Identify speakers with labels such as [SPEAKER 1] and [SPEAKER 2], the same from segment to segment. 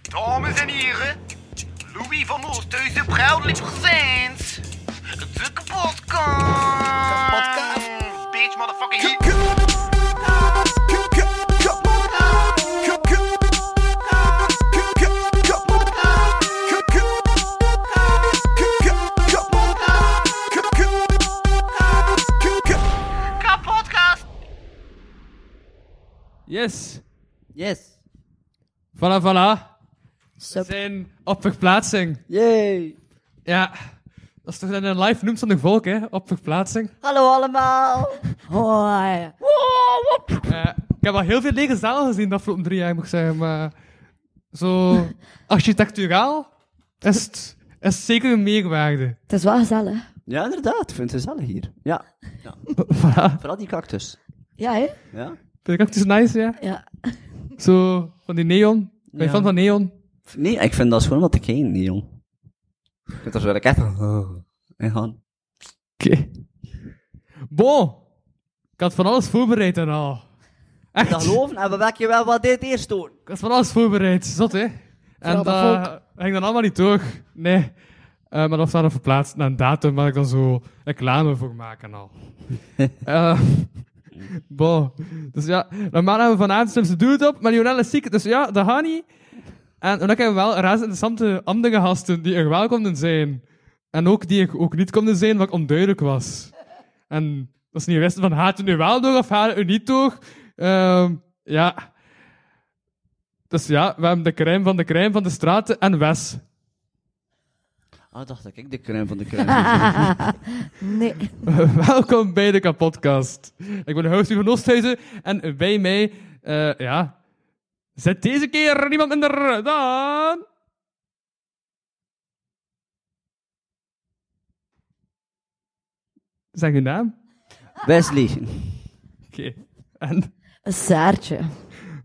[SPEAKER 1] Dames en heren, Louis van Oosthuizen, proudly presents de kapotkast.
[SPEAKER 2] Kapotkast.
[SPEAKER 1] Bitch, motherfucker, hier. Kapotkast.
[SPEAKER 3] Yes.
[SPEAKER 2] Yes.
[SPEAKER 3] Voilà, voilà. We
[SPEAKER 2] Sup.
[SPEAKER 3] zijn op verplaatsing.
[SPEAKER 2] Yay.
[SPEAKER 3] Ja. Dat is toch dat je een live noemt van de volk, hè? Op verplaatsing.
[SPEAKER 2] Hallo allemaal. Hoi.
[SPEAKER 3] Eh, ik heb al heel veel lege zalen gezien de afgelopen drie jaar, moet ik zeggen. Maar zo architecturaal is het is zeker een meerwaarde.
[SPEAKER 4] Het is wel gezellig.
[SPEAKER 5] Ja, inderdaad. Ik vind het gezellig hier. Ja.
[SPEAKER 3] Voilà.
[SPEAKER 5] Vooral die cactus.
[SPEAKER 4] Ja, hè?
[SPEAKER 5] Ja.
[SPEAKER 3] Vind ik ook dus nice, ja?
[SPEAKER 4] Ja.
[SPEAKER 3] Zo van die neon. Ben je
[SPEAKER 5] Ja.
[SPEAKER 3] fan van neon?
[SPEAKER 5] Nee, ik vind dat gewoon wat te klein, nee, jong. Je kunt er zo lekker oh, in gaan.
[SPEAKER 3] Oké. Bon. Ik had van alles voorbereid en al. Echt?
[SPEAKER 5] Dat geloven en we wekken wel wat dit eerst doen.
[SPEAKER 3] Ik was van alles voorbereid, zot hè? En
[SPEAKER 4] dat
[SPEAKER 3] dat ging dan allemaal niet door. Nee. Eh, maar dat was dan verplaatst naar een datum waar ik dan zo reclame voor maak en al. Eh, bon. Dus ja, normaal hebben we vanavond slimste doel het op, maar Lionel is ziek, dus ja, dat gaat niet. En dan hebben we wel razend interessante andere gasten die er wel konden zijn. En ook die er ook niet konden zijn, wat onduidelijk was. En dat is niet wisten van, haat u nu wel door of haat u niet door? Ehm, ja... Dus ja, we hebben de crème van de crème van de straten en Wes.
[SPEAKER 5] Ah, dacht ik, ik de crème van de crème.
[SPEAKER 4] Nee.
[SPEAKER 3] Welkom bij de kapotcast. Ik ben Huis van Oosthuizen en bij mij, eh, ja, zit deze keer niemand minder dan... Zeg uw naam.
[SPEAKER 5] Wesley.
[SPEAKER 3] Oké. En,
[SPEAKER 4] Een saartje.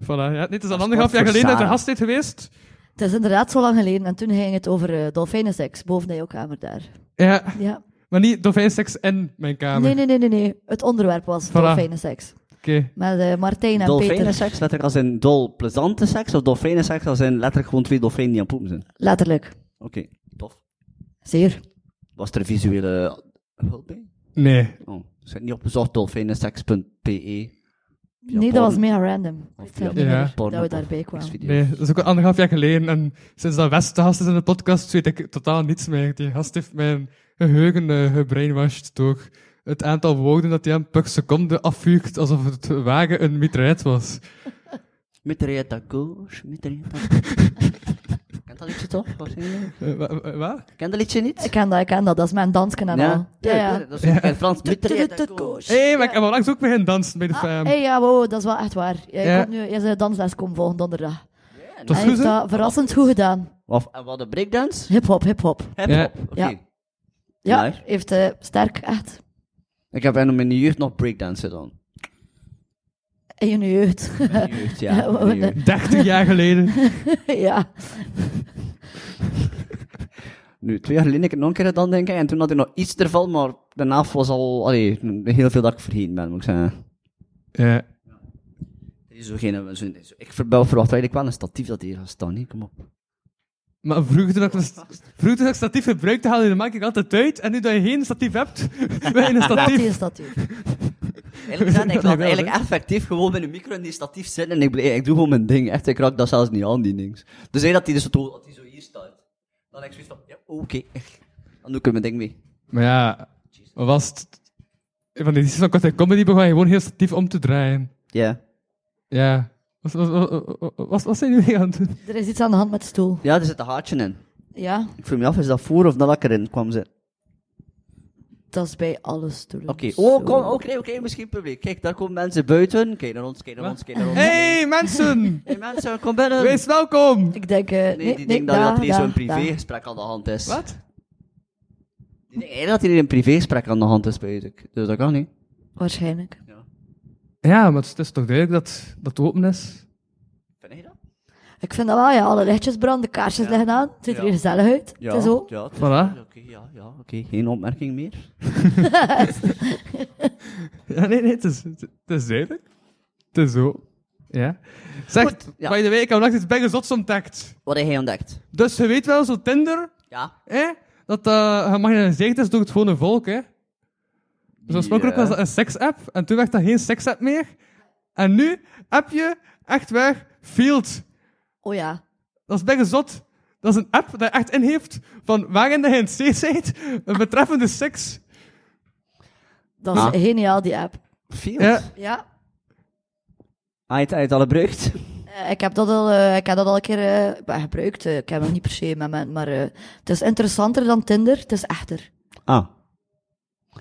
[SPEAKER 3] voilà. Ja, dit is al anderhalf jaar geleden dat de gast is geweest.
[SPEAKER 4] Het is inderdaad zo lang geleden. En toen ging het over eh, dolfijnenseks, boven jouw kamer daar.
[SPEAKER 3] Ja,
[SPEAKER 4] Ja.
[SPEAKER 3] maar niet dolfijnseks in mijn kamer.
[SPEAKER 4] Nee, nee, nee, nee, nee. Het onderwerp was dolfijnenseks.
[SPEAKER 3] Oké.
[SPEAKER 4] Met eh, Martijn en Peter.
[SPEAKER 5] Dolfijnenseks, letterlijk als in dol plezante seks, of dolfijnenseks als in letterlijk gewoon twee dolfijnen die aan het poepen zijn.
[SPEAKER 4] Letterlijk.
[SPEAKER 5] Oké, tof.
[SPEAKER 4] Zeer.
[SPEAKER 5] Was er visuele hulp bij?
[SPEAKER 3] Nee.
[SPEAKER 5] Oh, zit niet opgezocht, dolfijnenseks.pe.
[SPEAKER 4] nee,
[SPEAKER 5] porno.
[SPEAKER 4] dat was mega random.
[SPEAKER 5] E. Of
[SPEAKER 4] Ik weet
[SPEAKER 5] via
[SPEAKER 4] niet
[SPEAKER 3] Ja.
[SPEAKER 4] meer dat we
[SPEAKER 5] Pornhub
[SPEAKER 4] daarbij
[SPEAKER 5] of
[SPEAKER 4] kwamen.
[SPEAKER 5] Xvideo's.
[SPEAKER 3] Nee, dat is ook al anderhalf jaar geleden. En sinds dat West te gast is in de podcast, weet ik totaal niets meer. Die gast heeft mijn geheugen eh, gebrainwashed door het aantal woorden dat hij hem per seconde afvuurt, alsof het wagen een mitraillet was.
[SPEAKER 5] Mitraillette à gauche, mitraillette à gauche. Kent dat liedje toch? Waarschijnlijk.
[SPEAKER 3] Eh, wa- wa- wat?
[SPEAKER 5] Kent dat liedje niet?
[SPEAKER 4] Ik ken dat, ik ken dat. Dat is mijn dansken en al. Ja, ja.
[SPEAKER 5] Dat is in Frans. Mitraillette à gauche.
[SPEAKER 4] Coach.
[SPEAKER 3] Hé, hey, maar ik heb al langs ook beginnen dansen bij de
[SPEAKER 4] Ah,
[SPEAKER 3] fam.
[SPEAKER 4] hey, ja, wow, dat is wel echt waar. Ja,
[SPEAKER 3] Ja.
[SPEAKER 4] Ik had nu eerst een dansles komen volgen donderdag.
[SPEAKER 3] Dat is
[SPEAKER 4] Hij
[SPEAKER 3] goed,
[SPEAKER 4] heeft
[SPEAKER 3] hè?
[SPEAKER 4] dat verrassend goed gedaan.
[SPEAKER 5] Of, en wat een breakdance?
[SPEAKER 4] Hip-hop, hip-hop.
[SPEAKER 5] Hip-hop.
[SPEAKER 3] Ja.
[SPEAKER 5] Oké.
[SPEAKER 4] Ja. Ja,
[SPEAKER 5] Nice.
[SPEAKER 4] heeft eh, sterk, echt.
[SPEAKER 5] Ik heb in mijn jeugd nog breakdansen dan.
[SPEAKER 4] In je jeugd.
[SPEAKER 5] In je jeugd, ja. in je jeugd.
[SPEAKER 3] 30 jaar geleden.
[SPEAKER 4] ja.
[SPEAKER 5] Nu, twee jaar geleden heb ik het nog een keer gedaan, denk ik. En toen had ik nog iets ervan, maar daarna was al... Allee, heel veel dat ik vergeten ben, moet ik zeggen.
[SPEAKER 3] Ja.
[SPEAKER 5] Er is zo geen... Zo, ik verbel verwacht eigenlijk wel een statief dat hier gaat staan. hè. Kom op.
[SPEAKER 3] Maar vroeger toen, ik, een st- vroeger toen ik statief gebruikte, haalde je de maak ik altijd uit. En nu dat je geen statief hebt, ben je een
[SPEAKER 4] Wat
[SPEAKER 3] statief.
[SPEAKER 4] is dat hier?
[SPEAKER 5] Eerlijk gezegd, ik
[SPEAKER 3] Dat
[SPEAKER 5] laat
[SPEAKER 3] wel,
[SPEAKER 5] eigenlijk
[SPEAKER 3] hè?
[SPEAKER 5] effectief gewoon met een micro in die statief zitten en ik, ble- ik doe gewoon mijn ding. Echt, ik raak dat zelfs niet aan, die dings. Dus hij dat hij dus zo, dat die zo hier staat. Dan heb ik zoiets van, ja, oké. Dan doe ik er mijn ding mee.
[SPEAKER 3] Maar ja, wat was het? Van die editie van Korte Comedy begon je gewoon heel statief om te draaien.
[SPEAKER 5] Ja.
[SPEAKER 3] Ja. Wat, wat, wat, wat- wat, wat zijn jullie aan het doen?
[SPEAKER 4] Er is iets aan de hand met de stoel.
[SPEAKER 5] Ja, er zit een haartje in.
[SPEAKER 4] Ja,
[SPEAKER 5] Ik vroeg me af, is dat voor of dat ik erin kwam zitten?
[SPEAKER 4] dat is bij alle stoelen.
[SPEAKER 5] Oké,
[SPEAKER 4] Zo.
[SPEAKER 5] oh, kom, oké, oké, misschien publiek. Kijk, daar komen mensen buiten. Kijk naar ons, kijk naar ons, kijk naar ons.
[SPEAKER 3] Hey mensen,
[SPEAKER 5] Hey, mensen, kom binnen.
[SPEAKER 3] wees welkom.
[SPEAKER 4] Ik denk... eh, nee,
[SPEAKER 5] Nee, die
[SPEAKER 4] nee,
[SPEAKER 5] denkt dat,
[SPEAKER 4] daar,
[SPEAKER 5] dat er hier
[SPEAKER 4] daar,
[SPEAKER 5] zo'n
[SPEAKER 4] daar.
[SPEAKER 5] privégesprek aan de hand is.
[SPEAKER 3] Wat?
[SPEAKER 5] Die denkt eigenlijk dat hier een privégesprek aan de hand is, weet ik. Dus dat kan niet.
[SPEAKER 4] Waarschijnlijk.
[SPEAKER 3] Ja, maar het is- het is toch duidelijk dat dat open is.
[SPEAKER 5] Vind je dat?
[SPEAKER 4] Ik vind dat wel, ja. Alle lichtjes branden, de kaarsjes liggen aan. Het ziet er
[SPEAKER 5] Ja.
[SPEAKER 4] hier gezellig uit.
[SPEAKER 5] Ja,
[SPEAKER 4] Het is ook.
[SPEAKER 5] Ja, het is
[SPEAKER 3] Voilà.
[SPEAKER 5] wel Oké, ja, ja, oké. Geen opmerking meer.
[SPEAKER 3] Ja, nee, nee, het is, het is duidelijk. Het is zo. Ja. Zegt,
[SPEAKER 5] Goed, ja.
[SPEAKER 3] by the way, ik heb nog iets bijgezots ontdekt.
[SPEAKER 5] Wat heb jij ontdekt?
[SPEAKER 3] Dus je weet wel, zo Tinder,
[SPEAKER 5] Ja.
[SPEAKER 3] hè? Dat eh gemagnetiserd is door het gewone volk, hè? Dus oorspronkelijk
[SPEAKER 5] Ja.
[SPEAKER 3] was dat een seksapp, en toen werd dat geen seksapp meer. En nu heb je echt weg Field.
[SPEAKER 4] Oh ja.
[SPEAKER 3] Dat is bijgezot. Dat is een app dat je echt in heeft van waarin je in het zee zijt, een betreffende seks.
[SPEAKER 4] Dat is
[SPEAKER 5] Ah.
[SPEAKER 4] geniaal, die app.
[SPEAKER 5] Field.
[SPEAKER 3] Ja.
[SPEAKER 5] Ja.
[SPEAKER 4] Ja.
[SPEAKER 5] Uit, uit alle brucht.
[SPEAKER 4] eh, Ik heb dat al, eh, ik heb dat al een keer eh, bah, gebruikt. Eh, Ik heb nog niet per se met men, maar eh, het is interessanter dan Tinder. Het is echter.
[SPEAKER 5] Ah.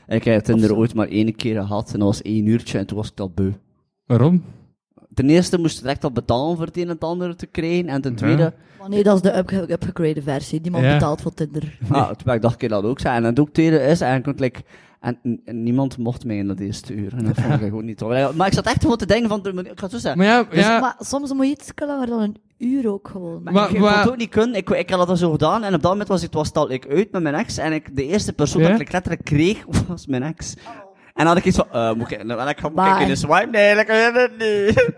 [SPEAKER 5] Ik heb Tinder ooit maar één keer gehad en dat was één uurtje en toen was ik dat beu.
[SPEAKER 3] Waarom?
[SPEAKER 5] Ten eerste moest je direct al betalen voor het een en het ander te krijgen en ten tweede...
[SPEAKER 4] Maar nee, dat is de upge- upgegrade versie. Niemand
[SPEAKER 3] Ja.
[SPEAKER 4] betaalt voor Tinder.
[SPEAKER 5] Ah, toen ben ik dacht ik dat ook zijn. En het ook tweede is eigenlijk, like, en, en niemand mocht mij in dat eerste uur. En dat vond ik gewoon niet tof. Maar ik zat echt gewoon te denken van, ik ga het zo zeggen.
[SPEAKER 3] Maar ja, ja,
[SPEAKER 4] Dus, Maar soms moet je iets langer dan een uur ook gewoon.
[SPEAKER 5] Maar,
[SPEAKER 3] Maar-
[SPEAKER 5] ik kon
[SPEAKER 3] maar-
[SPEAKER 5] het ook niet kunnen. Ik, ik had dat zo gedaan en op dat moment was het was stel ik uit met mijn ex. En ik, de eerste persoon
[SPEAKER 3] Ja?
[SPEAKER 5] dat ik letterlijk kreeg was mijn ex. En dan had ik iets van, eh moet ik, nou, ik ga moet ik
[SPEAKER 4] Bye.
[SPEAKER 5] kunnen swipe? Nee, dat kan het niet.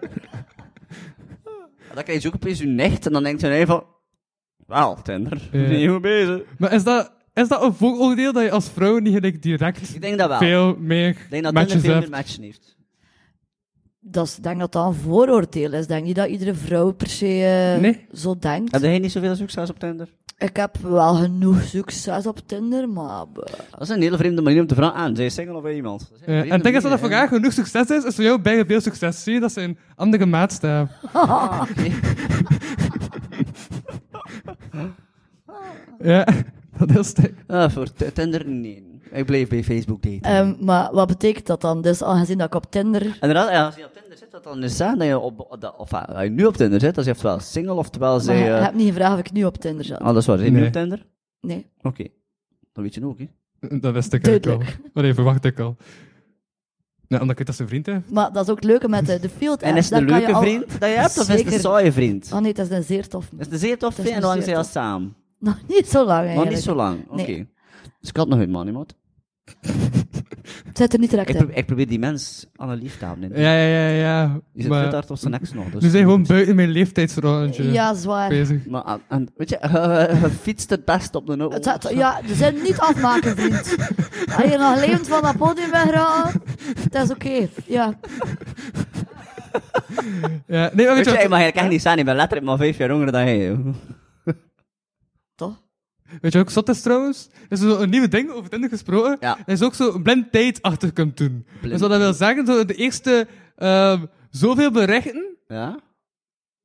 [SPEAKER 5] En dan krijg je ook opeens je nicht en dan denkt je nee van, wel, Tinder,
[SPEAKER 3] Ja.
[SPEAKER 5] ben je goed bezig?
[SPEAKER 3] maar is dat, is dat een vooroordeel dat je als vrouw niet gelijk direct
[SPEAKER 5] Ik denk dat wel.
[SPEAKER 3] veel meer
[SPEAKER 5] ik denk dat Tinder
[SPEAKER 3] matches
[SPEAKER 5] veel meer
[SPEAKER 3] hebt?
[SPEAKER 5] matchen heeft.
[SPEAKER 4] Dat is, ik denk dat dat een vooroordeel is. Ik denk niet dat iedere vrouw per se eh,
[SPEAKER 3] Nee.
[SPEAKER 4] zo denkt.
[SPEAKER 5] Heb jij niet zoveel succes op Tinder?
[SPEAKER 4] Ik heb wel genoeg succes op Tinder, maar... eh,
[SPEAKER 5] Dat is een hele vreemde manier om te vragen aan, zij is single of iemand? Dat is
[SPEAKER 3] Ja,
[SPEAKER 5] een
[SPEAKER 3] Eh, en
[SPEAKER 5] vreemde
[SPEAKER 3] ik denk dat dat
[SPEAKER 5] manier,
[SPEAKER 3] voor
[SPEAKER 5] hè.
[SPEAKER 3] haar genoeg succes is, is voor jou bijna veel succes. Zie je, dat zijn andere maatstaven. ja, dat is het.
[SPEAKER 5] Ah, voor t- Tinder, nee. Ik bleef bij Facebook daten.
[SPEAKER 4] ehm, maar wat betekent dat dan? Dus aangezien dat ik op Tinder...
[SPEAKER 5] Inderdaad, ja, als je op Tinder zit, dat dan is dat dat je op, dat, of eh, als je nu op Tinder zit, dat is oftewel single, oftewel
[SPEAKER 4] Maar
[SPEAKER 5] zij...
[SPEAKER 4] je
[SPEAKER 5] eh
[SPEAKER 4] hebt niet gevraagd of ik nu op Tinder zat.
[SPEAKER 5] ah, dat is waar, zijn
[SPEAKER 3] Nee.
[SPEAKER 5] nu op Tinder?
[SPEAKER 4] Nee.
[SPEAKER 5] Oké. Dat weet je nu ook, hè?
[SPEAKER 3] Dat wist ik eigenlijk
[SPEAKER 4] Duidelijk.
[SPEAKER 3] al. Maar even wacht ik al. Ja, omdat ik het als een vriend heb.
[SPEAKER 4] Maar dat is ook het leuke met de, de field app.
[SPEAKER 5] En is het
[SPEAKER 4] Daar
[SPEAKER 5] een
[SPEAKER 4] kan je
[SPEAKER 5] leuke
[SPEAKER 4] al-
[SPEAKER 5] vriend dat je hebt, of is het een
[SPEAKER 4] Zeker.
[SPEAKER 5] saaie vriend?
[SPEAKER 4] Ah nee, dat is een zeer tof.
[SPEAKER 5] Is het een zeer tof
[SPEAKER 4] Dat is
[SPEAKER 5] vriend en
[SPEAKER 4] een
[SPEAKER 5] dan zijn
[SPEAKER 4] zeer
[SPEAKER 5] ze al
[SPEAKER 4] tof.
[SPEAKER 5] samen?
[SPEAKER 4] Nog niet zo lang
[SPEAKER 5] Maar
[SPEAKER 4] eigenlijk.
[SPEAKER 5] niet zo lang, oké.
[SPEAKER 4] Nee.
[SPEAKER 5] Dus ik had nog een man, iemand.
[SPEAKER 4] Het zit er niet direct
[SPEAKER 5] Ik,
[SPEAKER 4] in.
[SPEAKER 5] pro- ik probeer die mens aan een lief te houden. hè.
[SPEAKER 3] Ja, ja, ja, ja.
[SPEAKER 5] Die zit
[SPEAKER 3] Maar-
[SPEAKER 5] maar... tot zijn ex nog. Dus
[SPEAKER 3] Nu zijn gewoon buiten mijn leeftijdsrandje
[SPEAKER 4] Ja, zwaar.
[SPEAKER 3] bezig.
[SPEAKER 5] Maar, aan- aan- weet je, eh, je fietst het best op de no-
[SPEAKER 4] Het gaat- ja, ze zijn niet afmaken, vriend. Als je nog levend van dat podium wegraakt, dat is oké. Ja.
[SPEAKER 3] Ja, nee, maar
[SPEAKER 5] Weet
[SPEAKER 3] weet
[SPEAKER 5] je,
[SPEAKER 3] je
[SPEAKER 5] ik
[SPEAKER 3] wat-
[SPEAKER 5] mag eigenlijk echt niet zijn, ik ben letterlijk maar vijf jaar jonger dan jij. joh.
[SPEAKER 4] Toch?
[SPEAKER 3] Weet je wat ook zot is trouwens? Er is zo een nieuwe ding over Tinder gesproken.
[SPEAKER 5] Ja.
[SPEAKER 3] Dat is ook zo blind tijd achter kunt doen. Dus wat dat wil zeggen, zo de eerste ehm, zoveel berichten,
[SPEAKER 5] Ja?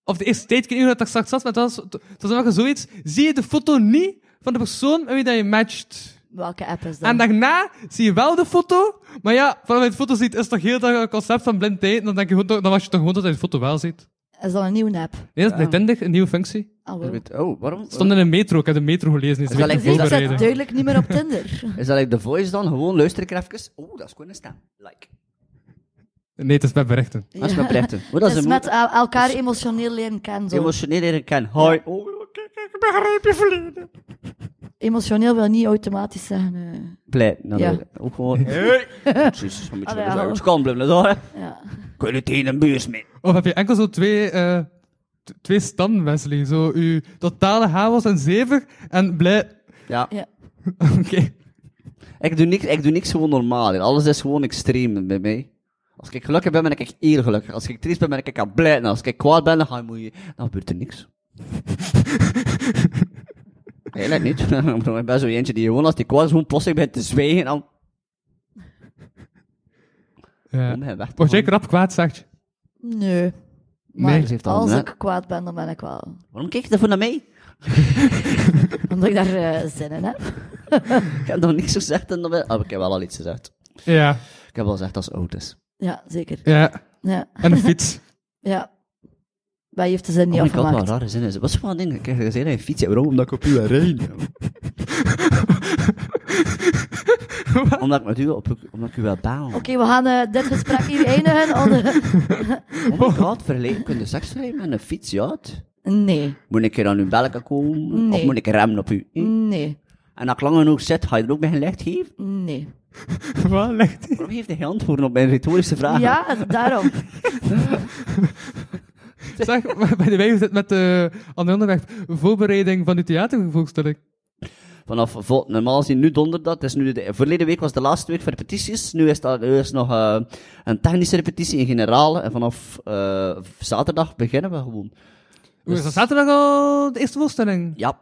[SPEAKER 3] of de eerste tijd, ik weet niet hoe dat daar straks zat, maar dat was, dat was wel zoiets, zie je de foto niet van de persoon met wie dat je matcht.
[SPEAKER 4] Welke app is dat?
[SPEAKER 3] En daarna zie je wel de foto, maar ja, vanaf je de foto ziet, is toch heel dat concept van blind tijd, dan, denk je, gewoon toch- dan was je toch gewoon dat je de foto wel ziet.
[SPEAKER 4] Is dat een nieuwe app?
[SPEAKER 3] Nee, dat is bij Tinder een nieuwe functie.
[SPEAKER 4] Ah,
[SPEAKER 5] Dus
[SPEAKER 4] wow.
[SPEAKER 5] met- Oh, waarom?
[SPEAKER 3] stond in een metro. Ik heb de metro gelezen. Is
[SPEAKER 5] Dat is wel
[SPEAKER 3] wel
[SPEAKER 5] echt
[SPEAKER 4] Dus ik zit
[SPEAKER 3] voorbereiden.
[SPEAKER 4] duidelijk niet meer op Tinder.
[SPEAKER 5] Is dat like de voice dan? Gewoon luister ik er even. Oeh, dat is gewoon een stem. Like.
[SPEAKER 3] Nee, het is bij berichten.
[SPEAKER 5] Dat is met Brechten. Oh, dat
[SPEAKER 4] Het
[SPEAKER 5] is
[SPEAKER 4] is
[SPEAKER 5] een
[SPEAKER 4] met
[SPEAKER 5] met...
[SPEAKER 4] eh, elkaar emotioneel leren kennen. Zo.
[SPEAKER 5] emotioneel leren kennen. Hoi. Oh, kijk, kijk, ik begrijp je verleden.
[SPEAKER 4] Emotioneel wil niet automatisch zeggen. eh,
[SPEAKER 5] Blij. Nou,
[SPEAKER 4] Ja.
[SPEAKER 5] dat- Ook gewoon. Hey. Jezus, een beetje
[SPEAKER 4] Allee,
[SPEAKER 5] wel
[SPEAKER 4] hallo.
[SPEAKER 5] Het kan blijven, dat hoor.
[SPEAKER 4] ja.
[SPEAKER 5] Kun je tegen een buurs mee?
[SPEAKER 3] Of heb je enkel zo twee, eh t- twee standen, Wesley? Zo, uw totale chaos en zever en blij...
[SPEAKER 5] Ja.
[SPEAKER 4] Ja.
[SPEAKER 3] Oké.
[SPEAKER 5] Ik doe, niks, ik doe niks gewoon normaal. hier. Alles is gewoon extreem bij mij. Als ik gelukkig ben, ben ik echt eer gelukkig. Als ik triest ben, ben ik echt aan blij. En als ik kwaad ben, dan, ga je, moet je- dan gebeurt er niks. Eigenlijk niet. ik ben zo eentje die gewoon als die kwaad is, gewoon plotseling begint te zwijgen. En dan
[SPEAKER 3] Ja.
[SPEAKER 5] om hem weg te
[SPEAKER 3] Word jij
[SPEAKER 5] gaan.
[SPEAKER 3] rap kwaad, zegt je?
[SPEAKER 4] Nee.
[SPEAKER 3] Nee,
[SPEAKER 4] Maar
[SPEAKER 5] ze heeft al
[SPEAKER 4] als
[SPEAKER 5] een-
[SPEAKER 4] ik kwaad ben, dan ben ik wel.
[SPEAKER 5] Waarom kijk je daarvoor naar mij?
[SPEAKER 4] Omdat ik daar eh, zin in heb.
[SPEAKER 5] Ik heb nog niks gezegd. En dan ben... oh, ik heb wel al iets gezegd.
[SPEAKER 3] Ja.
[SPEAKER 5] Ik heb wel gezegd dat ze oud is.
[SPEAKER 4] Ja, zeker.
[SPEAKER 3] Ja.
[SPEAKER 4] Ja.
[SPEAKER 3] En de fiets.
[SPEAKER 4] ja. Maar je heeft de zin
[SPEAKER 5] Oh
[SPEAKER 4] niet
[SPEAKER 5] my god, wat een
[SPEAKER 4] afgemaakt.
[SPEAKER 5] rare zin is. het. Wat is voor een ding? Ik heb gezegd dat je fiets hebt. Waarom? Omdat ik op u rijd. omdat ik met u op, omdat ik u wel baal.
[SPEAKER 4] Oké, we gaan eh, dit gesprek hier eindigen. onder-
[SPEAKER 5] Oh my god, verleden kun je seks rijden met een fiets, ja. het.
[SPEAKER 4] Nee.
[SPEAKER 5] Moet ik er aan uw belken komen? Of
[SPEAKER 4] Nee. Mm.
[SPEAKER 5] moet ik remmen op u? hè?
[SPEAKER 4] Nee.
[SPEAKER 5] En als ik lang genoeg zit, ga je er ook bij een licht geven?
[SPEAKER 4] Nee.
[SPEAKER 3] Wat ligt
[SPEAKER 5] Ah. Waarom geeft hij geen antwoorden op mijn retorische vragen?
[SPEAKER 4] Ja, daarom.
[SPEAKER 3] Zeg, maar bij de wij zit met de aan de onderweg voorbereiding van de theatervoorstelling.
[SPEAKER 5] Vanaf vol, normaal gezien nu donderdag. Het is nu de, verleden week was de laatste week voor repetities. Nu is dat nu is nog eh, een technische repetitie in generale. En vanaf eh, zaterdag beginnen we gewoon.
[SPEAKER 3] Hoe is dat zaterdag al de eerste voorstelling?
[SPEAKER 5] Ja.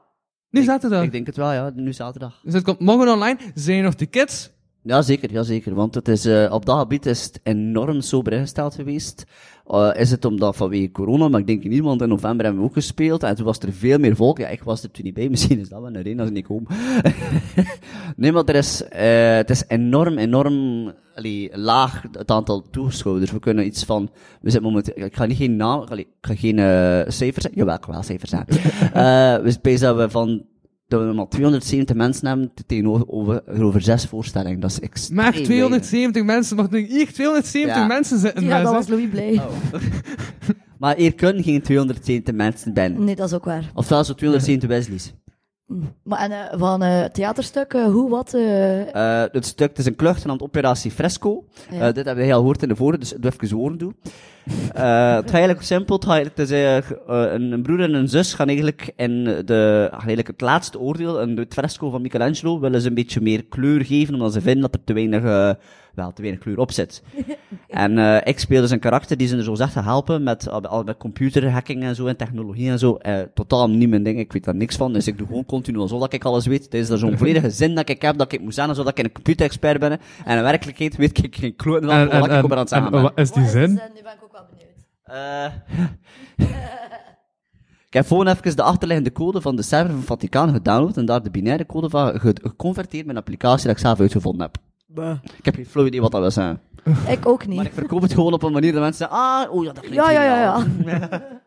[SPEAKER 3] Nu
[SPEAKER 5] ik-
[SPEAKER 3] zaterdag.
[SPEAKER 5] Ik denk het wel, ja. Nu zaterdag.
[SPEAKER 3] Dus het komt morgen online. Zijn er nog tickets?
[SPEAKER 5] Ja, zeker, ja, zeker. Want het is, eh, op dat gebied is het enorm sober ingesteld geweest. Eh, is het omdat vanwege corona, maar ik denk in iemand in november hebben we ook gespeeld. En toen was er veel meer volk. Ja, ik was er toen niet bij. Misschien is dat wel een reden als ik niet kom. nee, maar er is, eh, het is enorm, enorm allee, laag het aantal toeschouwers. We kunnen iets van, we zitten momenteel, ik ga niet geen naam, allee, ik ga geen eh, cijfers zeggen. Jawel, ik ga wel cijfers zeggen. Eh, we spelen dat we van dat we maar 270 mensen hebben te- tegenover over, over zes voorstellingen. Dat is extreem.
[SPEAKER 3] Maar
[SPEAKER 5] weinig.
[SPEAKER 3] 270 mensen. Mag nu hier 270
[SPEAKER 5] Ja.
[SPEAKER 3] mensen zitten.
[SPEAKER 4] Ja, dat
[SPEAKER 3] mensen.
[SPEAKER 4] was Louis blij.
[SPEAKER 5] Oh. Maar hier kunnen geen 270 mensen bij.
[SPEAKER 4] Nee, dat is ook waar.
[SPEAKER 5] Ofwel zo 270 Wesley's.
[SPEAKER 4] Maar en, eh, van eh theaterstuk, eh, hoe, wat... eh,
[SPEAKER 5] Eh, het stuk het is een klucht genaamd Operatie Fresco.
[SPEAKER 4] Ja.
[SPEAKER 5] Eh, dit hebben we heel gehoord in de vorige, dus het doe even zworen doen. Eh, het gaat eigenlijk simpel. Het, gaat, eigenlijk- het is eigenlijk, eh, een, een broer en een zus gaan eigenlijk in de, gaan eigenlijk het laatste oordeel, in het fresco van Michelangelo, willen ze een beetje meer kleur geven, omdat ze vinden dat er te weinig, eh, wel, te weinig kleur op zit. En eh, ik speel dus een karakter die ze er zo zegt te helpen met, al- al met computerhacking en zo en technologie en zo. Eh, totaal niet mijn ding, ik weet daar niks van. Dus ik doe gewoon continu alsof dat ik alles weet. Het is daar zo'n volledige zin dat ik heb, dat ik moet zijn alsof dat ik een computerexpert ben. En in werkelijkheid weet ik geen kloot van wat ik op aan het zeggen
[SPEAKER 3] en
[SPEAKER 5] ben.
[SPEAKER 3] wat is die
[SPEAKER 4] wat is het?
[SPEAKER 3] zin?
[SPEAKER 4] Eh, Nu ben ik ook wel benieuwd.
[SPEAKER 5] Eh. ik heb gewoon even de achterliggende code van de server van Vaticaan gedownload en daar de binaire code van ge- geconverteerd met een applicatie dat ik zelf uitgevonden heb. Ik heb geen flauw idee wat dat wil zijn.
[SPEAKER 4] Ik ook niet.
[SPEAKER 5] Maar ik verkoop het gewoon op een manier dat mensen zeggen, ah, oh ja, dat klinkt
[SPEAKER 4] Ja, ja, ja,
[SPEAKER 5] geniaal.
[SPEAKER 4] ja.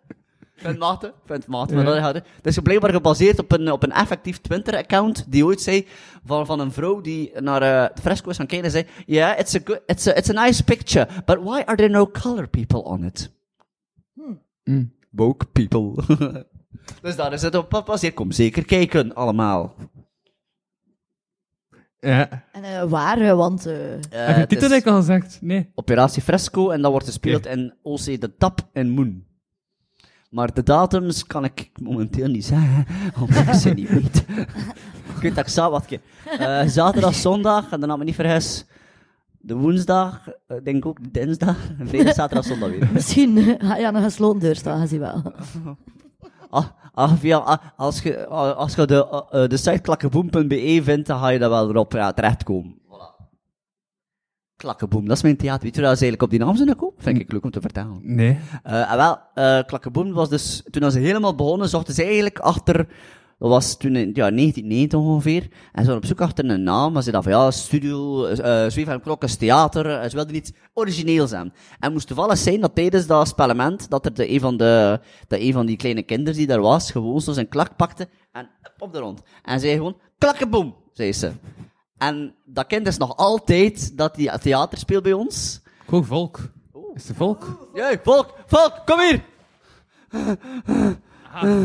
[SPEAKER 5] Vind maten, vind maten. Maar dat gaat- Het is blijkbaar gebaseerd op een, op een effectief Twitter-account die ooit zei van, van een vrouw die naar eh, het fresco is gaan kijken en zei, yeah, it's a, good, it's, a, it's a nice picture, but why are there no color people on it?
[SPEAKER 4] Hmm.
[SPEAKER 3] Hmm.
[SPEAKER 5] Woke people. dus daar is het op gebaseerd. Kom zeker kijken, allemaal.
[SPEAKER 3] Ja.
[SPEAKER 4] En eh, waar, eh, want... eh,
[SPEAKER 5] Eh,
[SPEAKER 3] Heb je
[SPEAKER 5] het
[SPEAKER 3] titel
[SPEAKER 5] is
[SPEAKER 3] ik al gezegd? Nee.
[SPEAKER 5] Operatie Fresco en dat wordt gespeeld in OC De Tap en Moon. Maar de datums kan ik momenteel niet zeggen, omdat ik ze niet weet. ik weet dat ik zou wat keer. Eh, zaterdag, zondag, en dan had me niet vergis. De woensdag, eh, denk ik ook de dinsdag, en vrijdag, zaterdag, zondag weer.
[SPEAKER 4] Misschien eh, ga je aan een gesloten deur staan, gezien wel.
[SPEAKER 5] Ah, ah, via, ah, als je ah, als je de, ah, eh, de site klakkeboom.be E vindt, dan ga je daar wel erop ja, terechtkomen. Voilà. Klakkeboom, dat is mijn theater. Weet je hoe dat ze eigenlijk op die naam zijn gekomen? Vind ik leuk om te vertellen.
[SPEAKER 3] Nee.
[SPEAKER 5] Eh, en wel, eh Klakkeboom was dus, toen ze helemaal begonnen, zochten ze eigenlijk achter, dat was toen in ja, 1990 ongeveer, en ze waren op zoek achter een naam, maar ze dachten van ja, studio, eh Zweef en Klokkes Theater, eh, ze wilden iets origineels zijn. En het moest toevallig zijn dat tijdens dat spellement, dat er de, een, van de, dat een van die kleine kinderen die daar was, gewoon zo zijn klak pakte en up op de rond. En zei gewoon, Klakkeboom, zei ze. En dat kind is nog altijd dat die theater speelt bij ons.
[SPEAKER 3] Gewoon volk.
[SPEAKER 5] Oh.
[SPEAKER 3] Is de volk?
[SPEAKER 5] Jee, volk, volk, kom hier!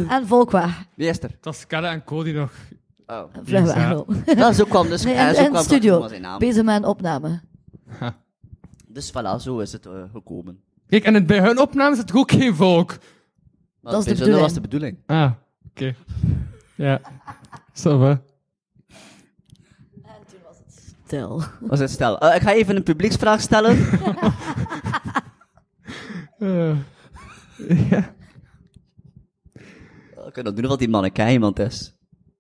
[SPEAKER 4] En volk weg.
[SPEAKER 5] Wie is er?
[SPEAKER 3] Dat is Kalle en Cody nog.
[SPEAKER 5] Oh.
[SPEAKER 4] Vlug weg.
[SPEAKER 3] Ja.
[SPEAKER 4] wel.
[SPEAKER 5] Dat is ook kwam dus
[SPEAKER 4] Nee,
[SPEAKER 5] eh,
[SPEAKER 4] en,
[SPEAKER 5] zo
[SPEAKER 4] en
[SPEAKER 5] kwam
[SPEAKER 4] studio.
[SPEAKER 5] Zijn naam.
[SPEAKER 4] Bezig met een opname.
[SPEAKER 5] Dus voilà, zo is het eh, gekomen.
[SPEAKER 3] Kijk, en het- bij hun opnames is het ook geen volk.
[SPEAKER 5] Maar
[SPEAKER 4] Dat is de
[SPEAKER 5] bij Zondag
[SPEAKER 4] bedoeling.
[SPEAKER 5] was de bedoeling.
[SPEAKER 3] Ah, oké. Ja. Zo hè.
[SPEAKER 4] Stil.
[SPEAKER 5] Was het stel. Eh, ik ga even een publieksvraag stellen.
[SPEAKER 3] Eh,
[SPEAKER 5] ik kan dat doen wat die mannen kei iemand is.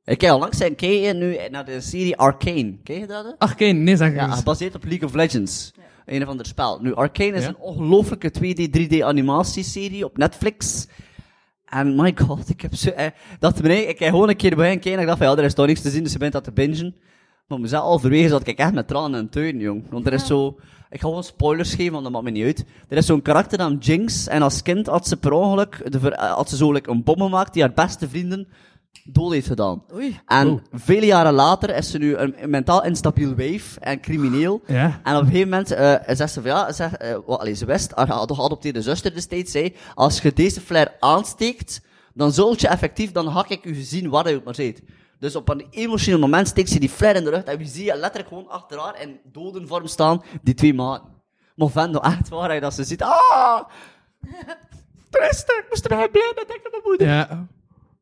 [SPEAKER 5] Ik kijk al langs zijn kei nu naar de serie Arcane. Ken je dat? hè?
[SPEAKER 3] Ach, geen, nee, zeg
[SPEAKER 5] Ja, ah,
[SPEAKER 3] eens.
[SPEAKER 5] gebaseerd op League of Legends. Een of ander spel. Nu, Arcane is
[SPEAKER 3] Ja.
[SPEAKER 5] een ongelofelijke 2D, 3D animatieserie op Netflix. En my god, ik heb zo... eh, dat beneden, ik heb gewoon een keer bij een kijken en ik dacht van, ja, er is toch niks te zien, dus ik ben dat te bingen. Maar mezelf halverwege zat ik echt met tranen en teun, jong. Want er is zo... Ik ga gewoon spoilers geven, want dat maakt me niet uit. Er is zo'n karakter naam Jinx, en als kind had ze per ongeluk... De, ver- eh, had ze zo like, een bom gemaakt die haar beste vrienden dood heeft gedaan.
[SPEAKER 4] Oei.
[SPEAKER 5] En vele jaren later is ze nu een, een mentaal instabiel wijf en crimineel.
[SPEAKER 3] Ja.
[SPEAKER 5] En op een gegeven moment eh zegt ze van ja, zeg, eh, wa- allee, ze wist, haar ge- geadopteerde zuster destijds zei, als je deze flare aansteekt, dan zult je effectief, dan hak ik u gezien waar je ook maar zit. Dus op een emotioneel moment steekt ze die flare in de lucht en je ziet je letterlijk gewoon achter haar in dodenvorm nou, staan, die twee maten. Movendo, echt waar, hè, dat ze ziet, ah! Tristan, ik moest erbij blij dat ik met mijn moeder.
[SPEAKER 3] Ja.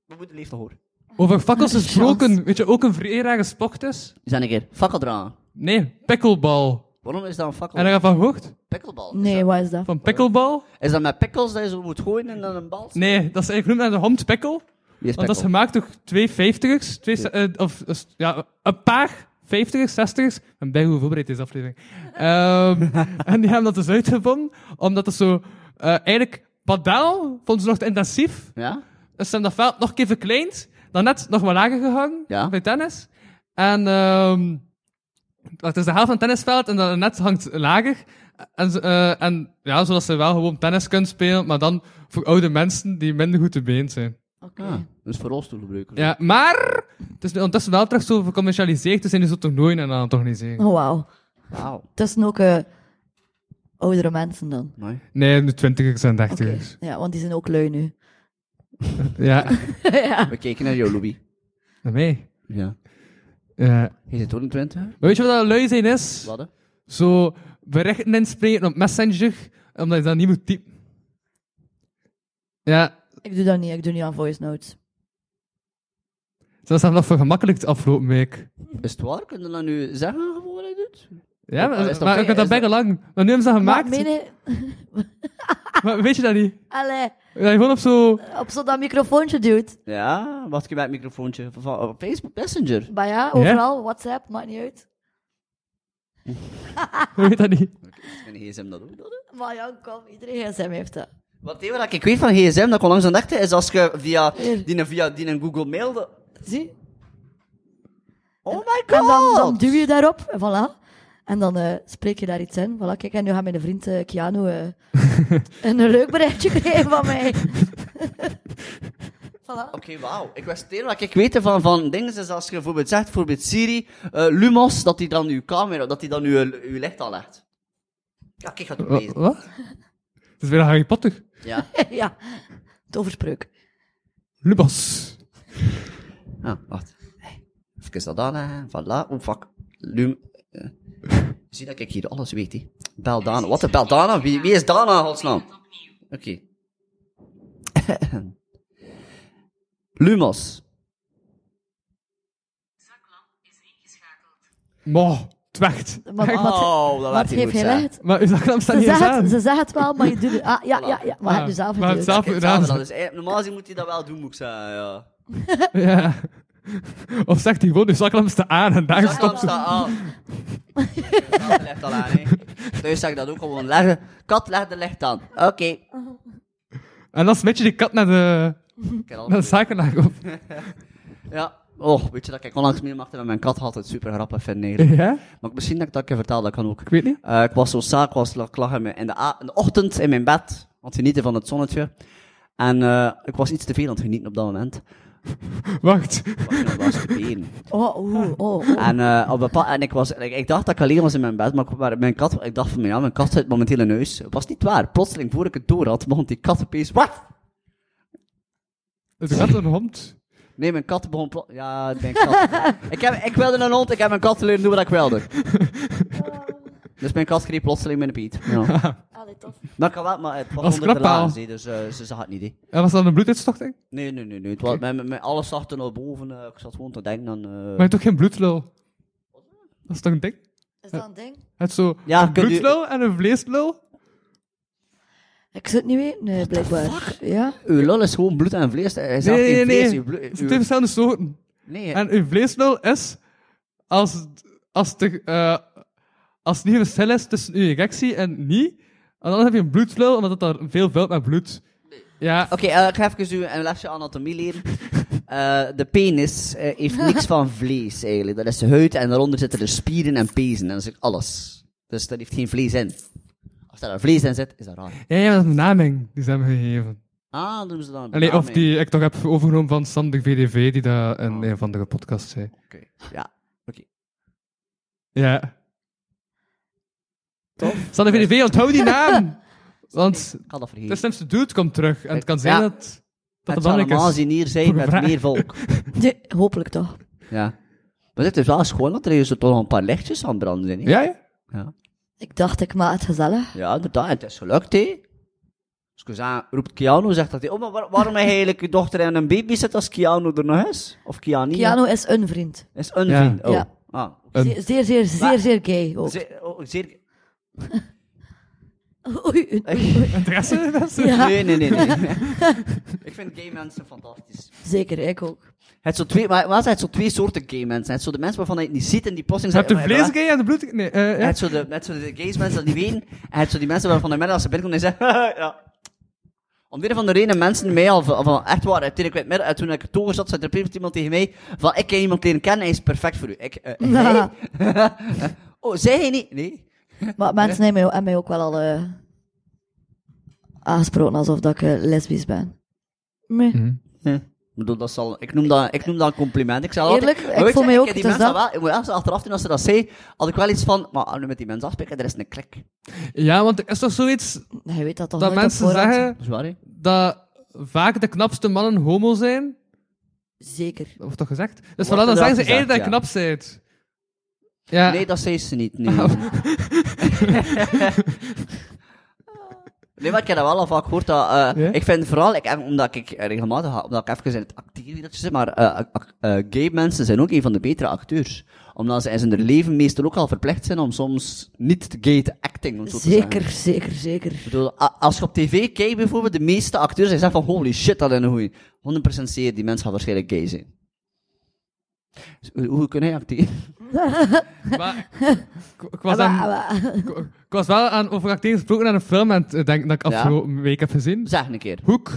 [SPEAKER 5] Mijn moeder leeft nog hoor.
[SPEAKER 3] Over fakkels gesproken, weet je ook een vereerlijke sport is?
[SPEAKER 5] Zijn een keer, fakkeldraan.
[SPEAKER 3] Nee, pickleball.
[SPEAKER 5] Waarom is dat een fakkel?
[SPEAKER 3] En daar van gehoord?
[SPEAKER 5] Pickleball. Is
[SPEAKER 4] Nee,
[SPEAKER 5] dat-
[SPEAKER 4] wat is dat?
[SPEAKER 3] Van pickleball?
[SPEAKER 5] Is dat met pickles dat je zo moet gooien en dan een bal?
[SPEAKER 3] Nee, dat is eigenlijk genoemd naar de hand pickle.
[SPEAKER 5] Wie is
[SPEAKER 3] Want dat is
[SPEAKER 5] pickle?
[SPEAKER 3] gemaakt door twee vijftigers, twee, sta- eh, of eh, st- ja, een paar vijftigers, zestigers. En bij hoe voorbereid deze aflevering. Ehm, en die hebben dat dus uitgevonden, omdat het zo eh, eigenlijk padel vonden ze nog te intensief.
[SPEAKER 5] Ja?
[SPEAKER 3] Dus ze hebben dat veld nog een keer verkleind, dan net nog wat lager gehangen
[SPEAKER 5] Ja.
[SPEAKER 3] bij tennis. En ehm het is de helft van het tennisveld en dan net hangt lager. En, ze- eh, en ja, zodat ze wel gewoon tennis kunnen spelen, maar dan voor oude mensen die minder goed te been zijn.
[SPEAKER 4] Oké.
[SPEAKER 5] Ah, dus voor rolstoelgebruikers.
[SPEAKER 3] Ja, maar het is nu ondertussen wel terug zo gecommercialiseerd, dus zijn die zo toernooien aan het organiseren.
[SPEAKER 4] Oh, wauw.
[SPEAKER 5] Wauw.
[SPEAKER 4] Het zijn ook eh, oudere mensen dan.
[SPEAKER 5] Mooi.
[SPEAKER 3] Nee, de twintigers en
[SPEAKER 4] Oké.
[SPEAKER 3] dertigers.
[SPEAKER 4] Ja, want die zijn ook lui nu.
[SPEAKER 3] Ja,
[SPEAKER 4] ja.
[SPEAKER 5] We kijken naar jou, Louis.
[SPEAKER 3] naar mij.
[SPEAKER 5] Ah. Ja.
[SPEAKER 3] Ja.
[SPEAKER 5] Je zit ook in Twente?
[SPEAKER 3] Maar weet je wat dat lui zijn is?
[SPEAKER 5] Wat? hè?
[SPEAKER 3] Zo berichten inspreken op Messenger, omdat je dat niet moet typen. Ja,
[SPEAKER 4] Ik doe dat niet. Ik doe niet aan voice notes.
[SPEAKER 3] ze hebben dat vergemakkelijkt afgelopen week.
[SPEAKER 5] Is het waar? Kun je dat nu zeggen gewoon wat je doet?
[SPEAKER 3] Ja,
[SPEAKER 5] Oh, is
[SPEAKER 3] maar,
[SPEAKER 5] dat
[SPEAKER 3] maar
[SPEAKER 5] oké?
[SPEAKER 3] ik heb
[SPEAKER 5] Is
[SPEAKER 3] dat bijna lang. Maar nu hebben ze dat gemaakt.
[SPEAKER 4] Maar,
[SPEAKER 3] Maar,
[SPEAKER 4] meen je-
[SPEAKER 3] weet je dat niet?
[SPEAKER 4] Allee,
[SPEAKER 3] Dat je gewoon op zo...
[SPEAKER 4] op zo'n dat microfoontje duwt.
[SPEAKER 5] Ja, wacht ik bij het microfoontje. Van, oh, Facebook Messenger.
[SPEAKER 4] Maar ja, overal, WhatsApp, maakt niet uit.
[SPEAKER 3] weet dat niet.
[SPEAKER 5] Mijn gsm dat ook doet. hè?
[SPEAKER 4] Maar ja, kom, iedereen gsm heeft dat.
[SPEAKER 5] Wat even dat ik weet van gsm, dat ik onlangs ontdekte, is als je via die, via die een Google mailde...
[SPEAKER 4] Zie?
[SPEAKER 5] Oh my god!
[SPEAKER 4] En dan, dan duw je daarop, en voilà. En dan eh, spreek je daar iets in. Voilà, kijk, en nu gaat mijn vriend eh, Keanu eh, een leuk berichtje krijgen van mij. voilà.
[SPEAKER 5] Oké, wauw. Ik wist het enige wat ik weet van, van dingen is als je bijvoorbeeld zegt, bijvoorbeeld Siri, eh, Lumos, dat hij dan uw camera, dat hij dan uw, uw licht aanlegt. Ja, kijk, wat
[SPEAKER 3] Wa-
[SPEAKER 5] bezig.
[SPEAKER 3] Wat? Het is weer Harry Potter.
[SPEAKER 5] Ja.
[SPEAKER 4] ja, toverspreuk.
[SPEAKER 3] Lubas.
[SPEAKER 5] Ah, wacht. Even dat aanleggen, voilà. Oh, fuck. Lum... eh. Zie dat ik hier alles weet, hè. Bel Dana. Wat, bel Dana? Wie, wie is Dana, in godsnaam? Oké. Lumos.
[SPEAKER 3] Mo, het werkt.
[SPEAKER 4] Maar,
[SPEAKER 3] Echt.
[SPEAKER 4] wat,
[SPEAKER 5] Oh, dat
[SPEAKER 4] wat
[SPEAKER 5] werkt
[SPEAKER 4] heeft
[SPEAKER 5] goed,
[SPEAKER 4] je
[SPEAKER 5] zeg.
[SPEAKER 4] licht?
[SPEAKER 3] Maar uw zaklamp staat
[SPEAKER 4] Ze
[SPEAKER 3] niet eens
[SPEAKER 4] zeggen
[SPEAKER 3] aan.
[SPEAKER 4] het, ze zeggen het wel, maar je doet het. Ah, ja, ja, ja. Maar
[SPEAKER 3] Ah,
[SPEAKER 4] heb je zelf
[SPEAKER 3] maar
[SPEAKER 4] het
[SPEAKER 3] het zelf
[SPEAKER 5] Kijk,
[SPEAKER 3] gedaan.
[SPEAKER 5] dat is, eh, normaal gezien moet hij dat wel doen, moet ik zeggen, ja.
[SPEAKER 3] Ja. Of zegt hij gewoon, uw zaklamp staat aan en daar
[SPEAKER 5] Zaklamp
[SPEAKER 3] stopt ze.
[SPEAKER 5] staat aan. Ah. Dat legt al aan, hè. Thuis zag ik dat ook gewoon leggen. Kat, leg de licht aan. Oké.
[SPEAKER 3] En dan smet je die kat naar de,
[SPEAKER 5] Ik heb al
[SPEAKER 3] naar de zakenlaag op.
[SPEAKER 5] Ja. Oh, weet je dat ik onlangs meemaakte met mijn kat? Had het super grappig vinden eigenlijk.
[SPEAKER 3] Ja?
[SPEAKER 5] Maar misschien dat ik dat een keer vertel, dat kan ook.
[SPEAKER 3] Ik weet niet.
[SPEAKER 5] Eh, ik was zo saai, ik was la- ik lag in, mijn- in de, a- in de ochtend in mijn bed, aan het genieten van het zonnetje. En eh, ik was iets te veel aan het genieten op dat moment.
[SPEAKER 3] Wacht.
[SPEAKER 5] Ik was te veel.
[SPEAKER 4] Oh, oeh, oh, oh.
[SPEAKER 5] En, eh, op een bepaal- en ik, was, ik, ik dacht dat ik alleen was in mijn bed, maar, ik- maar mijn kat, ik dacht van, ja, mijn kat zit momenteel in huis. Het was niet waar. Plotseling, voor ik het door had, begon die kat opeens, wat?
[SPEAKER 3] Het gaat een hond.
[SPEAKER 5] Nee, mijn kat begon plo- ja, mijn kat. ik, heb, ik wilde een hond, ik heb mijn kat leren doen wat ik wilde. dus mijn kat greep plotseling mijn piet. Ja.
[SPEAKER 4] Allee, tof.
[SPEAKER 5] Dat kan wel, maar het was
[SPEAKER 3] Als
[SPEAKER 5] onder de
[SPEAKER 3] klappaal.
[SPEAKER 5] laars, hè, dus eh, ze zag het niet, hè.
[SPEAKER 3] En was dat een bloeduitstorting?
[SPEAKER 5] Nee, nee, nee, nee. Het was, mijn, mijn- mijn- alles zag er naar boven. eh, ik zat gewoon te denken aan... eh,
[SPEAKER 3] Maar je hebt toch geen bloedlul? Dat is toch een ding?
[SPEAKER 4] Is dat een ding?
[SPEAKER 3] Het is zo
[SPEAKER 5] Ja,
[SPEAKER 3] een
[SPEAKER 5] kun je-
[SPEAKER 3] bloedlul en een vleeslul?
[SPEAKER 4] Ik zou het niet weten, eh, blijkbaar. Ja?
[SPEAKER 5] Uw lul is gewoon bloed en vlees. Hij zag
[SPEAKER 3] Nee, nee,
[SPEAKER 5] geen
[SPEAKER 3] nee.
[SPEAKER 5] vlees. uw bloe-
[SPEAKER 3] Het
[SPEAKER 5] uw-
[SPEAKER 3] zijn twee verschillende soorten.
[SPEAKER 5] nee,
[SPEAKER 3] En uw vleeslul is als, als, de, eh als het niet een verschil is tussen uw injectie en niet. En dan heb je een bloedlul, omdat het daar veel vult met bloed. Ja,
[SPEAKER 5] Oké, eh, ik ga even u een lesje anatomie leren. Eh, de penis eh, heeft niks van vlees eigenlijk. Dat is de huid en daaronder zitten er spieren en pezen. En dat is alles. Dus daar heeft geen vlees in. Als daar vlees in zit, is dat raar.
[SPEAKER 3] ja, ja, dat is een naming die ze hebben gegeven.
[SPEAKER 5] Ah, dan doen ze dan een
[SPEAKER 3] Allee, of
[SPEAKER 5] benaming.
[SPEAKER 3] die ik toch heb overgenomen van Sam de VDV, die dat
[SPEAKER 5] Oh.
[SPEAKER 3] in een van de podcasts zei.
[SPEAKER 5] Oké, Ja, oké.
[SPEAKER 3] Ja.
[SPEAKER 5] Tof.
[SPEAKER 3] Sam de VDV, onthoud die naam! Want
[SPEAKER 5] Ik had dat vergeten.
[SPEAKER 3] de slimste dude komt terug. En het kan zijn
[SPEAKER 5] Ja.
[SPEAKER 3] dat dat
[SPEAKER 5] het
[SPEAKER 3] het
[SPEAKER 5] zal normaal
[SPEAKER 3] belangrijk Dus is.
[SPEAKER 5] zien hier zijn
[SPEAKER 3] Voor
[SPEAKER 5] met
[SPEAKER 3] vragen.
[SPEAKER 5] meer volk.
[SPEAKER 4] Nee, hopelijk toch.
[SPEAKER 5] Ja. Maar dit is wel schoon dat er hier zo toch nog een paar lichtjes aan het branden zijn. hè?
[SPEAKER 3] Ja, ja.
[SPEAKER 5] Ja.
[SPEAKER 4] Ik dacht, ik maak het gezellig.
[SPEAKER 5] Ja, inderdaad. Het is gelukt, hè. Scusa, roept Keanu, zegt dat hij... Oh, maar waar- waarom heb je eigenlijk je dochter en een baby zit als Keanu er nog is? Of Keanu?
[SPEAKER 4] Keanu is een vriend.
[SPEAKER 5] Is een
[SPEAKER 3] Ja.
[SPEAKER 5] vriend. Oh.
[SPEAKER 4] Ja.
[SPEAKER 5] Ah,
[SPEAKER 3] Een-
[SPEAKER 4] Zeer, zeer, zeer, zeer,
[SPEAKER 5] Maar-
[SPEAKER 4] zeer gay ook.
[SPEAKER 5] Zeer- oh, zeer-
[SPEAKER 4] Oei, oei, oei.
[SPEAKER 3] Interesse? mensen?
[SPEAKER 4] Ja,
[SPEAKER 5] Nee, nee, nee. nee. ik vind gay mensen fantastisch.
[SPEAKER 4] zeker, ik ook.
[SPEAKER 5] Het zo twee, maar maar het zijn zo twee soorten gay mensen. Het zo de mensen waarvan je het niet ziet en die plotseling
[SPEAKER 3] Je hebt de
[SPEAKER 5] zeggen, "Oh, ja,
[SPEAKER 3] vleesgay en de bloed... Nee, eh,
[SPEAKER 5] En
[SPEAKER 3] ja.
[SPEAKER 5] Het zo de, het zo de gays mensen dat niet weten. En het zo die mensen waarvan de middag als ze binnenkomen en zeggen, ja. Om de een of andere reden mensen mij al van, van echt waar, toen ik werd midden, en eh, toen ik togen zat, zei er opeens iemand tegen mij van, ik ken iemand leren kennen, hij is perfect voor u. Ik, eh, hij? oh, zei hij niet? Nee.
[SPEAKER 4] Maar mensen hebben mij, hebben mij ook wel al eh, aangesproken alsof dat ik eh, lesbisch ben. Nee.
[SPEAKER 5] Hm. Ik bedoel, dat zal, ik, noem dat, ik noem dat een compliment. Ik zal
[SPEAKER 4] Eerlijk,
[SPEAKER 5] altijd,
[SPEAKER 4] ik
[SPEAKER 5] weet
[SPEAKER 4] voel
[SPEAKER 5] je,
[SPEAKER 4] mij
[SPEAKER 5] ik
[SPEAKER 4] ook,
[SPEAKER 5] ken die
[SPEAKER 4] het is
[SPEAKER 5] mensen
[SPEAKER 4] dat.
[SPEAKER 5] wel, ik moet echt achteraf toen als ze dat zei, had ik wel iets van, maar als we met die mensen afspreken, er is een klik.
[SPEAKER 3] ja, want er is toch zoiets
[SPEAKER 4] Je weet dat toch
[SPEAKER 3] dat
[SPEAKER 4] nooit op
[SPEAKER 3] mensen
[SPEAKER 4] voorhand?
[SPEAKER 3] zeggen
[SPEAKER 5] Zwaar, hè?
[SPEAKER 3] dat vaak de knapste mannen homo zijn?
[SPEAKER 4] Zeker.
[SPEAKER 3] Dat wordt toch gezegd? Dus
[SPEAKER 5] Wordt
[SPEAKER 3] voilà, dan
[SPEAKER 5] inderdaad
[SPEAKER 3] zeggen ze
[SPEAKER 5] gezegd,
[SPEAKER 3] eerder dat je
[SPEAKER 5] ja.
[SPEAKER 3] knap bent. Ja.
[SPEAKER 5] Nee, dat zei ze niet. Nee, nee maar ik heb dat wel al vaak gehoord. Dat, eh,
[SPEAKER 3] Ja?
[SPEAKER 5] Ik vind vooral, ik, heb- omdat ik regelmatig, ga- omdat ik even in het acteerwieltje zit, maar eh, ac- eh, gay mensen zijn ook een van de betere acteurs. Omdat ze in hun leven meestal ook al verplicht zijn om soms niet gay te acting. om het zo te zeggen.
[SPEAKER 4] Zeker, zeker, zeker.
[SPEAKER 5] Ik bedoel, a- als je op tv kijkt bijvoorbeeld, de meeste acteurs die zeggen van holy shit, dat is een goeie. 100% zeker, die mensen gaan waarschijnlijk gay zijn. Dus Hoe, hoe kun hij acteren?
[SPEAKER 3] Maar ik, ik was
[SPEAKER 4] Ah,
[SPEAKER 3] aan-
[SPEAKER 4] maar- maar-
[SPEAKER 3] ik, ik was wel aan over acteren gesproken naar een film en het denken dat ik
[SPEAKER 5] Ja.
[SPEAKER 3] afgelopen week heb gezien.
[SPEAKER 5] Zeg een keer.
[SPEAKER 3] Hoek.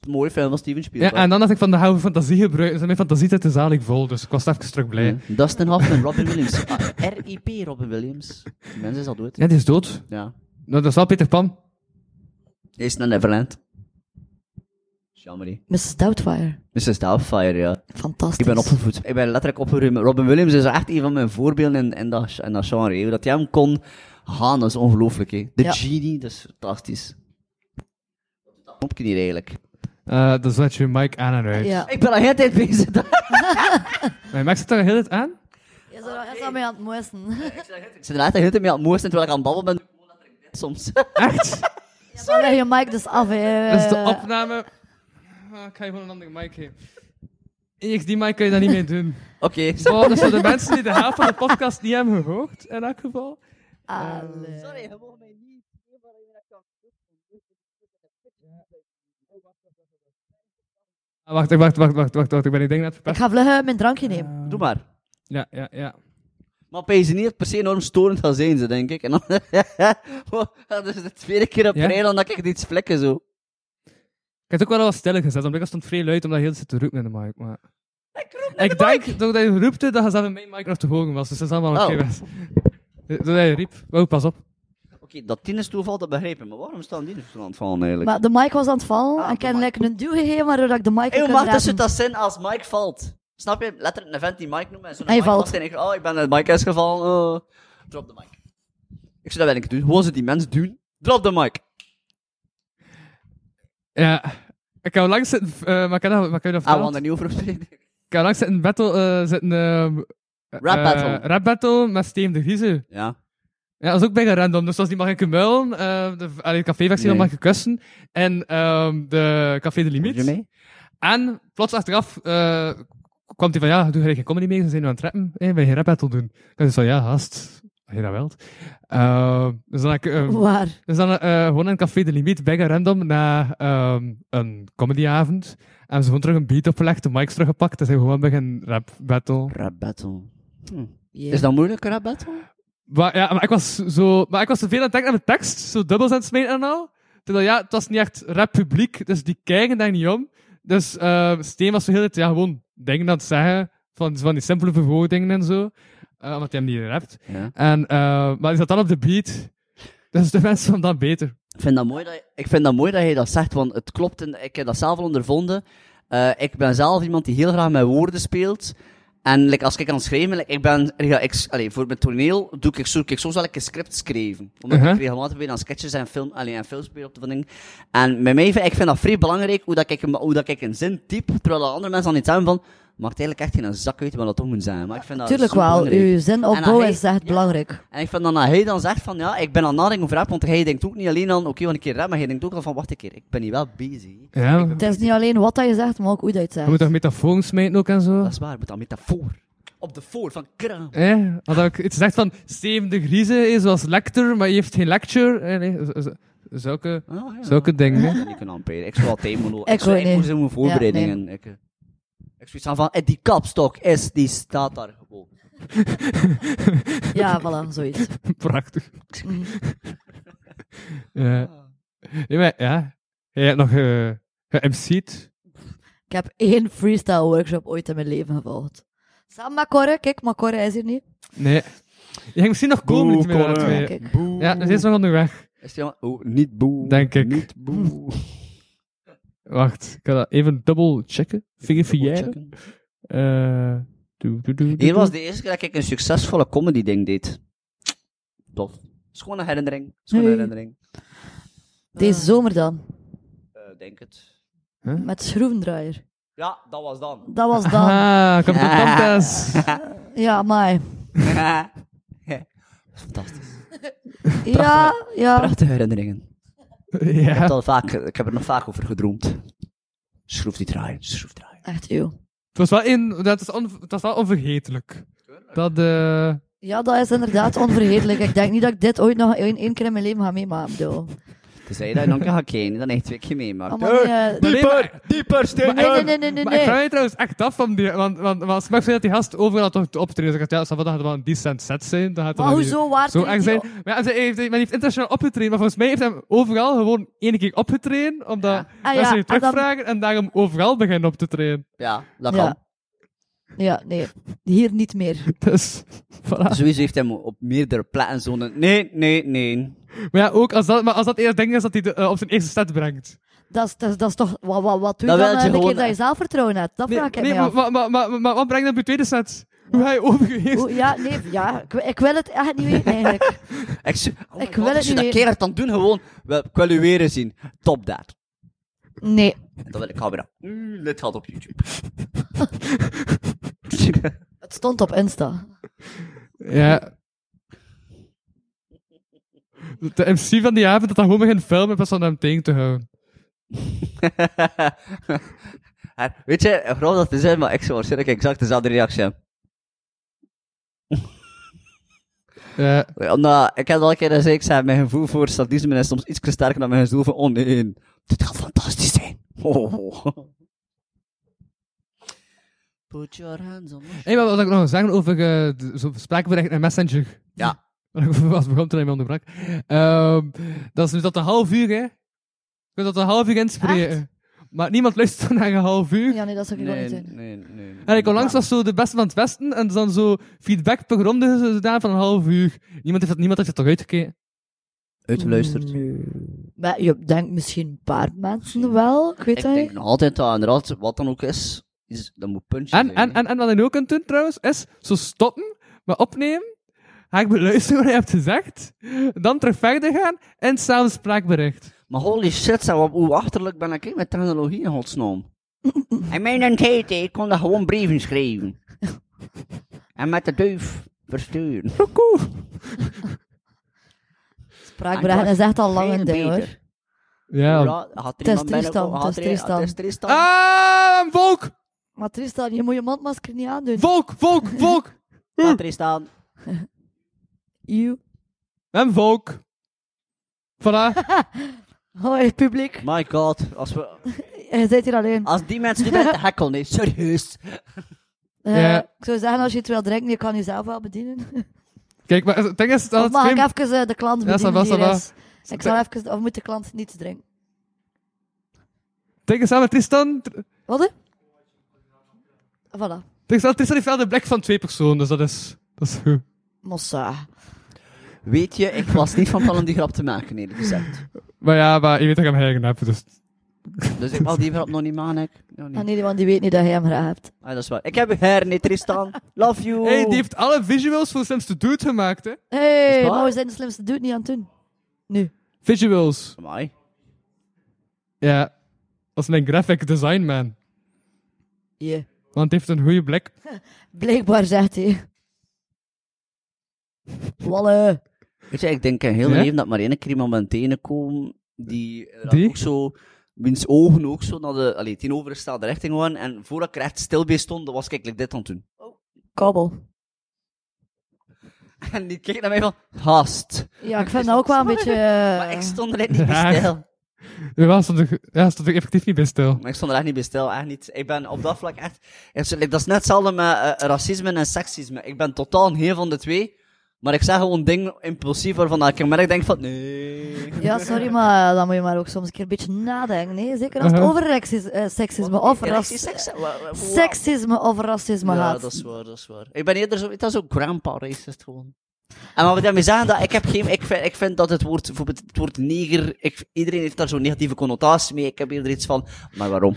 [SPEAKER 5] Een mooie film van Steven
[SPEAKER 3] Ja,
[SPEAKER 5] Spielberg.
[SPEAKER 3] en dan dacht ik van, daar gaan we fantasie gebruiken. Dus mijn fantasie zit de zalig vol, dus ik was even terug blij.
[SPEAKER 5] Ja. Dustin Hoffman, Robin Williams. Ah, R.I.P. Robin Williams. Die mens is al dood.
[SPEAKER 3] Ja, die is dood.
[SPEAKER 5] Ja.
[SPEAKER 3] Nou, dat is wel Peter Pan.
[SPEAKER 5] Hij is naar Neverland. Jammer. hè.
[SPEAKER 4] Mrs. Doubtfire.
[SPEAKER 5] Mrs. Doubtfire, ja.
[SPEAKER 4] Fantastisch.
[SPEAKER 5] Ik ben opgevoed. Ik ben letterlijk opgeruimd. Robin Williams is echt een van mijn voorbeelden in, in, dat, in dat genre. hè. Hoe dat hij hem kon gaan, dat is ongelooflijk. hè. De
[SPEAKER 4] Ja.
[SPEAKER 5] Genie, dat is fantastisch. Wat doet dat knopje hier eigenlijk?
[SPEAKER 3] Eh dan zet je mic aan en uit.
[SPEAKER 4] Ja.
[SPEAKER 5] Ik ben al heel tijd bezig.
[SPEAKER 3] Mijn mic zit daar heel het aan.
[SPEAKER 4] Je bent al mee aan het moesten.
[SPEAKER 5] Ik zit er echt de hele tijd mee aan het mooiste terwijl ik aan het babbelen ben. doe ik gewoon letterlijk dit Soms.
[SPEAKER 3] Echt?
[SPEAKER 4] Dan leg je mic dus af, hè.
[SPEAKER 3] Dat is
[SPEAKER 5] Eh.
[SPEAKER 3] de opname. Ah, ik ga je gewoon een andere mic geven. Ik, die mic kan je daar niet mee doen.
[SPEAKER 5] Oké.
[SPEAKER 3] Oh, dat zijn de mensen die de helft van de podcast niet hebben gehoord, in elk geval.
[SPEAKER 5] Ah,
[SPEAKER 4] Allee.
[SPEAKER 5] Sorry, je mocht mij niet.
[SPEAKER 3] Ah, wacht, wacht, wacht, wacht, wacht, wacht. Ik ben die ding net
[SPEAKER 4] Ik
[SPEAKER 3] verpest.
[SPEAKER 4] ga vlug eh, mijn drankje nemen.
[SPEAKER 5] Doe maar.
[SPEAKER 3] Ja, ja, ja.
[SPEAKER 5] Maar bij ze niet per se enorm storend gaan zijn ze, denk ik. En dan, Oh, dat is de tweede keer op
[SPEAKER 3] Ja?
[SPEAKER 5] rij dan dat ik iets vlekken zo.
[SPEAKER 3] Ik heb het ook wel wat stiller gezet, want ik stond vrij luid omdat je heel zit te roepen in de mic. Maar... Ik denk dat je roepte dat je zelf in mijn mic nog te hoog was, dus dat is allemaal oké.
[SPEAKER 5] Oh.
[SPEAKER 3] best. Eh, Doordat je riep. Wow, pas op.
[SPEAKER 5] Oké, dat tien is toeval, dat begrijp ik. Maar waarom staan die er zo aan het vallen eigenlijk?
[SPEAKER 4] Maar de mic was aan het vallen.
[SPEAKER 5] Ah,
[SPEAKER 4] en ik
[SPEAKER 5] de
[SPEAKER 4] heb
[SPEAKER 5] mic.
[SPEAKER 4] lekker een duw gegeven, waardoor ik de mic
[SPEAKER 5] Hey,
[SPEAKER 4] heb
[SPEAKER 5] hoe mag
[SPEAKER 4] kunnen
[SPEAKER 5] dat zo
[SPEAKER 4] redden.
[SPEAKER 5] dat zijn als Mike valt? Snap je? Letterlijk een vent die Mike noemt en zo'n
[SPEAKER 4] Hij
[SPEAKER 5] mic
[SPEAKER 4] valt.
[SPEAKER 5] vast en ik oh, ik ben uit Mike is gevallen. oh. Drop de mic. Ik zou dat wel een keer doen. Hoe ze die mensen doen? Drop de mic.
[SPEAKER 3] Ja. Ik heb langs zitten, eh, maar ik heb dat, maar ik heb dat
[SPEAKER 5] Ah, we
[SPEAKER 3] verteld.
[SPEAKER 5] gaan er niet over spreken.
[SPEAKER 3] Ik heb langs zitten battle, eh, zitten, ehm,
[SPEAKER 5] Rap
[SPEAKER 3] eh,
[SPEAKER 5] battle.
[SPEAKER 3] rap battle met Steam de Griezen.
[SPEAKER 5] Ja.
[SPEAKER 3] Ja, dat is ook bijna random. Dus als die mag ik muilen, eh de, allee, de caféversie
[SPEAKER 5] Nee.
[SPEAKER 3] dan mag ik kussen. En ehm, de Café de Limiet.
[SPEAKER 5] Doe je mee?
[SPEAKER 3] En plots achteraf eh, kwam hij van, ja, doe jij geen comedy mee, ze zijn nu aan het rappen, hey, wil je rap battle doen? Ik zei van, ja, hast, als je dat wilt. Eh, dus dan, heb ik, eh,
[SPEAKER 5] Oh.
[SPEAKER 4] Waar?
[SPEAKER 3] dus dan eh, gewoon in Café de Limiet, bijna random, na ehm, een comedyavond. En ze gewoon terug een beat opgelegd, de mics teruggepakt, en zijn gewoon beginnen rap battle.
[SPEAKER 5] Rap battle. Hm.
[SPEAKER 4] Ja.
[SPEAKER 5] Is dat moeilijk, een rap battle?
[SPEAKER 3] Maar, ja, maar ik was zo, maar ik was te veel aan het denken aan de tekst, zo dubbels aan het smijten en al. Terwijl ja, het was niet echt rap publiek, dus die kijken daar niet om. Dus eh, Steen was zo heel de tijd ja, gewoon dingen aan het zeggen, van, van die simpele verwoordingen en zo, eh, omdat hij hem niet rapt.
[SPEAKER 5] Ja.
[SPEAKER 3] En, eh, maar hij zat dan op de beat, dus de mensen vonden dat beter.
[SPEAKER 5] Ik vind dat mooi dat, je- ik vind dat mooi dat je dat zegt, want het klopt. En ik heb dat zelf al ondervonden. Eh, ik ben zelf iemand die heel graag met woorden speelt. En like, als ik aan het schrijven, like, ik ben, ja, ik, allee, voor mijn toneel doe ik, zoek ik soms wel een script schrijven. Omdat
[SPEAKER 3] Uh-huh.
[SPEAKER 5] ik regelmatig ben aan sketches en film, allee, en films speel op te vinden. En bij mij, vind- ik vind dat vrij belangrijk hoe dat ik, een- hoe dat ik een zin typ, terwijl dat andere mensen dan iets hebben van, Maakt eigenlijk echt geen zak uit wat dat toch moet zijn. Maar ik vind dat
[SPEAKER 4] Tuurlijk
[SPEAKER 5] zo
[SPEAKER 4] wel,
[SPEAKER 5] Ah, belangrijk.
[SPEAKER 4] uw zin
[SPEAKER 5] En dat
[SPEAKER 4] opbouwen
[SPEAKER 5] hij-
[SPEAKER 4] is echt
[SPEAKER 5] ja.
[SPEAKER 4] belangrijk.
[SPEAKER 5] En ik vind dan dat hij dan zegt van, ja, ik ben aan het nadenken over rap, want hij denkt ook niet alleen aan, oké, want ik keer rap, maar hij denkt ook al van, wacht een keer, ik ben hier wel bezig.
[SPEAKER 3] Ja,
[SPEAKER 4] Het is niet alleen wat dat je zegt, maar ook hoe dat je
[SPEAKER 3] je moet
[SPEAKER 4] het zegt.
[SPEAKER 3] toch metafoons smijten ook en zo?
[SPEAKER 5] Dat is waar, met dat metafoor. Op de voor van kraam.
[SPEAKER 3] Eh, had ik iets gezegd van Steven de Grieze is als lector, maar hij heeft geen lecture. Eh, nee, z- z- zulke,
[SPEAKER 5] Ah, ja.
[SPEAKER 3] zulke dingen.
[SPEAKER 5] Ik kan amper. Ik zou altijd mono.
[SPEAKER 4] Ik
[SPEAKER 5] Ik zou
[SPEAKER 4] ook
[SPEAKER 5] ik
[SPEAKER 4] niet.
[SPEAKER 5] moest in mijn voorbereidingen. Ik, eh, ik zoiets aan van, eh, die kapstok is, die staat daar gewoon.
[SPEAKER 4] Ja, voilà, zoiets.
[SPEAKER 3] Prachtig.
[SPEAKER 4] Mm. Ah.
[SPEAKER 3] Ja. Eh, Nee, maar, ja. Jij hebt nog eh ge-MC'd.
[SPEAKER 4] Ik heb één freestyle workshop ooit in mijn leven gevolgd. Samen met Corre, kijk, maar Corre is hier niet.
[SPEAKER 3] Nee. Je ging misschien nog komen niet meer naar
[SPEAKER 4] Corre.
[SPEAKER 3] twee.
[SPEAKER 4] Ja, kijk.
[SPEAKER 5] Boe.
[SPEAKER 3] Ja, ze is nog onderweg.
[SPEAKER 5] Is die, oh, niet boe.
[SPEAKER 3] Denk ik. Hm.
[SPEAKER 5] Niet boe.
[SPEAKER 3] Wacht, ik ga dat even dubbel checken. Verifiëren.
[SPEAKER 5] Checken.
[SPEAKER 3] Eh, doe, doe, doe, doe,
[SPEAKER 5] Hier was
[SPEAKER 3] doe.
[SPEAKER 5] de eerste keer dat ik een succesvolle comedy ding deed. Tof. Schone herinnering. Schone
[SPEAKER 4] Hey.
[SPEAKER 5] herinnering.
[SPEAKER 4] Deze zomer dan,
[SPEAKER 5] Eh, denk het.
[SPEAKER 4] met schroevendraaier.
[SPEAKER 5] Ja, dat was dan.
[SPEAKER 4] Dat was dan.
[SPEAKER 3] Ah, komt dat contest.
[SPEAKER 4] Ja, maar.
[SPEAKER 5] Fantastisch.
[SPEAKER 4] Ja, ja.
[SPEAKER 5] Prachtige herinneringen. Ik heb,
[SPEAKER 3] Ja,
[SPEAKER 5] het al vaak, ik heb er nog vaak over gedroomd. Schroef die draaien, schroef draaien.
[SPEAKER 4] Echt, joh.
[SPEAKER 3] het was wel, in, dat is on, het was wel onvergetelijk. Dat, eh
[SPEAKER 4] Ja, dat is inderdaad onvergetelijk. Ik denk niet dat ik dit ooit nog één, één keer in mijn leven ga meemaken. joh.
[SPEAKER 5] Tenzij je dat je dan kan hakken, dan echt twee keer meemaakt.
[SPEAKER 4] Allemaal niet, eh,
[SPEAKER 3] dieper,
[SPEAKER 5] dieper,
[SPEAKER 4] Nee, nee, nee, nee, nee.
[SPEAKER 3] Maar ik
[SPEAKER 4] nee.
[SPEAKER 3] vraag me trouwens echt af van die... Want, want, want Smack zei dat die gast overal toch optreden. Dus Ik dacht, ja, Savat, dat gaat wel een decent set zijn. Dat gaat
[SPEAKER 4] Maar
[SPEAKER 3] wel niet
[SPEAKER 4] hoezo waar
[SPEAKER 3] Zo
[SPEAKER 4] treedt
[SPEAKER 3] erg
[SPEAKER 4] hij
[SPEAKER 3] zijn.
[SPEAKER 4] op?
[SPEAKER 3] Maar ja, hij heeft, hij heeft internationaal opgetreden. Maar volgens mij heeft hij overal gewoon één keer opgetreden. Omdat
[SPEAKER 4] Ah, ja,
[SPEAKER 3] mensen je
[SPEAKER 4] en dan-
[SPEAKER 3] terugvragen en daarom overal beginnen op te treden.
[SPEAKER 5] Ja, dat kan.
[SPEAKER 4] Ja. ja, nee. Hier niet meer.
[SPEAKER 3] Dus, voilà.
[SPEAKER 5] Sowieso heeft hij me op meerdere plekken zo'n... Nee, nee, nee.
[SPEAKER 3] Maar ja, ook als dat, maar als dat eerst ding is dat hij de, eh, op zijn eerste set brengt.
[SPEAKER 4] Dat is, dat is, dat is toch... Wat, wat, wat doe je
[SPEAKER 5] Dat
[SPEAKER 4] dan
[SPEAKER 5] wil
[SPEAKER 4] eh,
[SPEAKER 5] je
[SPEAKER 4] een
[SPEAKER 5] gewoon-
[SPEAKER 4] keer dat je zelfvertrouwen hebt? Dat
[SPEAKER 3] Nee,
[SPEAKER 4] vraag ik
[SPEAKER 3] nee,
[SPEAKER 4] mij
[SPEAKER 3] maar, maar,
[SPEAKER 4] af.
[SPEAKER 3] maar, maar, maar wat brengt hij op je tweede set? Hoe hij overgeheerst...
[SPEAKER 4] Oeh, ja, nee, ja. Ik, ik wil het echt niet weten, eigenlijk.
[SPEAKER 5] Ik, zo- oh
[SPEAKER 4] Ik
[SPEAKER 5] God,
[SPEAKER 4] wil het
[SPEAKER 5] als je
[SPEAKER 4] niet
[SPEAKER 5] dat
[SPEAKER 4] weten.
[SPEAKER 5] keer dan doen, gewoon... Wel, ik wil u weer eens zien. Top dat.
[SPEAKER 4] Nee.
[SPEAKER 5] En dan wil ik gaan weer... Mm, dit gaat op YouTube.
[SPEAKER 4] Het stond op Insta.
[SPEAKER 3] Ja. De MC van die avond dat hij gewoon begint filmen pas aan hem tegen te houden.
[SPEAKER 5] En weet je, groot dat te zijn, maar ik zou waarschijnlijk exact dezelfde reactie hebben.
[SPEAKER 3] Ja.
[SPEAKER 5] Ja, nou, ik heb al een keer gezegd, ik zei, mijn gevoel voor sadisme is soms iets sterker dan mijn gevoel van, oh nee, dit gaat fantastisch zijn. Oh. Put your hands on me.
[SPEAKER 3] Hé, maar wat ik nog wil zeggen over eh, de- zo spraakbericht en messenger.
[SPEAKER 5] Ja.
[SPEAKER 3] Waar ik over was begon toen hij me onderbrak. Ehm, dat is nu tot een half uur, hè. Je kunt tot een half uur inspreken. Maar niemand luistert naar een half uur.
[SPEAKER 4] Ja, nee, dat zou ik ook niet zijn.
[SPEAKER 5] nee, nee.
[SPEAKER 3] En ik onlangs was zo de beste van het Westen en dan zo feedback per ronde gedaan van een half uur. Niemand heeft dat, niemand heeft dat toch uitgekeken?
[SPEAKER 5] Uitgeluisterd.
[SPEAKER 4] Nee. Maar je denkt misschien een paar mensen wel. Ik weet
[SPEAKER 5] Ik
[SPEAKER 4] dat
[SPEAKER 5] denk
[SPEAKER 4] niet.
[SPEAKER 5] nog altijd dat inderdaad, wat dan ook is, is dat moet puntje
[SPEAKER 3] En,
[SPEAKER 5] zijn.
[SPEAKER 3] en, en, en wat je ook kunt doen trouwens, is zo stoppen, maar opnemen. Ga ik beluisteren wat je hebt gezegd. Dan terug verder gaan en samen spraakbericht.
[SPEAKER 5] Maar holy shit, zeg, wat- hoe achterlijk ben ik hè, met technologie in godsnaam. en mijn tijd, hè, ik kon daar gewoon brieven schrijven. en met de duif versturen.
[SPEAKER 4] Spraakberaad is echt al lang een ding,
[SPEAKER 5] Veel
[SPEAKER 4] hoor.
[SPEAKER 5] beter.
[SPEAKER 3] Ja.
[SPEAKER 5] Hoera, had er
[SPEAKER 4] Het is
[SPEAKER 5] iemand bijna-
[SPEAKER 4] Tristan,
[SPEAKER 5] had
[SPEAKER 4] het is
[SPEAKER 5] er-
[SPEAKER 4] Tristan.
[SPEAKER 5] Het is Tristan.
[SPEAKER 3] Ah, volk!
[SPEAKER 4] Maar Tristan, je moet je mondmasker niet aandoen.
[SPEAKER 3] Volk, volk, volk!
[SPEAKER 5] Ah, Tristan.
[SPEAKER 4] Eeuw.
[SPEAKER 3] En volk. Voilà.
[SPEAKER 4] Hoi, publiek.
[SPEAKER 5] My god, als, we,
[SPEAKER 4] Je zit hier alleen.
[SPEAKER 5] als die mensen nu bij te hekkel, nee, serieus.
[SPEAKER 4] Eh,
[SPEAKER 3] Ja.
[SPEAKER 4] Ik zou zeggen, als je het wil drinken, je kan jezelf wel bedienen.
[SPEAKER 3] Kijk, maar het ding is dat
[SPEAKER 4] Of
[SPEAKER 3] het
[SPEAKER 4] mag ik
[SPEAKER 3] vreemd...
[SPEAKER 4] even eh, de klant
[SPEAKER 3] Ja, ça
[SPEAKER 4] bedienen
[SPEAKER 3] va,
[SPEAKER 4] die
[SPEAKER 3] ça va.
[SPEAKER 4] er is? Ik zal even... Of moet de klant niets drinken?
[SPEAKER 3] Denk eens aan met Tristan. Tr-
[SPEAKER 4] Wat? hè? Voilà.
[SPEAKER 3] Denk eens aan Tristan heeft wel de blik van twee personen, dus dat is... Dat is goed.
[SPEAKER 4] Mossa.
[SPEAKER 5] Weet je, ik was niet van plan om die grap te maken, eerlijk gezegd.
[SPEAKER 3] Maar ja, maar je weet dat ik hem eigen heb, dus...
[SPEAKER 5] Dus ik wou die grap nog niet maken. ik. Nog niet.
[SPEAKER 4] Ah, nee, want die weet niet dat jij hem graag hebt.
[SPEAKER 5] Ah, dat is waar. Ik heb u her, nee, Tristan. Love
[SPEAKER 4] Oh.
[SPEAKER 5] you.
[SPEAKER 3] hey, die heeft alle visuals voor Sims to Dude gemaakt, hè.
[SPEAKER 4] Hé,
[SPEAKER 5] Is
[SPEAKER 4] hey,
[SPEAKER 5] dat waar?
[SPEAKER 4] maar we zijn de slimste dude niet aan het doen. Nu.
[SPEAKER 3] Visuals.
[SPEAKER 5] Amai.
[SPEAKER 3] Ja. Dat is mijn graphic design man.
[SPEAKER 4] Je.
[SPEAKER 3] want het heeft een goede blik.
[SPEAKER 4] Blijkbaar zegt hij. Walle.
[SPEAKER 5] Weet je, ik denk in heel mijn
[SPEAKER 3] Ja?
[SPEAKER 5] leven dat ik maar één keer iemand ben tegengekomen die, eh, dat
[SPEAKER 3] Die?
[SPEAKER 5] ook zo, wiens ogen ook zo naar de allee, tegenovergestelde richting waren. En voordat ik er echt stil bij stond, dan was ik eigenlijk dit aan het doen.
[SPEAKER 4] Kabel.
[SPEAKER 5] En die keek naar mij van, haast.
[SPEAKER 4] Ja, ik vind dat ook wel een beetje... eh,
[SPEAKER 5] Maar ik stond er echt niet bij
[SPEAKER 3] Ja.
[SPEAKER 5] stil.
[SPEAKER 3] Jawel, stond ik, ja, stond ik effectief niet bij stil.
[SPEAKER 5] Maar ik stond er echt niet bij stil, echt niet. Ik ben op dat vlak echt... echt zo- like, dat is net hetzelfde met eh, racisme en seksisme. Ik ben totaal geen van de twee. Maar ik zeg gewoon dingen impulsief waarvan dat ik in merk denk van, nee.
[SPEAKER 4] Ja, sorry, maar eh, dan moet je maar ook soms een keer een beetje nadenken. Nee? Zeker als het
[SPEAKER 3] Uh-huh.
[SPEAKER 4] over seksis- eh, seksisme of
[SPEAKER 5] Erectie,
[SPEAKER 4] racisme...
[SPEAKER 5] seks- wa- wa- wa-
[SPEAKER 4] Seksisme of racisme
[SPEAKER 5] ja,
[SPEAKER 4] gaat.
[SPEAKER 5] dat is waar, dat is waar. Ik ben eerder zo, dat is ook grandpa racist gewoon. En wat we daarmee zeggen, dat ik heb geen, ik vind, ik vind dat het woord, bijvoorbeeld het woord neger, ik, iedereen heeft daar zo'n negatieve connotatie mee, ik heb eerder iets van, maar waarom?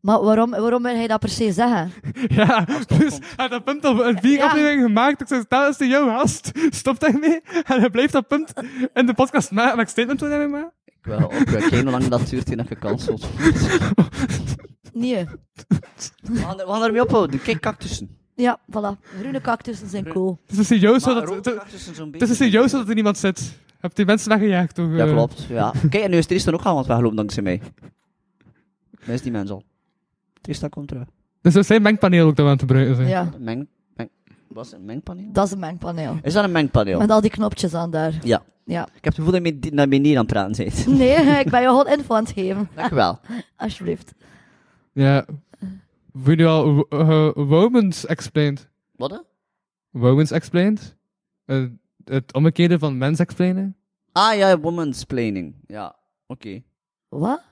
[SPEAKER 4] Maar waarom, waarom wil hij dat per se zeggen?
[SPEAKER 3] Ja, dus hij had dat punt al een vier
[SPEAKER 4] Ja.
[SPEAKER 3] afleveringen gemaakt. Ik zei, dat is de jouw gast. Stop daarmee. En hij blijft dat punt in de podcast maken. En ik statement wil daarmee maken.
[SPEAKER 5] Ik wil ook eh, kijken hoe lang dat duurt voordat gecanceld
[SPEAKER 4] Nee.
[SPEAKER 5] We gaan er- we gaan ermee ophouden, kijk cactussen.
[SPEAKER 4] Ja, voilà. Groene cactussen zijn cool.
[SPEAKER 3] Het is serieus zo
[SPEAKER 5] Maar
[SPEAKER 3] dat,
[SPEAKER 5] rode
[SPEAKER 3] het
[SPEAKER 5] cactussen zo'n
[SPEAKER 3] is
[SPEAKER 5] beetje.
[SPEAKER 3] serieus zo dat er niemand zit. Heb die mensen weggejaagd toch?
[SPEAKER 5] Ja,
[SPEAKER 3] eh?
[SPEAKER 5] klopt, ja. Kijk, en nu is Tristan ook gaan, want wij gelopen dankzij mij. Mis die mens al. Tristan komt terug.
[SPEAKER 3] Dus dat zijn mengpaneel ook dat we aan het gebruiken zijn.
[SPEAKER 4] Ja,
[SPEAKER 5] Meng, meng, was het een mengpaneel?
[SPEAKER 4] dat is een mengpaneel.
[SPEAKER 5] Is dat een mengpaneel?
[SPEAKER 4] Met al die knopjes aan daar.
[SPEAKER 5] Ja.
[SPEAKER 4] Ja.
[SPEAKER 5] Ik heb het gevoel dat je met- naar beneden aan het praten bent.
[SPEAKER 4] Nee, ik ben je gewoon info aan het geven.
[SPEAKER 5] Dankjewel.
[SPEAKER 4] Alsjeblieft.
[SPEAKER 3] Ja. Vind je al wo- eh, Womens Explained?
[SPEAKER 5] Wat? hè?
[SPEAKER 3] Womens Explained? Eh, het omgekeerde van mens explainen?
[SPEAKER 5] Ah ja, woman's planning. Ja, oké.
[SPEAKER 4] Wat?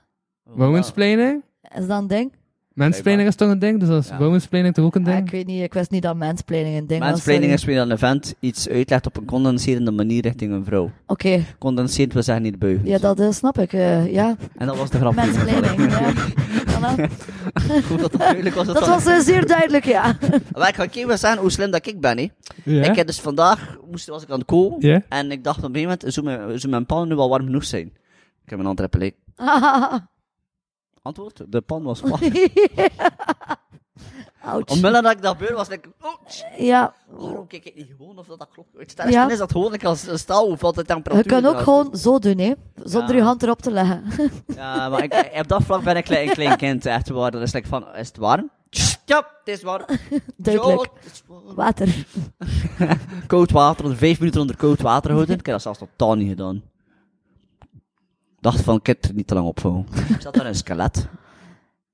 [SPEAKER 5] Oh,
[SPEAKER 3] Womens planning?
[SPEAKER 4] Is dat een ding?
[SPEAKER 3] Mensplaining is toch een ding? Dus dat is
[SPEAKER 5] Ja.
[SPEAKER 3] womens planning toch ook een
[SPEAKER 4] Ah,
[SPEAKER 3] ding?
[SPEAKER 4] ik weet niet, ik wist niet dat mansplaining een ding was.
[SPEAKER 5] Mansplaining
[SPEAKER 4] sorry.
[SPEAKER 5] is weer een event iets uitlegt op een condenserende manier richting een vrouw.
[SPEAKER 4] Oké,
[SPEAKER 5] Condenseert wil zeggen niet buigen.
[SPEAKER 4] ja, dat eh, snap ik. eh, ja,
[SPEAKER 5] En dat was de grap.
[SPEAKER 4] mansplaining. ja. Voilà.
[SPEAKER 5] Ik hoop dat dat duidelijk was. Dat
[SPEAKER 4] Dat
[SPEAKER 5] dat-
[SPEAKER 4] was eh, zeer duidelijk, ja.
[SPEAKER 5] Maar ik ga ook even zeggen hoe slim dat ik ben, hè.
[SPEAKER 3] Ja?
[SPEAKER 5] Ik heb dus vandaag, moest, was ik aan het koken,
[SPEAKER 3] Ja?
[SPEAKER 5] en ik dacht op een gegeven moment, zou mijn, zou mijn pan nu wel warm genoeg zijn? Ik heb een andere plek. Antwoord, de pan was warm.
[SPEAKER 4] Ouch.
[SPEAKER 5] Omwille dat ik dat beu was, denk ik, oh,
[SPEAKER 4] Ja,
[SPEAKER 5] Waarom kijk ik niet gewoon of dat, dat klopt? Weet je,
[SPEAKER 4] Oh. Ja.
[SPEAKER 5] dan is dat gewoon ik als een staal of altijd
[SPEAKER 4] je
[SPEAKER 5] temperatuur.
[SPEAKER 4] kan ook
[SPEAKER 5] eruit
[SPEAKER 4] gewoon zo doen, hè. Zonder
[SPEAKER 5] Ja.
[SPEAKER 4] je hand erop te leggen.
[SPEAKER 5] is. Ja, maar ik, eh, op dat vlak ben ik like een klein kind, echt waar. Dan is het like van, is het warm? Ja, het is warm.
[SPEAKER 4] Duidelijk.
[SPEAKER 5] Ja, het is warm.
[SPEAKER 4] Water.
[SPEAKER 5] Koud water, vijf minuten onder koud water houden. Ik heb dat zelfs totaal niet gedaan. Dacht van, ik heb het er niet te lang op gehouden. Ik zat daar een skelet.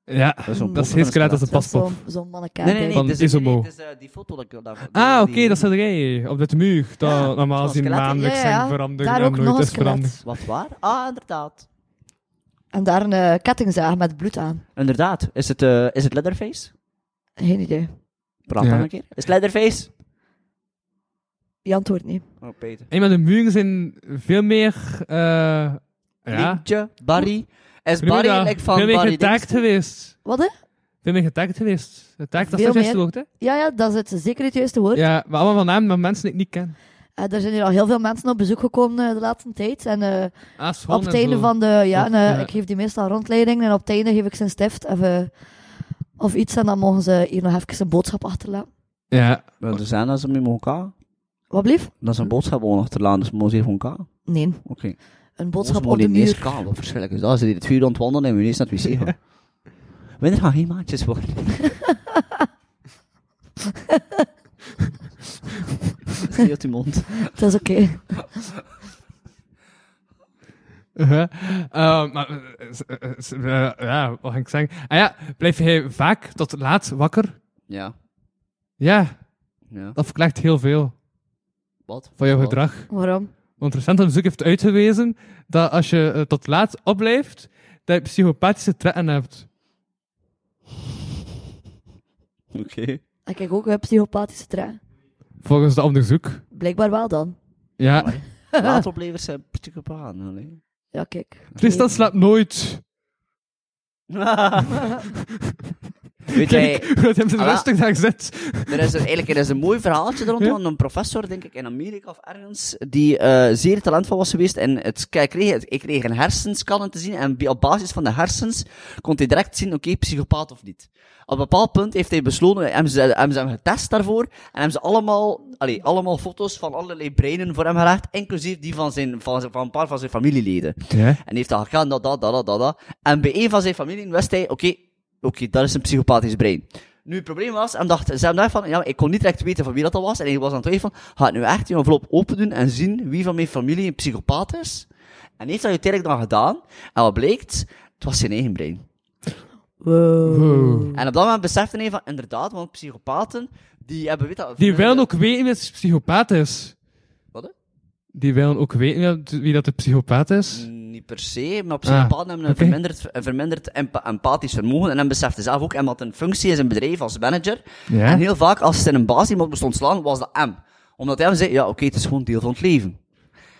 [SPEAKER 3] Ja,
[SPEAKER 5] is zo'n
[SPEAKER 3] dat is
[SPEAKER 5] pot
[SPEAKER 3] heel
[SPEAKER 5] van
[SPEAKER 3] skelet als
[SPEAKER 5] een
[SPEAKER 3] een paspop.
[SPEAKER 4] Zo'n zo manneke.
[SPEAKER 5] Nee, nee, nee.
[SPEAKER 3] Van
[SPEAKER 5] het is,
[SPEAKER 3] Isomo.
[SPEAKER 5] nee, het is eh, die foto dat ik daarvoor...
[SPEAKER 3] Ah, oké,
[SPEAKER 5] die-
[SPEAKER 3] dat zit jij op de muur. Dat normaal
[SPEAKER 5] zo'n
[SPEAKER 3] gezien
[SPEAKER 5] skelet, hè?
[SPEAKER 3] maandelijks
[SPEAKER 4] Ja, ja, ja.
[SPEAKER 3] zijn veranderd
[SPEAKER 4] Daar
[SPEAKER 3] en
[SPEAKER 4] ook nog
[SPEAKER 3] nooit
[SPEAKER 4] een
[SPEAKER 3] is
[SPEAKER 4] skelet.
[SPEAKER 3] veranderd.
[SPEAKER 5] Wat waar? Ah, inderdaad.
[SPEAKER 4] En daar een eh, kettingzaag met bloed aan.
[SPEAKER 5] Inderdaad. Is het, eh, is het Leatherface?
[SPEAKER 4] Geen idee.
[SPEAKER 5] Praat
[SPEAKER 3] Ja.
[SPEAKER 5] dan een keer. Is het Leatherface?
[SPEAKER 4] Die antwoordt niet.
[SPEAKER 5] Oh, Peter.
[SPEAKER 3] En maar de muren zijn veel meer... eh ja,
[SPEAKER 5] Lintje, Barry. Is
[SPEAKER 3] Goedemiddag.
[SPEAKER 5] Barry like van
[SPEAKER 3] veel meer
[SPEAKER 5] Barry
[SPEAKER 3] getagd
[SPEAKER 5] Dings?
[SPEAKER 3] geweest.
[SPEAKER 4] Wat, hè?
[SPEAKER 3] Veel meer getagd geweest. Getagd, dat is
[SPEAKER 4] Veel
[SPEAKER 3] het juiste
[SPEAKER 4] meer.
[SPEAKER 3] woord, hè?
[SPEAKER 4] Ja, ja, dat is het, zeker het juiste woord.
[SPEAKER 3] Ja, maar allemaal van namen van mensen die ik niet ken.
[SPEAKER 4] Eh, er zijn hier al heel veel mensen op bezoek gekomen eh, de laatste tijd. En eh,
[SPEAKER 3] Ah, schoon
[SPEAKER 4] op het
[SPEAKER 3] en
[SPEAKER 4] einde
[SPEAKER 3] zo.
[SPEAKER 4] van de... Ja, en, eh,
[SPEAKER 3] Ja.
[SPEAKER 4] ik geef die meestal rondleiding. En op het einde geef ik zijn stift of, eh, of iets. En dan mogen ze hier nog even een boodschap achterlaten.
[SPEAKER 3] Ja,
[SPEAKER 5] Wel, er zijn dat ze met elkaar.
[SPEAKER 4] Wat blief?
[SPEAKER 5] Dat is een boodschap gewoon achterlaan, dus moet ze even elkaar.
[SPEAKER 4] Nee,
[SPEAKER 5] Oké.
[SPEAKER 4] een
[SPEAKER 5] Boodschap
[SPEAKER 4] boodschap op de muur.
[SPEAKER 5] Kaal, wat verschrikkelijk is dat? Ze die het vuur ontwandelen en we ineens naar het wc gaan. Wanneer gaan geen maatjes worden? Stil je mond.
[SPEAKER 4] Het is oké.
[SPEAKER 3] Uh-huh. Eh, maar, eh, eh, eh, eh, ja, wat ging ik zeggen? Ah ja, blijf jij vaak tot laat wakker?
[SPEAKER 5] Ja.
[SPEAKER 3] Ja,
[SPEAKER 5] ja.
[SPEAKER 3] dat verklaart heel veel
[SPEAKER 5] Wat?
[SPEAKER 3] van jouw
[SPEAKER 5] Wat?
[SPEAKER 3] gedrag.
[SPEAKER 4] Waarom?
[SPEAKER 3] Want recent onderzoek heeft uitgewezen dat als je eh, tot laat opblijft, dat je psychopathische trekken hebt.
[SPEAKER 5] Oké.
[SPEAKER 4] Ik heb Ah, ook een psychopathische trein.
[SPEAKER 3] Volgens dat onderzoek.
[SPEAKER 4] Blijkbaar wel dan.
[SPEAKER 5] Oh
[SPEAKER 3] Ja.
[SPEAKER 5] Laatoplevers zijn psychopaten, alleen.
[SPEAKER 4] Ja, kijk.
[SPEAKER 3] Tristan slaapt nooit.
[SPEAKER 5] Weet jij,
[SPEAKER 3] Kijk, hoe hij
[SPEAKER 5] Voilà.
[SPEAKER 3] rustig daar zit.
[SPEAKER 5] er is een, eigenlijk er is een mooi verhaaltje er rond van een professor, denk ik, in Amerika of ergens, die eh, zeer talentvol was geweest. En het, ik, kreeg, het- ik kreeg een hersenscannen te zien en bi- op basis van de hersens kon hij direct zien, oké, psychopaat of niet. Op een bepaald punt heeft hij besloten, hebben ze, hebben ze hem getest daarvoor, en hebben ze allemaal, allee, allemaal foto's van allerlei breinen voor hem geraakt, inclusief die van, zijn, van, zijn- van een paar van zijn familieleden.
[SPEAKER 3] Ja.
[SPEAKER 5] En heeft dat gegaan, dat, dat, dat, dat, dat, dat. En bij een van zijn familie wist hij, oké, oké, dat is een psychopathisch brein. Nu, het probleem was, en dacht, ze hebben daarvan, ja, maar ik kon niet direct weten van wie dat al was, en ik was aan het twijfelen, ga ik nu echt die envelop open doen en zien wie van mijn familie een psychopaat is? En heeft dat uiteindelijk dan gedaan, en wat blijkt, het was zijn eigen brein.
[SPEAKER 3] Wow.
[SPEAKER 5] En op dat moment besefte hij van, inderdaad, want psychopaten, die hebben, weet dat...
[SPEAKER 3] Die willen ook weten wie het psychopaat is.
[SPEAKER 5] Wat, hè?
[SPEAKER 3] Die willen ook weten wie dat- wie dat de psychopaat is.
[SPEAKER 5] Niet per se, maar psychopaten hebben een
[SPEAKER 3] Ah, oké.
[SPEAKER 5] verminderd, een verminderd empa- empathisch vermogen. En hem besefte zelf ook, en wat een functie is in een bedrijf als manager.
[SPEAKER 3] Ja.
[SPEAKER 5] En heel vaak, als er een baas iemand moest ontslaan, was dat hem. Omdat hij hem zei, ja, oké, het is gewoon deel van het leven.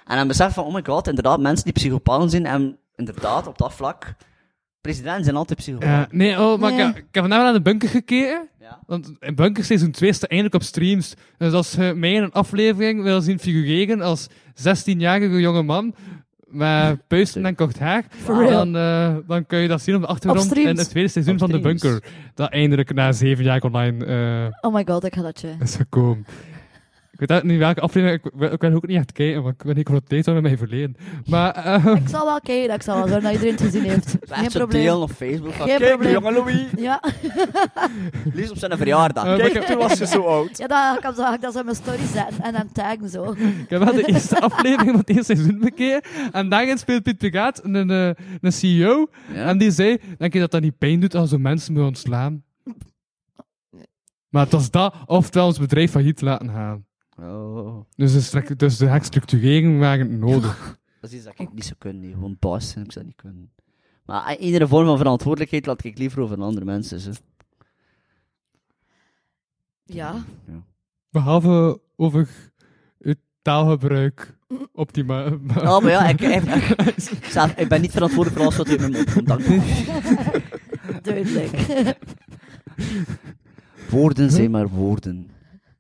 [SPEAKER 5] En hij beseft van, oh my god, inderdaad, mensen die psychopaten zijn, en inderdaad, op dat vlak, presidenten zijn altijd psychopaten.
[SPEAKER 3] Ja, nee, oh, maar ik, heb- ik heb vandaag naar de bunker gekeken.
[SPEAKER 5] Ja.
[SPEAKER 3] Want in Bunker Season 2 staat eindelijk op streams. Dus als je mij in een aflevering wil zien figureren als 16-jarige jonge man met puisten en kort haar,
[SPEAKER 4] real.
[SPEAKER 3] dan, eh, dan kun je dat zien op de
[SPEAKER 4] Op
[SPEAKER 3] achtergrond
[SPEAKER 4] streams.
[SPEAKER 3] in het tweede seizoen
[SPEAKER 5] Op
[SPEAKER 3] van de
[SPEAKER 5] streams.
[SPEAKER 3] Bunker. Dat eindelijk na 7 jaar online eh,
[SPEAKER 4] Oh my god, ik ga dat je.
[SPEAKER 3] is gekomen. Ik weet eigenlijk niet welke aflevering, ik, wil- ik wil ook niet echt kijken, want ik ben niet geconfronteerd met mijn verleden. Maar, eh,
[SPEAKER 4] Ik zal wel kijken, ik zal wel zorgen dat iedereen het gezien heeft. Geen
[SPEAKER 5] Echt zo
[SPEAKER 4] probleem.
[SPEAKER 5] delen op Facebook. Van,
[SPEAKER 4] Geen
[SPEAKER 5] kijk,
[SPEAKER 4] probleem.
[SPEAKER 5] jonge Louis,
[SPEAKER 4] Ja,
[SPEAKER 5] liefst op zijn verjaardag.
[SPEAKER 3] Eh, maar ik
[SPEAKER 5] kijk,
[SPEAKER 3] heb-
[SPEAKER 5] toen was je zo oud.
[SPEAKER 4] ja dan kan ik dat zo in mijn story zetten en hem taggen zo.
[SPEAKER 3] Ik heb wel de eerste aflevering van het eerste seizoen bekeken. En daarin speelt Piet Pigaat een, eh, een CEO.
[SPEAKER 5] Ja.
[SPEAKER 3] En die zei, denk je dat dat niet pijn doet als we mensen moeten ontslaan? Maar het was dat, oftewel ons bedrijf failliet laten gaan.
[SPEAKER 5] Oh,
[SPEAKER 3] Dus de, strak- dus de herstructurering waren nodig.
[SPEAKER 5] dat is iets dat ik niet zou kunnen, nee. gewoon baas zijn, ik zou dat niet kunnen. Maar eh, iedere vorm van verantwoordelijkheid laat ik liever over aan andere mensen. Zo.
[SPEAKER 4] Ja,
[SPEAKER 3] Behalve over uw taalgebruik op die ma- ma-
[SPEAKER 5] Oh, maar ja, ik, ik, ik- zelf, ik ben niet verantwoordelijk voor alles wat uit mijn mond komt. Dank u.
[SPEAKER 4] duidelijk.
[SPEAKER 5] Woorden zijn maar woorden.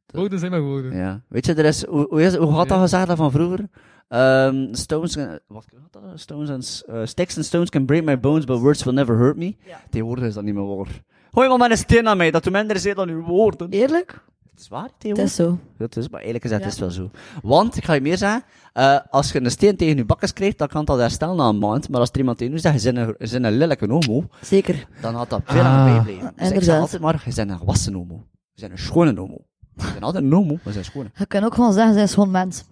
[SPEAKER 3] Woorden zijn maar woorden.
[SPEAKER 5] Ja. Weet je, er is, hoe, hoe, is, hoe had dat gezegd dat van vroeger? Ehm, stones, can- wat had dat? Stones and, s- eh, sticks and stones can break my bones, but words will never hurt me. Tegenwoordig is dat niet meer waar. Gooi maar maar een steen aan mij, dat doet minder zeer dan uw woorden.
[SPEAKER 4] Eerlijk?
[SPEAKER 5] Het is waar,
[SPEAKER 4] Het
[SPEAKER 5] tegenwoordig.
[SPEAKER 4] is zo.
[SPEAKER 5] Dat is, maar eerlijk gezegd
[SPEAKER 4] Ja.
[SPEAKER 5] is het wel zo. Want, ik ga je meer zeggen, eh, als je een steen tegen je bakkes krijgt, dan kan dat herstellen na een maand. Maar als er iemand tegen je zegt, je bent een- je bent een lelijke homo,
[SPEAKER 4] Zeker.
[SPEAKER 5] dan had dat veel
[SPEAKER 3] Ah.
[SPEAKER 5] langer bijblijven. Dus ik zeg
[SPEAKER 4] Inderdaad.
[SPEAKER 5] altijd maar, je bent een gewassen homo. Je bent een schone homo. Je bent altijd een homo, maar je bent schone.
[SPEAKER 4] Je kan ook gewoon zeggen, zij is gewoon mens.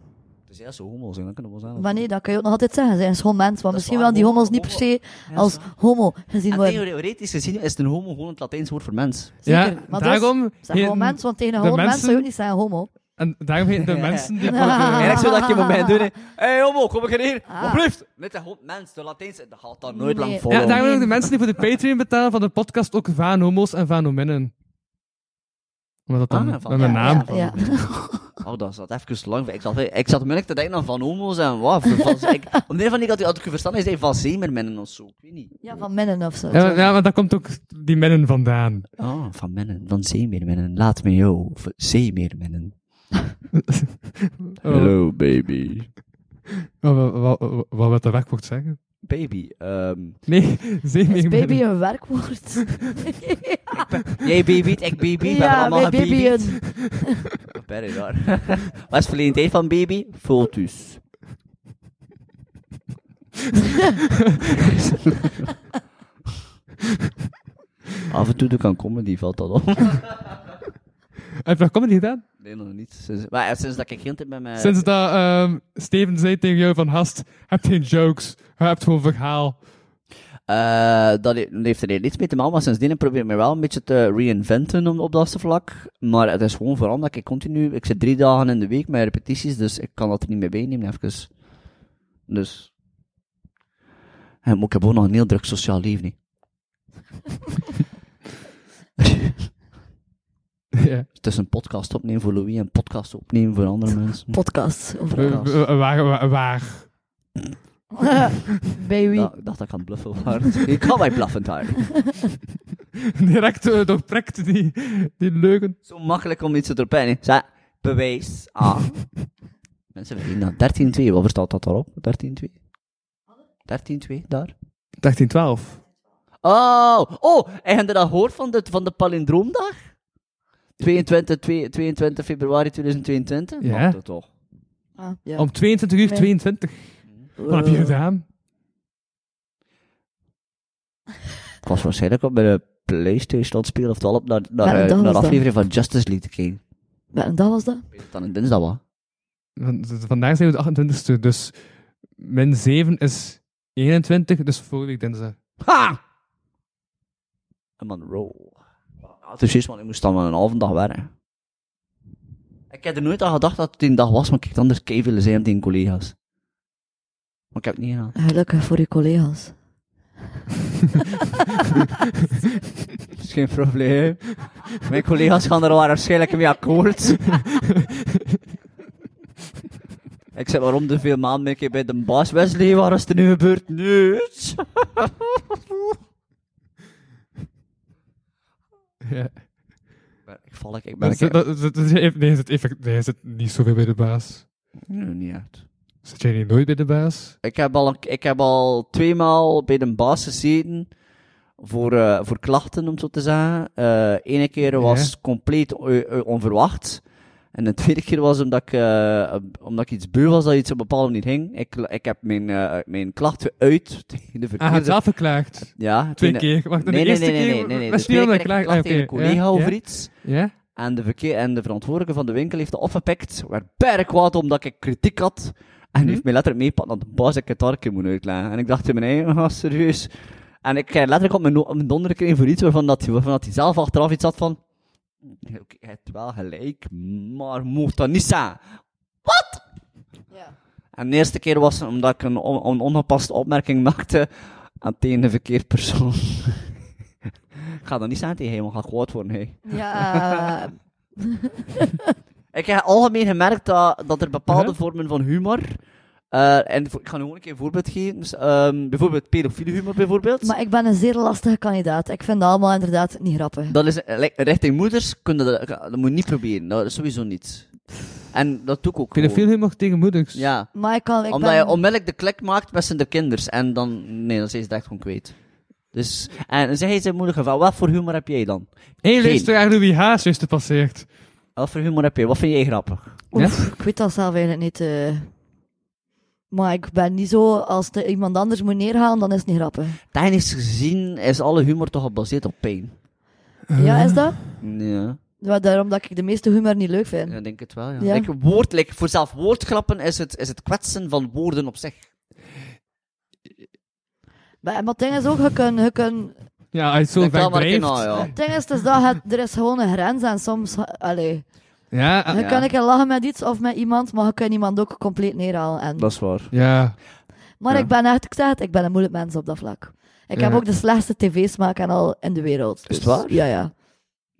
[SPEAKER 5] Dus ja, zo homo zijn, dan kunnen we wel
[SPEAKER 4] Maar nee, dat kun je ook nog altijd zeggen, zij is gewoon mens. Want misschien
[SPEAKER 5] Oh. waar,
[SPEAKER 4] wel die
[SPEAKER 5] homo-
[SPEAKER 4] homo's niet per se als homo gezien
[SPEAKER 5] En
[SPEAKER 4] worden.
[SPEAKER 5] Ah, theoretisch gezien is een homo gewoon het Latijns woord voor mens.
[SPEAKER 4] Zeker.
[SPEAKER 3] Ja,
[SPEAKER 4] maar
[SPEAKER 3] daarom
[SPEAKER 4] dus, zeg gewoon
[SPEAKER 3] heten-
[SPEAKER 4] mens, want tegen een
[SPEAKER 3] de
[SPEAKER 4] gewoon mens
[SPEAKER 3] mensen-
[SPEAKER 4] zou je ook niet zeggen homo.
[SPEAKER 3] En daarom heten de mensen die...
[SPEAKER 5] Eigenlijk zou dat je met mij doen, hè. hey, homo, kom ik hier.
[SPEAKER 4] Ah.
[SPEAKER 5] Alsjeblieft. Met de hond mens, de Latijns, dat gaat dat nooit
[SPEAKER 4] Nee.
[SPEAKER 5] lang
[SPEAKER 3] Ja,
[SPEAKER 5] volgen.
[SPEAKER 3] daarom ook de mensen die voor de Patreon betalen van de podcast ook Vanomo's en Vanominnen. Omdat dat dan
[SPEAKER 5] Ah, van-
[SPEAKER 3] dan de
[SPEAKER 5] ja,
[SPEAKER 3] naam...
[SPEAKER 4] Ja, ja.
[SPEAKER 5] Oh, dat zat even lang. Ik zat, ik zat moeilijk te denken aan van homo's en wat. Van, van, ik, op de een van die had ik had ik verstaan, hij zei van zeemermennen of zo. Ik weet niet.
[SPEAKER 4] Ja, van minnen of zo.
[SPEAKER 3] Ja, maar, ja, maar daar komt ook die mennen vandaan.
[SPEAKER 5] Ah, van mennen, van zeemeermennen. Laat me jou, v- zeemeermennen.
[SPEAKER 3] Oh,
[SPEAKER 5] baby.
[SPEAKER 3] wat, wat, wat, wat wil dat werkwoord zeggen?
[SPEAKER 5] Baby, ehm...
[SPEAKER 3] Nee,
[SPEAKER 4] Is
[SPEAKER 3] zeemeermin.
[SPEAKER 4] baby een werkwoord?
[SPEAKER 5] Jij babyt, ik baby, we hebben
[SPEAKER 4] ja,
[SPEAKER 5] allemaal
[SPEAKER 4] bij baby
[SPEAKER 5] gebabyt.
[SPEAKER 4] een...
[SPEAKER 5] Very raar. Wat is verleden tijd van baby? Fotus. Af en toe doe ik aan comedy, valt dat op.
[SPEAKER 3] Heb je nog comedy gedaan?
[SPEAKER 5] Nee, nog niet. Sinds, maar ja, sinds dat ik geen tijd met mijn...
[SPEAKER 3] Sinds dat ehm, Steven zei tegen jou van hast, heb geen jokes, je hebt gewoon verhaal.
[SPEAKER 5] Eh, dat he- heeft er niets mee te maken, maar sindsdien probeer ik me wel een beetje te reinventen om- op dat vlak. Maar het is gewoon vooral dat ik continu... Ik zit drie dagen in de week met repetities, dus ik kan dat er niet mee bijnemen, even. Dus... En maar ik heb ook nog een heel druk sociaal leven, hè.
[SPEAKER 3] ja.
[SPEAKER 5] Het is een podcast opnemen voor Louis en een podcast opnemen voor andere mensen.
[SPEAKER 4] podcast. Over
[SPEAKER 3] Eh,
[SPEAKER 5] Podcast.
[SPEAKER 3] eh, waar, waar, waar?
[SPEAKER 4] baby.
[SPEAKER 5] Ja, ik dacht dat ik aan het bluffen was. Ik kan mij bluffen daar.
[SPEAKER 3] Direct eh, doorprikt die, die leugen.
[SPEAKER 5] Zo makkelijk om iets te doorpijnen. Zeg, bewijs aan. Mensen verdienen dat. 13-2, wat verstaat dat daarop? 13-2? 13-2, daar.
[SPEAKER 3] 1312.
[SPEAKER 5] Oh, oh, en hebben dat gehoord van de, van de palindroomdag? 22, 2 22 februari 2022?
[SPEAKER 3] Ja.
[SPEAKER 5] Mag dat toch?
[SPEAKER 4] Ah, ja.
[SPEAKER 3] Om 22 uur
[SPEAKER 4] Nee.
[SPEAKER 3] 22. Wat heb je gedaan?
[SPEAKER 5] Ik was waarschijnlijk op mijn eh, Playstation aan het spelen of het al op naar, naar,
[SPEAKER 4] Ja,
[SPEAKER 5] eh,
[SPEAKER 4] dat was
[SPEAKER 5] naar de
[SPEAKER 4] dat.
[SPEAKER 5] aflevering van Justice League te kijken.
[SPEAKER 4] Eh, En dat was dat.
[SPEAKER 5] Ik weet het Dan een dinsdag was.
[SPEAKER 3] Van- v- Vandaag zijn we de 28e, dus min 7 is 21, dus vorige week dinsdag.
[SPEAKER 5] Ha! En man, roll. Ja, het is juist, want ik moest dan maar een halve dag werken. Ik heb er nooit aan gedacht dat het die dag was, maar ik heb anders kei willen zijn tegen collega's. Maar ik heb het niet gedaan.
[SPEAKER 4] Gelukkig voor je collega's.
[SPEAKER 5] Dat is geen probleem. Mijn collega's gaan er waarschijnlijk mee akkoord. ik zit maar om de veel maanden een keer bij de baas. Wesley, waar is er nu gebeurd? Niets.
[SPEAKER 3] Ja.
[SPEAKER 5] ik val ik, ik ben
[SPEAKER 3] Dat,
[SPEAKER 5] ik,
[SPEAKER 3] dat, dat- dat- nee, zit effect, nee, zit niet zoveel bij de baas.
[SPEAKER 5] Nee, niet echt.
[SPEAKER 3] Zit jij niet nooit bij de baas? Ah,
[SPEAKER 5] Ik heb al, een- ik heb al tweemaal bij de baas gezeten voor, eh, voor klachten, om het zo te zeggen. Eh Eén keer was
[SPEAKER 3] Ja.
[SPEAKER 5] het compleet o- o- onverwacht. En de tweede keer was omdat ik, eh, omdat ik iets beu was dat iets op een bepaalde manier ging. Ik, ik heb mijn, eh, mijn klachten uit tegen de
[SPEAKER 3] Ah,
[SPEAKER 5] verkeerde...
[SPEAKER 3] het zelf verklaagd.
[SPEAKER 5] ja,
[SPEAKER 3] Twee
[SPEAKER 5] tegen-
[SPEAKER 3] keer. Wacht, de
[SPEAKER 5] Nee, nee,
[SPEAKER 3] eerste
[SPEAKER 5] nee, nee,
[SPEAKER 3] keer
[SPEAKER 5] nee, nee, nee.
[SPEAKER 3] was
[SPEAKER 5] De
[SPEAKER 3] het
[SPEAKER 5] tweede
[SPEAKER 3] niet
[SPEAKER 5] keer
[SPEAKER 3] omdat ik klaag- ah,
[SPEAKER 5] heb ik een klacht tegen een
[SPEAKER 3] oké, ja,
[SPEAKER 5] collega over
[SPEAKER 3] ja.
[SPEAKER 5] iets.
[SPEAKER 3] Ja?
[SPEAKER 5] En de, verkeer, en de verantwoordelijke van de winkel heeft dat opgepikt. Werd bijna kwaad omdat ik kritiek had. En heeft mij letterlijk meepakt dat de baas ik het daar een keer moet uitleggen. En ik dacht in mijn eigen, ah, serieus. En ik heb letterlijk op mijn, no- op mijn donder gekregen voor iets waarvan, dat, hij- waarvan dat hij zelf achteraf iets had van... "Oké, Je hebt wel gelijk, maar mocht dat niet zijn. Wat?
[SPEAKER 4] Ja.
[SPEAKER 5] En de eerste keer was het omdat ik een, on- een ongepaste opmerking maakte aan tegen de verkeerde persoon. ik ga dat niet zeggen tegen hem, want ik ga kwaad worden. Hey.
[SPEAKER 4] Ja, eh,
[SPEAKER 5] Ik heb algemeen gemerkt dat, dat er bepaalde
[SPEAKER 3] Mhm.
[SPEAKER 5] vormen van humor. eh, en voor- ik ga nu gewoon een keer een voorbeeld geven. Dus, ehm, bijvoorbeeld pedofiele humor, bijvoorbeeld.
[SPEAKER 4] maar ik ben een zeer lastige kandidaat. Ik vind dat allemaal inderdaad niet grappig.
[SPEAKER 5] Dat is, eh, like, richting moeders, kun je dat, dat moet je niet proberen. Dat is sowieso niet. En dat doe ik ook gewoon.
[SPEAKER 3] Pedofiel humor tegen moeders.
[SPEAKER 5] Ja.
[SPEAKER 4] Maar ik kan... Ik
[SPEAKER 5] Omdat
[SPEAKER 4] ben...
[SPEAKER 5] je onmiddellijk de klik maakt met zijn de kinders. En dan, nee, dan zijn ze het echt gewoon kwijt. Dus, en dan zeg je zijn moeder van, wat voor humor heb jij dan?
[SPEAKER 3] Hé, hey,
[SPEAKER 5] Geen.
[SPEAKER 3] luisteraar, Louis Haas is er passeerd.
[SPEAKER 5] Wat voor humor heb jij? Wat vind jij grappig?
[SPEAKER 4] Oef, ik weet dat zelf eigenlijk niet. eh. Maar ik ben niet zo, als de, iemand anders moet neerhalen, dan is het niet grappig.
[SPEAKER 5] Technisch gezien is alle humor toch gebaseerd op pijn.
[SPEAKER 4] Ja, is dat?
[SPEAKER 5] Ja.
[SPEAKER 4] Ja, Daarom dat ik de meeste humor niet leuk vind.
[SPEAKER 5] Ja, ik denk het wel, ja.
[SPEAKER 4] Ja.
[SPEAKER 5] Like, woord, like, voor zelf woordgrappen is het, is het kwetsen van woorden op zich.
[SPEAKER 4] Maar, maar het ding is ook, je kunt... Je kunt
[SPEAKER 3] Ja, hij is zo
[SPEAKER 5] Ik
[SPEAKER 3] ver
[SPEAKER 5] kan maar
[SPEAKER 3] drijft.
[SPEAKER 5] kennen, ja.
[SPEAKER 4] het ding is, het is dat het- er is gewoon een grens en soms... Allee,
[SPEAKER 3] Ja,
[SPEAKER 4] je
[SPEAKER 3] ah,
[SPEAKER 5] Ja.
[SPEAKER 4] kan een keer lachen met iets of met iemand, maar je kunt iemand ook compleet neerhalen. En
[SPEAKER 5] is waar.
[SPEAKER 3] ja.
[SPEAKER 4] Maar
[SPEAKER 5] Ja.
[SPEAKER 4] ik ben echt, ik zeg het, ik ben een moeilijk mens op dat vlak. Ik heb
[SPEAKER 3] Ja.
[SPEAKER 4] ook de slechtste tv-smaak en al in de wereld.
[SPEAKER 5] Is het
[SPEAKER 4] Dus,
[SPEAKER 5] waar?
[SPEAKER 4] Ja, ja.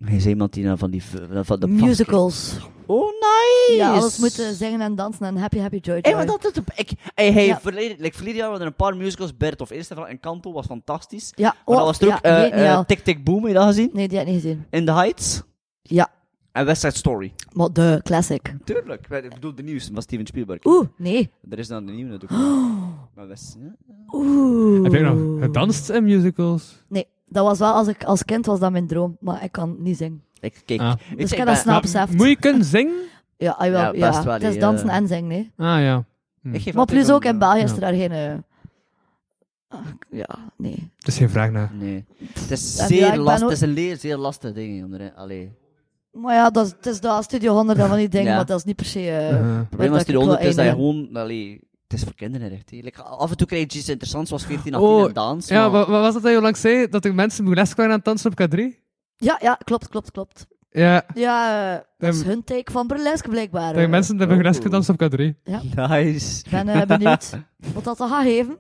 [SPEAKER 5] Hij is iemand die nou van die... v- Van de
[SPEAKER 4] Musicals.
[SPEAKER 5] Oh, nice!
[SPEAKER 4] Ja, alles eh, moeten zingen en dansen en happy, happy, joy, joy.
[SPEAKER 5] Hey, maar dat is... op- Ik, hey, hey,
[SPEAKER 4] Ja.
[SPEAKER 5] verleden, like, verleden jaar waren er een paar musicals, Bert of Instagram en Kanto was fantastisch.
[SPEAKER 4] Ja,
[SPEAKER 5] Maar
[SPEAKER 4] oh,
[SPEAKER 5] dat was er ook
[SPEAKER 4] ja,
[SPEAKER 5] eh,
[SPEAKER 4] weet niet
[SPEAKER 5] eh,
[SPEAKER 4] al.
[SPEAKER 5] Tick Tick Boom, heb je dat gezien?
[SPEAKER 4] Nee, die heb ik niet gezien.
[SPEAKER 5] In the Heights.
[SPEAKER 4] Ja.
[SPEAKER 5] En West Side Story.
[SPEAKER 4] Maar de classic.
[SPEAKER 5] Tuurlijk. Ik bedoel, de nieuwste van Steven Spielberg.
[SPEAKER 4] Oeh, nee.
[SPEAKER 5] Er is dan de nieuwe natuurlijk. Maar West... Ja.
[SPEAKER 4] Oeh.
[SPEAKER 3] Heb jij nog gedanst in musicals?
[SPEAKER 4] Nee, dat was wel als ik als kind was dat mijn droom, maar ik kan niet zingen.
[SPEAKER 5] Ik, kijk,
[SPEAKER 3] Ah.
[SPEAKER 5] ik,
[SPEAKER 4] Dus
[SPEAKER 5] zeg, ben-
[SPEAKER 4] ik heb dat snel beseft.
[SPEAKER 3] Moet je kunnen zingen?
[SPEAKER 4] Ja, ah, wel,
[SPEAKER 5] Ja,
[SPEAKER 4] ja,
[SPEAKER 5] best wel,
[SPEAKER 4] het is
[SPEAKER 5] die,
[SPEAKER 4] dansen
[SPEAKER 5] eh,
[SPEAKER 4] en zingen, nee.
[SPEAKER 3] Ah ja.
[SPEAKER 5] ik geef
[SPEAKER 4] Maar
[SPEAKER 5] altijd
[SPEAKER 4] plus ook
[SPEAKER 5] een,
[SPEAKER 4] in België is
[SPEAKER 3] ja.
[SPEAKER 4] er daar geen... eh, ah, ja, nee.
[SPEAKER 3] Er is geen vraag naar.
[SPEAKER 5] Ah, Nee. Het is
[SPEAKER 4] Ja,
[SPEAKER 5] zeer
[SPEAKER 4] ik ben
[SPEAKER 5] lastig.
[SPEAKER 4] ook-
[SPEAKER 5] Het is een leer, zeer lastig ding. om erin- Allee.
[SPEAKER 4] Maar ja, dat, is- het is dat Studio 100 en van die dingen,
[SPEAKER 5] Ja.
[SPEAKER 4] maar dat is niet per se... eh,
[SPEAKER 3] Eh,
[SPEAKER 5] Het probleem
[SPEAKER 4] dat
[SPEAKER 5] als die
[SPEAKER 4] ik wel
[SPEAKER 5] honderd is dat je
[SPEAKER 4] één
[SPEAKER 5] gewoon... Allee, het is voor kinderen echt. hè. Like, af en toe krijg je iets interessants zoals 14, 18
[SPEAKER 3] Oh,
[SPEAKER 5] en dans.
[SPEAKER 3] ja,
[SPEAKER 5] maar-
[SPEAKER 3] wat, wat was dat dat je langs zei? Dat er mensen burlesque waren aan het dansen op K3?
[SPEAKER 4] Ja, ja, klopt, klopt, klopt.
[SPEAKER 3] Ja,
[SPEAKER 4] Ja, eh, dat is
[SPEAKER 3] Ehm,
[SPEAKER 4] hun take van burlesque blijkbaar.
[SPEAKER 3] dat er
[SPEAKER 4] eh.
[SPEAKER 3] mensen hebben burlesque
[SPEAKER 5] Oh.
[SPEAKER 3] gedanst op K3.
[SPEAKER 5] Nice.
[SPEAKER 4] Ik ben eh, benieuwd wat dat zal gaan geven.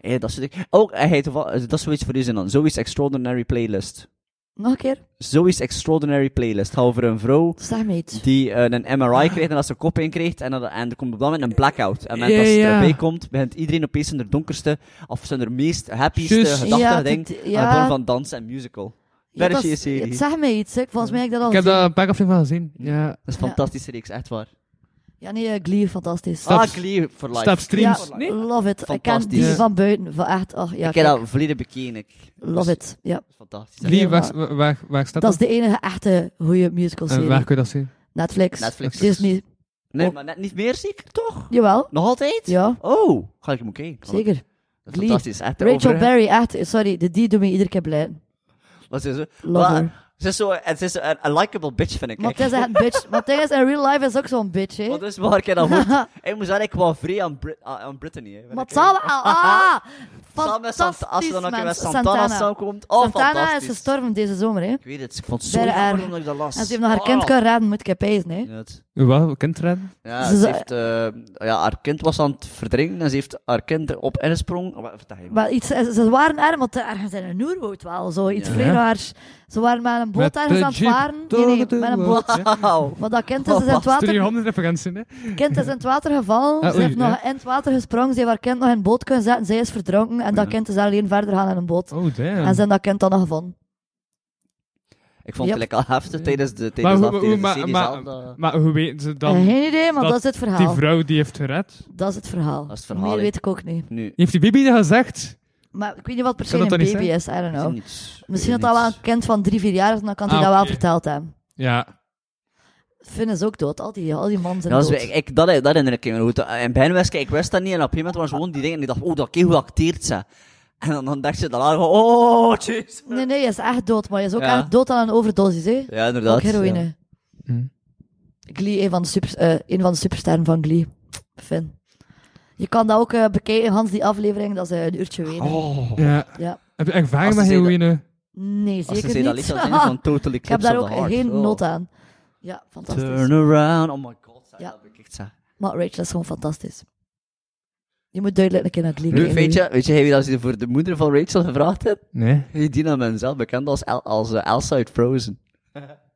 [SPEAKER 5] Hey, dat, soort dingen. ook, eh, hey, toeval- eh, dat is zoiets voor u zijn dan. Zoiets extraordinary playlist.
[SPEAKER 4] Nog een keer.
[SPEAKER 5] Zoiets Extraordinary Playlist. Het gaat over een vrouw
[SPEAKER 4] Zeg me iets.
[SPEAKER 5] die eh, een MRI krijgt en als ze een kop in krijgt en, dan- en er komt op dat moment een blackout. En op het moment
[SPEAKER 3] Ja,
[SPEAKER 5] dat ze
[SPEAKER 3] ja.
[SPEAKER 5] erbij komt, begint iedereen opeens zijn donkerste of zijn meest happieste
[SPEAKER 3] Juist.
[SPEAKER 5] gedachten
[SPEAKER 4] Ja,
[SPEAKER 5] te denken
[SPEAKER 4] dit-
[SPEAKER 5] aan
[SPEAKER 4] ja.
[SPEAKER 5] de vorm van dans en musical. Daar
[SPEAKER 4] Ja,
[SPEAKER 5] is je
[SPEAKER 4] dat
[SPEAKER 5] serie.
[SPEAKER 4] het Zeg me iets, hè. volgens mij heb ik dat al
[SPEAKER 3] Ik heb
[SPEAKER 4] gezien.
[SPEAKER 3] daar een paar afleveringen van gezien. Ja.
[SPEAKER 5] Dat is
[SPEAKER 4] Ja.
[SPEAKER 5] een fantastische reeks, echt waar.
[SPEAKER 4] Ja, nee, eh, Glee, fantastisch.
[SPEAKER 3] Stap-
[SPEAKER 5] Ah, Glee for life.
[SPEAKER 3] Stap streams.
[SPEAKER 4] Ja,
[SPEAKER 3] Nee?
[SPEAKER 4] love it. Ik ken die
[SPEAKER 5] Fantastisch.
[SPEAKER 4] van buiten. Van echt, oh, ja,
[SPEAKER 5] ik heb
[SPEAKER 4] kijk.
[SPEAKER 5] dat volledig bekeken. ik.
[SPEAKER 4] Love it. Ja.
[SPEAKER 5] Dat is Fantastisch.
[SPEAKER 4] Glee.
[SPEAKER 3] Lee,
[SPEAKER 4] Ja,
[SPEAKER 3] waar, waar- waar, waar staat
[SPEAKER 4] Dat is de enige echte goede musical
[SPEAKER 3] En
[SPEAKER 4] serie.
[SPEAKER 3] waar kun je dat zien?
[SPEAKER 4] Netflix.
[SPEAKER 5] Netflix.
[SPEAKER 4] Disney.
[SPEAKER 5] Nee,
[SPEAKER 4] Oh.
[SPEAKER 5] maar net niet meer zeker, toch?
[SPEAKER 4] Jawel.
[SPEAKER 5] Nog altijd?
[SPEAKER 4] Ja,
[SPEAKER 5] Oh, ga ik hem oké.
[SPEAKER 4] zeker.
[SPEAKER 5] Dat is
[SPEAKER 4] Glee.
[SPEAKER 5] fantastisch. Echt,
[SPEAKER 4] Rachel
[SPEAKER 5] overigens.
[SPEAKER 4] Berry, echt. Sorry, de die doet me iedere keer blij.
[SPEAKER 5] Wat is ze?
[SPEAKER 4] Love
[SPEAKER 5] Wel,
[SPEAKER 4] her.
[SPEAKER 5] Ze is zo, en ze is een, een likable bitch, vind ik.
[SPEAKER 4] Maar het is echt een bitch. Maar het ding is, in real life is ook zo'n bitch, hè.
[SPEAKER 5] Want dat is waar ik dat hoort. Ik moest eigenlijk wel vrij aan, Brit aan- aan Brittany. Hè, vind
[SPEAKER 4] Maar
[SPEAKER 5] ik,
[SPEAKER 4] het zal wel.
[SPEAKER 5] hè.
[SPEAKER 4] Ah,
[SPEAKER 5] Samen met Sant- als
[SPEAKER 4] fantastisch,
[SPEAKER 5] ze dan ook weer met
[SPEAKER 4] mens.
[SPEAKER 5] Santana, samenkomt. Oh,
[SPEAKER 4] Santana is
[SPEAKER 5] fantastisch.
[SPEAKER 4] gestorven deze zomer, hè.
[SPEAKER 5] Ik weet het, ik vond het zo
[SPEAKER 4] Very
[SPEAKER 5] jammer
[SPEAKER 4] erg.
[SPEAKER 5] omdat ik dat las.
[SPEAKER 4] En ze heeft nog haar kind kan raden, moet ik heb eisen, hè.
[SPEAKER 5] Ja, het-
[SPEAKER 3] Wel, kindred.
[SPEAKER 5] Ja,
[SPEAKER 4] Ze
[SPEAKER 5] ze
[SPEAKER 4] zei-
[SPEAKER 5] heeft, eh, ja, haar kind was aan het verdrinken en ze heeft haar kind op insprong. Oh, wat vertel je?
[SPEAKER 4] Maar iets, ze ze waren erg, want eh, ergens in een oerwoud wel, zo iets
[SPEAKER 5] Ja.
[SPEAKER 4] vrij raars. Ze waren met een boot
[SPEAKER 3] Met
[SPEAKER 4] ergens
[SPEAKER 3] de
[SPEAKER 4] aan het
[SPEAKER 3] jeep
[SPEAKER 4] varen. Nee,
[SPEAKER 3] door
[SPEAKER 4] nee,
[SPEAKER 3] de
[SPEAKER 4] met een
[SPEAKER 3] woud.
[SPEAKER 4] boot.
[SPEAKER 5] Wauw.
[SPEAKER 4] Maar dat kind is, dus in het water,
[SPEAKER 3] 300 referenties, hè?
[SPEAKER 4] kind is in het water gevallen.
[SPEAKER 3] Ah,
[SPEAKER 4] ze
[SPEAKER 3] oei,
[SPEAKER 4] heeft nog
[SPEAKER 3] ja.
[SPEAKER 4] in het water gesprongen. Ze heeft haar kind nog in een boot kunnen zetten. Zij is verdronken. En dat
[SPEAKER 5] Ja.
[SPEAKER 4] kind is alleen verder gaan in een boot.
[SPEAKER 3] Oh,
[SPEAKER 4] En ze
[SPEAKER 3] damn.
[SPEAKER 4] hebben dat kind dan nog gevonden.
[SPEAKER 5] Ik vond het
[SPEAKER 4] Yep.
[SPEAKER 5] lekker al heftig tijdens de,
[SPEAKER 3] Maar
[SPEAKER 5] tijdens
[SPEAKER 3] hoe,
[SPEAKER 5] dat-
[SPEAKER 3] hoe-
[SPEAKER 5] tijdens de
[SPEAKER 3] maar, maar,
[SPEAKER 5] serie zelf. eh, dat-
[SPEAKER 3] maar hoe weten ze dan...
[SPEAKER 4] Eh, Geen idee, maar
[SPEAKER 3] dat
[SPEAKER 4] dat, is het
[SPEAKER 3] Die
[SPEAKER 4] verhaal.
[SPEAKER 3] vrouw die heeft gered. Die
[SPEAKER 4] Dat is het verhaal.
[SPEAKER 5] Dat is het verhaal,
[SPEAKER 4] Meer
[SPEAKER 5] hè.
[SPEAKER 4] weet ik ook niet.
[SPEAKER 5] Nu,
[SPEAKER 3] heeft die baby dat gezegd.
[SPEAKER 4] Maar ik weet niet wat per se
[SPEAKER 3] Kan
[SPEAKER 4] een
[SPEAKER 3] dat dan
[SPEAKER 4] baby
[SPEAKER 3] niet
[SPEAKER 4] is. I don't
[SPEAKER 5] ik zie
[SPEAKER 4] know.
[SPEAKER 5] niets. Ik
[SPEAKER 4] Nou, Misschien dat
[SPEAKER 5] weet
[SPEAKER 4] dat wel
[SPEAKER 5] niets.
[SPEAKER 4] een kind van drie, vier jaar is. Dan kan hij
[SPEAKER 3] Ah,
[SPEAKER 4] dat wel
[SPEAKER 3] oké.
[SPEAKER 4] verteld hebben.
[SPEAKER 3] Ja.
[SPEAKER 4] Finn is ook dood. Al die, al die mannen zijn
[SPEAKER 5] Ja, dat,
[SPEAKER 4] dood.
[SPEAKER 5] is, ik, ik, dat, dat herinner ik me goed. In Ben wist ik, ik wist dat niet. En op een gegeven moment was gewoon die dingen. En ik dacht, oh, dat kijk hoe acteert ze. En dan, dan dacht je dat al, oh, jeez.
[SPEAKER 4] Nee, nee, hij is echt dood, maar hij is ook
[SPEAKER 5] Ja.
[SPEAKER 4] echt dood aan een overdosis, hè?
[SPEAKER 5] Ja, inderdaad.
[SPEAKER 4] ook heroïne.
[SPEAKER 5] Ja.
[SPEAKER 3] Hm.
[SPEAKER 4] Glee, een van, de super, eh, een van de supersterren van Glee. Finn. Je kan dat ook eh, bekijken, Hans, die aflevering, dat is eh, een uurtje wenen.
[SPEAKER 5] Oh.
[SPEAKER 3] ja.
[SPEAKER 4] Ja.
[SPEAKER 3] Heb je ervaring
[SPEAKER 5] Als
[SPEAKER 3] met eh?
[SPEAKER 5] ze zeiden-
[SPEAKER 3] heroïne?
[SPEAKER 4] Nee,
[SPEAKER 5] Als ze
[SPEAKER 4] zeker
[SPEAKER 5] zei dat lied
[SPEAKER 4] niet.
[SPEAKER 5] zou zijn van Total
[SPEAKER 4] ik heb
[SPEAKER 5] Eclipse
[SPEAKER 4] daar
[SPEAKER 5] of
[SPEAKER 4] ook
[SPEAKER 5] the Heart.
[SPEAKER 4] geen
[SPEAKER 5] Oh.
[SPEAKER 4] nood aan. Ja, fantastisch.
[SPEAKER 5] Turn around. Oh my god.
[SPEAKER 4] Ja.
[SPEAKER 5] Ja. Dat heb ik echt zo.
[SPEAKER 4] Maar Rachel is gewoon fantastisch. Je moet duidelijk een keer naar Glee
[SPEAKER 5] Leuk
[SPEAKER 4] kijken.
[SPEAKER 5] feitje. Weet je, heb je dat ze voor de moeder van Rachel gevraagd hebt?
[SPEAKER 3] Nee.
[SPEAKER 5] Hey, Dina Menzel, bekend als, El- als eh, Elsa uit Frozen.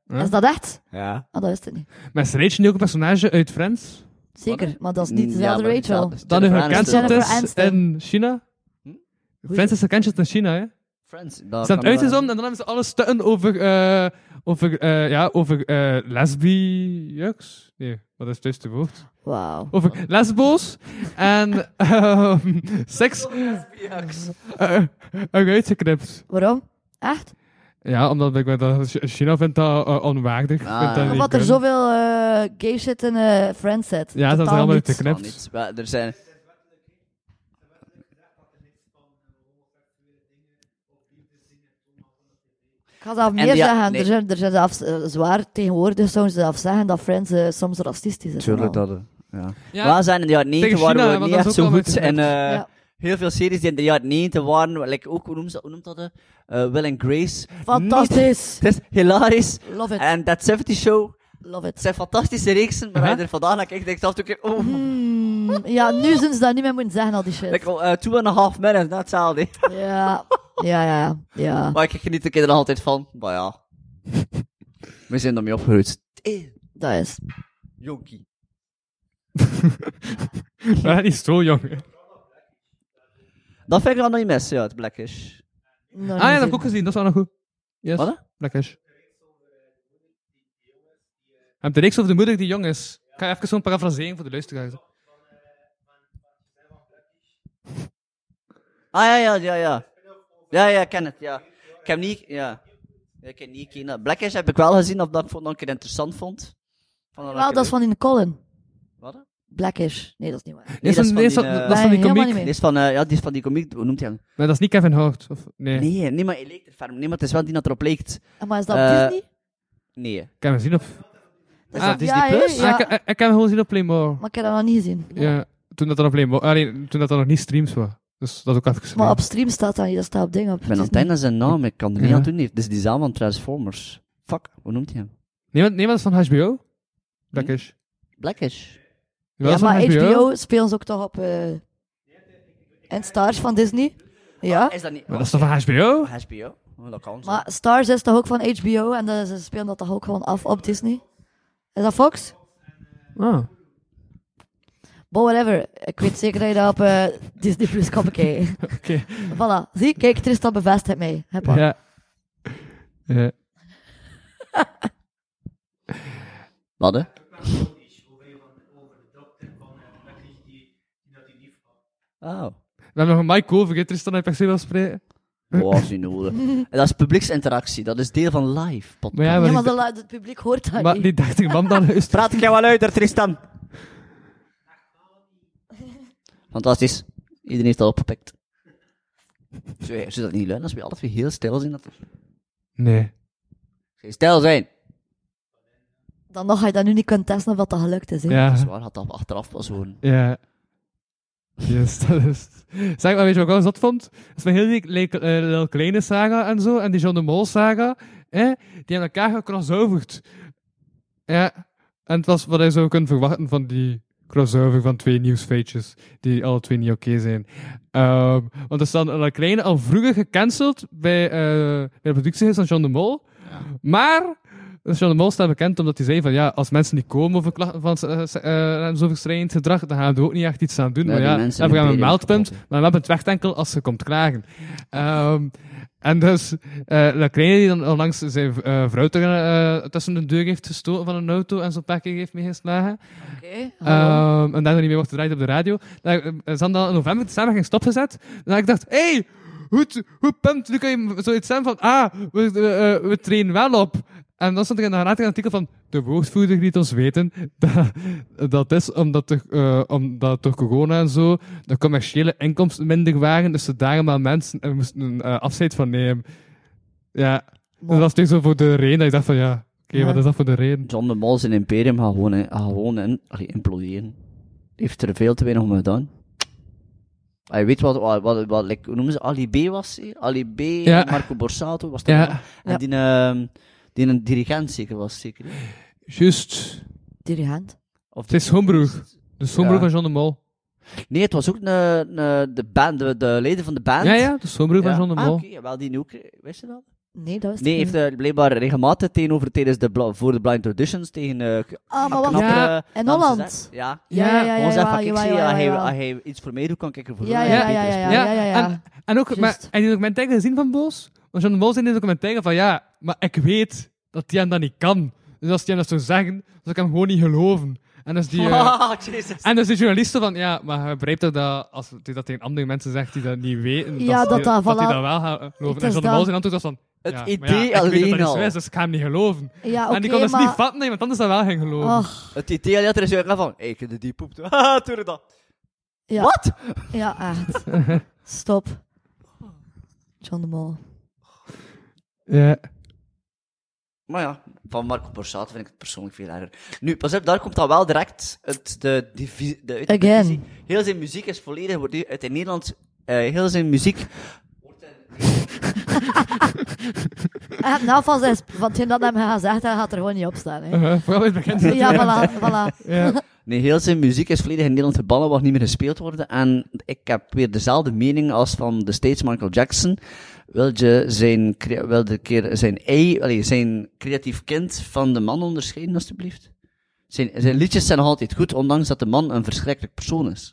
[SPEAKER 4] Is dat echt?
[SPEAKER 5] Ja.
[SPEAKER 4] Ah, dat wist ik niet.
[SPEAKER 3] Maar is Rachel nu ook een personage uit Friends?
[SPEAKER 4] Zeker, maar dat is niet dezelfde
[SPEAKER 5] Mm, maar
[SPEAKER 4] Rachel.
[SPEAKER 5] hetzelfde.
[SPEAKER 3] Dat nu
[SPEAKER 5] Jennifer
[SPEAKER 3] gecanceld
[SPEAKER 5] Aniston.
[SPEAKER 4] Jennifer
[SPEAKER 3] is
[SPEAKER 4] Aniston.
[SPEAKER 3] in China?
[SPEAKER 5] Hm?
[SPEAKER 3] Friends is gecanceld in China, hè?
[SPEAKER 5] Friends. Ze
[SPEAKER 3] Ze zijn uitgezonden en dan hebben ze alle stukken over, eh, over, eh, ja, over eh lesbiëks. Nee, wat is het juiste woord?
[SPEAKER 4] Wauw.
[SPEAKER 3] Over lesbo's en ehm, seks eh, eruit geknipt.
[SPEAKER 4] Waarom? Echt?
[SPEAKER 3] Ja, omdat ik dat Ch- China vindt dat eh, onwaardig.
[SPEAKER 5] Ah,
[SPEAKER 3] vindt dat
[SPEAKER 5] ja.
[SPEAKER 3] niet
[SPEAKER 4] Omdat er
[SPEAKER 3] kunnen.
[SPEAKER 4] zoveel eh gays zit in eh Friends zit.
[SPEAKER 3] Ja, dat is
[SPEAKER 4] Totaal
[SPEAKER 3] helemaal
[SPEAKER 4] niet.
[SPEAKER 3] uit geknipt.
[SPEAKER 5] niet. Maar Er zijn...
[SPEAKER 4] Ik ga zelf
[SPEAKER 5] En
[SPEAKER 4] meer
[SPEAKER 5] die-
[SPEAKER 4] zeggen.
[SPEAKER 5] nee.
[SPEAKER 4] Er zijn, er zijn zelfs eh, zwaar tegenwoordig zouden ze zelf zeggen dat Friends eh, soms racistisch is.
[SPEAKER 5] Tuurlijk
[SPEAKER 4] en al.
[SPEAKER 5] dat. Ja.
[SPEAKER 3] Ja.
[SPEAKER 5] Waar zijn in de jaren 90
[SPEAKER 3] Tegen
[SPEAKER 5] waren
[SPEAKER 3] China,
[SPEAKER 5] we
[SPEAKER 3] want
[SPEAKER 5] niet
[SPEAKER 3] dat is ook
[SPEAKER 5] echt zo
[SPEAKER 3] wel
[SPEAKER 5] goed.
[SPEAKER 3] weer
[SPEAKER 5] En eh,
[SPEAKER 4] Ja.
[SPEAKER 5] heel veel series die in de jaren 90 waren, like ook, hoe noemt dat? Hoe noemt dat eh? Eh, Will and Grace.
[SPEAKER 4] Fantastisch.
[SPEAKER 5] Niet- Het is hilarisch.
[SPEAKER 4] Love it.
[SPEAKER 5] En That 70 Show.
[SPEAKER 4] Love
[SPEAKER 5] Het
[SPEAKER 4] it.
[SPEAKER 5] zijn fantastische reeksen, maar als je
[SPEAKER 3] Huh?
[SPEAKER 5] er vandaag naar kijkt, denk ik zelf ook keer, oh,
[SPEAKER 4] Hmm, ja, nu zijn ze dat niet meer moeten zeggen, al die shit.
[SPEAKER 5] like, oh, eh, two and a half minutes, dat hetzelfde.
[SPEAKER 4] Ja, ja, ja. ja.
[SPEAKER 5] Maar ik geniet er kinderen altijd van. Maar ja. We zijn ermee opgegroeid. Eh,
[SPEAKER 4] Dat is.
[SPEAKER 5] Jokie.
[SPEAKER 3] Maar dat is zo jong. Ah,
[SPEAKER 5] Dat vind ik wel nog niet mis, ja, het blackish.
[SPEAKER 4] nog
[SPEAKER 3] Ah ja, dat
[SPEAKER 4] niet
[SPEAKER 3] heb ik ook gezien. Dat is wel nog goed. Yes.
[SPEAKER 5] Wat?
[SPEAKER 3] Blackish. Heb de reeks over de moeder die jong is. Ik ga even zo'n parafrasering voor de luisteraars.
[SPEAKER 5] Ah ja, ja, ja, ja. Ja, ja, ik ken het, ja. Ik heb niet, ja. Ja, Ik heb niet gekeken. Blackish heb ik wel gezien, of dat ik vond dat ik het interessant vond. Van
[SPEAKER 4] gezien. Wel, dat is van in Colin.
[SPEAKER 5] Wat?
[SPEAKER 4] Blackish. Nee, dat is niet waar.
[SPEAKER 5] Nee, dat is van die,
[SPEAKER 3] dat
[SPEAKER 5] eh,
[SPEAKER 3] dat is van die
[SPEAKER 4] Nee, helemaal
[SPEAKER 3] komiek.
[SPEAKER 4] niet
[SPEAKER 5] Die is van, eh, ja, die is van die komiek, hoe noemt hij hem?
[SPEAKER 3] Maar dat is niet Kevin Hart. Of, nee.
[SPEAKER 5] Nee, nee, maar hij leek er ferm. Nee, maar het is wel die dat erop leekt.
[SPEAKER 4] En maar is dat
[SPEAKER 5] Eh,
[SPEAKER 4] Disney?
[SPEAKER 5] Nee.
[SPEAKER 3] Ik heb hem zien op...
[SPEAKER 5] Dat is
[SPEAKER 3] Ah,
[SPEAKER 5] dat Disney
[SPEAKER 4] ja,
[SPEAKER 5] Plus?
[SPEAKER 4] ja, ja.
[SPEAKER 3] Ah, ik, ik, ik heb hem gewoon zien op Playmore.
[SPEAKER 4] Maar ik heb dat nog niet gezien.
[SPEAKER 3] Ja, toen dat dan op Playmore... ah, nee, toen dat er nog niet streams was. Dus dat is ook even geschreven.
[SPEAKER 4] Maar op stream staat dat niet, dat staat op ding op.
[SPEAKER 5] Ik ben aan het einde aan zijn naam, ik kan er niet
[SPEAKER 3] Ja.
[SPEAKER 5] aan doen. Het is die zaal van Transformers. Fuck, hoe noemt hij hem?
[SPEAKER 3] Nee, maar, nee, maar dat is van HBO. Blackish.
[SPEAKER 5] Blackish.
[SPEAKER 3] dat
[SPEAKER 4] Ja,
[SPEAKER 3] is van
[SPEAKER 4] maar HBO speelt ze ook toch op... eh en Stars van Disney? Ja.
[SPEAKER 5] Is dat niet?
[SPEAKER 3] Maar dat is toch van HBO?
[SPEAKER 5] HBO? Oh, dat kan zo.
[SPEAKER 4] Maar Stars is toch ook van HBO en eh, ze spelen dat toch ook gewoon af op Disney? Is dat Fox?
[SPEAKER 3] Ah.
[SPEAKER 4] Bo, whatever. Ik weet zeker dat je dat op eh, Disney Plus kan bekijken.
[SPEAKER 3] Oké.
[SPEAKER 4] voilà. Zie, kijk, Tristan bevestigt het mij. Heb maar.
[SPEAKER 3] Ja. Ja.
[SPEAKER 5] Wat, hè? Oh.
[SPEAKER 3] We hebben nog een mic over, hè, Tristan, dat je per se wil spreken.
[SPEAKER 5] Wow, is niet nodig. En dat is publieksinteractie. Dat is deel van live podcast.
[SPEAKER 3] Maar ja,
[SPEAKER 4] Ja,
[SPEAKER 3] maar,
[SPEAKER 4] maar
[SPEAKER 3] die-
[SPEAKER 4] de la- het publiek hoort dat
[SPEAKER 3] maar
[SPEAKER 4] niet.
[SPEAKER 3] die 80 man daar is
[SPEAKER 5] Praat ik jou wel uit, Tristan? Fantastisch. Iedereen heeft dat opgepikt. Zul je dat niet leuk als we alle twee heel stil zijn? Dat we
[SPEAKER 3] Nee.
[SPEAKER 5] geen stil zijn.
[SPEAKER 4] Dan nog ga je dat nu niet kunnen testen of dat, dat gelukt is. Hè?
[SPEAKER 5] Dat is
[SPEAKER 3] Ja.
[SPEAKER 5] waar, had dat achteraf pas gewoon.
[SPEAKER 3] Ja. Yes, dat is... Zeg maar, weet je wat ik wel zot vond? Dat is een hele le- le- Lil Kleine saga en zo, en die John de Mol saga, hè? die hebben elkaar gecrossoverd. Ja, en het was wat je zou kunnen verwachten van die crossover van twee nieuwsfeetjes, die alle twee niet oké zijn. Ehm, want er is dan Lil Kleine al vroeger gecanceld bij, eh, bij de productiehuis van John de Mol, maar... Dus John de Mol staat bekend omdat hij zei van ja, als mensen niet komen over klachten van eh, se- eh, en zo verstrijdend gedrag, dan gaan we er ook niet echt iets aan doen.
[SPEAKER 5] Nee,
[SPEAKER 3] maar
[SPEAKER 5] die
[SPEAKER 3] ja,
[SPEAKER 5] mensen
[SPEAKER 3] en we gaan een
[SPEAKER 5] in het breder
[SPEAKER 3] meldpunt, maar we hebben het weg enkel als ze komt klagen. Ehm, en dus, eh Lacraine die dan onlangs zijn eh, vrouw tegen, eh, tussen de deur heeft gestoten van een auto en zo'n pakje heeft meegeslagen.
[SPEAKER 4] Oké.
[SPEAKER 3] Ehm, en daarna niet meer wordt gedraaid op de radio. Daar, eh, Ze hadden dan in november de samenwerking stopgezet. En ik dacht, hé, hey, goed, goed punt. Nu kan je zoiets zijn van, ah, we, we, eh, we trainen wel op. En dan stond ik in een raad een artikel van, de woordvoerder liet ons weten dat, dat is omdat, de, eh, omdat door corona en zo de commerciële inkomsten minder waren. Dus ze daarom maar mensen en moesten een eh, afscheid van nemen. Ja,
[SPEAKER 4] Maar-
[SPEAKER 3] dat was natuurlijk zo voor de reden dat ik dacht van, ja, oké,
[SPEAKER 4] Ja.
[SPEAKER 3] wat is dat voor de reden?
[SPEAKER 5] John de Mol zijn imperium gaat gewoon, in, gaat gewoon in, allee, imploderen. Die heeft er veel te weinig om gedaan. Hij weet wat, wat, wat, wat like, hoe noemen ze, Ali B was hij? Ali B,
[SPEAKER 3] Ja.
[SPEAKER 5] Marco Borsato was dat.
[SPEAKER 3] Ja.
[SPEAKER 5] wel?
[SPEAKER 4] Ja.
[SPEAKER 5] En die, ehm, die een dirigent zeker was, zeker. hè?
[SPEAKER 3] Juist.
[SPEAKER 4] Dirigent.
[SPEAKER 5] Of
[SPEAKER 3] Het is schoonbroer. De schoonbroer
[SPEAKER 5] Ja.
[SPEAKER 3] van John de Mol.
[SPEAKER 5] Nee, het was ook een, een- de, band, de, de leden van de band.
[SPEAKER 3] Ja, ja, de schoonbroer van John de
[SPEAKER 5] Ah,
[SPEAKER 3] Mol.
[SPEAKER 5] oké, jawel, die ook. eh, Wist je dat?
[SPEAKER 4] Nee, dat is
[SPEAKER 5] Nee, heeft eh, blijkbaar regelmatig tegenover tijdens de bla- voor de blind auditions tegen eh k-
[SPEAKER 4] Ah, maar wacht.
[SPEAKER 5] knappere
[SPEAKER 3] Ja.
[SPEAKER 5] dames
[SPEAKER 4] In
[SPEAKER 5] te
[SPEAKER 4] Holland.
[SPEAKER 5] zetten. Ja.
[SPEAKER 4] Ja, ja, ja.
[SPEAKER 5] Gewoon
[SPEAKER 4] ja,
[SPEAKER 5] zeggen van,
[SPEAKER 4] ja,
[SPEAKER 5] kijk,
[SPEAKER 4] ja,
[SPEAKER 5] zie je,
[SPEAKER 4] ja,
[SPEAKER 5] als hij-
[SPEAKER 4] ja.
[SPEAKER 5] als hij iets voor mij doet, kan ik ervoor doen.
[SPEAKER 4] Ja,
[SPEAKER 5] en
[SPEAKER 4] ja,
[SPEAKER 5] hij
[SPEAKER 4] ja,
[SPEAKER 5] beter
[SPEAKER 4] ja,
[SPEAKER 5] is.
[SPEAKER 4] ja, ja, ja.
[SPEAKER 3] En, en ook maar,
[SPEAKER 4] Juist.
[SPEAKER 3] en die documentaire gezien van Boos? Want John de Mol zei in de documentaire van ja, maar ik weet dat die hem dat niet kan. Dus als die hem dat zou zeggen, zou ik hem gewoon niet geloven. En dus die, eh,
[SPEAKER 5] Ah, Jezus.
[SPEAKER 3] en dus die journalisten van ja, maar hij begrijpt dat, dat als hij dat tegen andere mensen zegt die dat niet weten,
[SPEAKER 4] Ja,
[SPEAKER 3] dat,
[SPEAKER 4] dat
[SPEAKER 3] die,
[SPEAKER 4] dat,
[SPEAKER 3] dat, die
[SPEAKER 4] voilà.
[SPEAKER 3] dat wel gaan eh, geloven.
[SPEAKER 4] Het
[SPEAKER 3] En
[SPEAKER 4] is
[SPEAKER 3] John de Mol
[SPEAKER 4] dat.
[SPEAKER 3] zijn antwoord was van
[SPEAKER 5] Het
[SPEAKER 3] ja, maar ja,
[SPEAKER 5] idee
[SPEAKER 3] ik weet dat
[SPEAKER 5] alleen
[SPEAKER 3] dat niet zo
[SPEAKER 5] al.
[SPEAKER 3] is, dus ik ga hem niet geloven. en
[SPEAKER 4] Ja,
[SPEAKER 3] die
[SPEAKER 4] Ah, oké,
[SPEAKER 3] kon dus niet
[SPEAKER 4] maar- Ah.
[SPEAKER 3] vatten dat iemand anders dat wel ging geloven.
[SPEAKER 4] Och,
[SPEAKER 5] Het idee alleen dat er is uit van, hé, ik heb de die poep. Haha, doe er dat.
[SPEAKER 4] ja.
[SPEAKER 5] Wat?
[SPEAKER 4] Ja, echt. Stop. John de Mol.
[SPEAKER 3] Ja.
[SPEAKER 5] Maar ja, van Marco Borsato vind ik het persoonlijk veel erger. Nu, pas op, daar komt dan wel direct het, de, divi- de, uit de
[SPEAKER 4] Again.
[SPEAKER 5] divisie. Heel zijn muziek is volledig, wordt nu uit in Nederland, eh, heel zijn muziek.
[SPEAKER 4] En nou van zijn, van hetgeen dat hij hem gaat zeggen, hij gaat er gewoon niet op staan. Hè.
[SPEAKER 3] Eh, vooral in het begin.
[SPEAKER 4] Ja, voilà, voilà.
[SPEAKER 3] Ja.
[SPEAKER 5] Nee, heel zijn muziek is volledig in Nederland verbannen, mag niet meer gespeeld worden. En ik heb weer dezelfde mening als van de States Michael Jackson. Wil je zijn, crea- wil de keer zijn ei, allee, zijn creatief kind van de man onderscheiden, alstublieft? Zijn, zijn liedjes zijn nog altijd goed, ondanks dat de man een verschrikkelijk persoon is.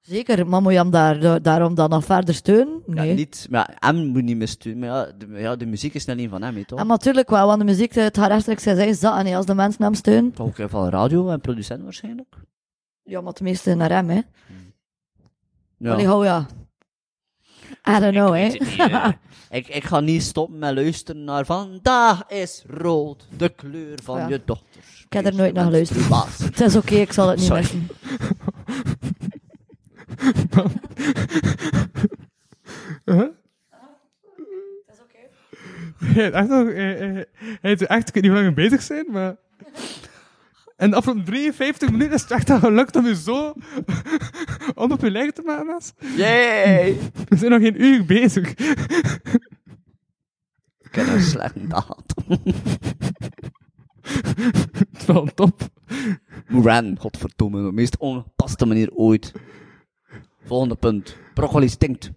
[SPEAKER 4] Zeker, maar moet je hem daar, daarom dan nog verder steunen? Nee.
[SPEAKER 5] Ja, niet, maar ja, hem moet niet missturen. Maar ja, de, ja, de muziek is niet alleen van hem, hè, toch?
[SPEAKER 4] En natuurlijk wel, want de muziek, eh, het gaat rechtstreeks gezegd, is dat. En nee, als de mensen hem steunen,
[SPEAKER 5] Ook eh, van radio en producent waarschijnlijk.
[SPEAKER 4] ja, maar tenminste naar hem, hè.
[SPEAKER 5] Ja.
[SPEAKER 4] Allee, hou ja. I don't know, hè.
[SPEAKER 5] Ik, weet het niet, eh. ik, ik ga niet stoppen met luisteren naar Vandaag is rood, de kleur van
[SPEAKER 4] Ja.
[SPEAKER 5] je dochter.
[SPEAKER 4] Ik heb er nooit naar geluisterd.
[SPEAKER 5] Baas.
[SPEAKER 4] Het is oké, ik zal het niet
[SPEAKER 5] Sorry.
[SPEAKER 4] missen.
[SPEAKER 3] Ja, echt nog, eh, eh, hij doet echt, ik weet niet hoe lang we bezig zijn, maar... En de afgelopen 53 minuten is het echt al gelukt om je zo om op je lijf te maken, Mas.
[SPEAKER 5] Yay!
[SPEAKER 3] We zijn nog geen uur bezig.
[SPEAKER 5] Ik heb een slechte daad.
[SPEAKER 3] Het is wel top.
[SPEAKER 5] Moran, godverdomme, de meest ongepaste manier ooit. Volgende punt. Broccoli stinkt.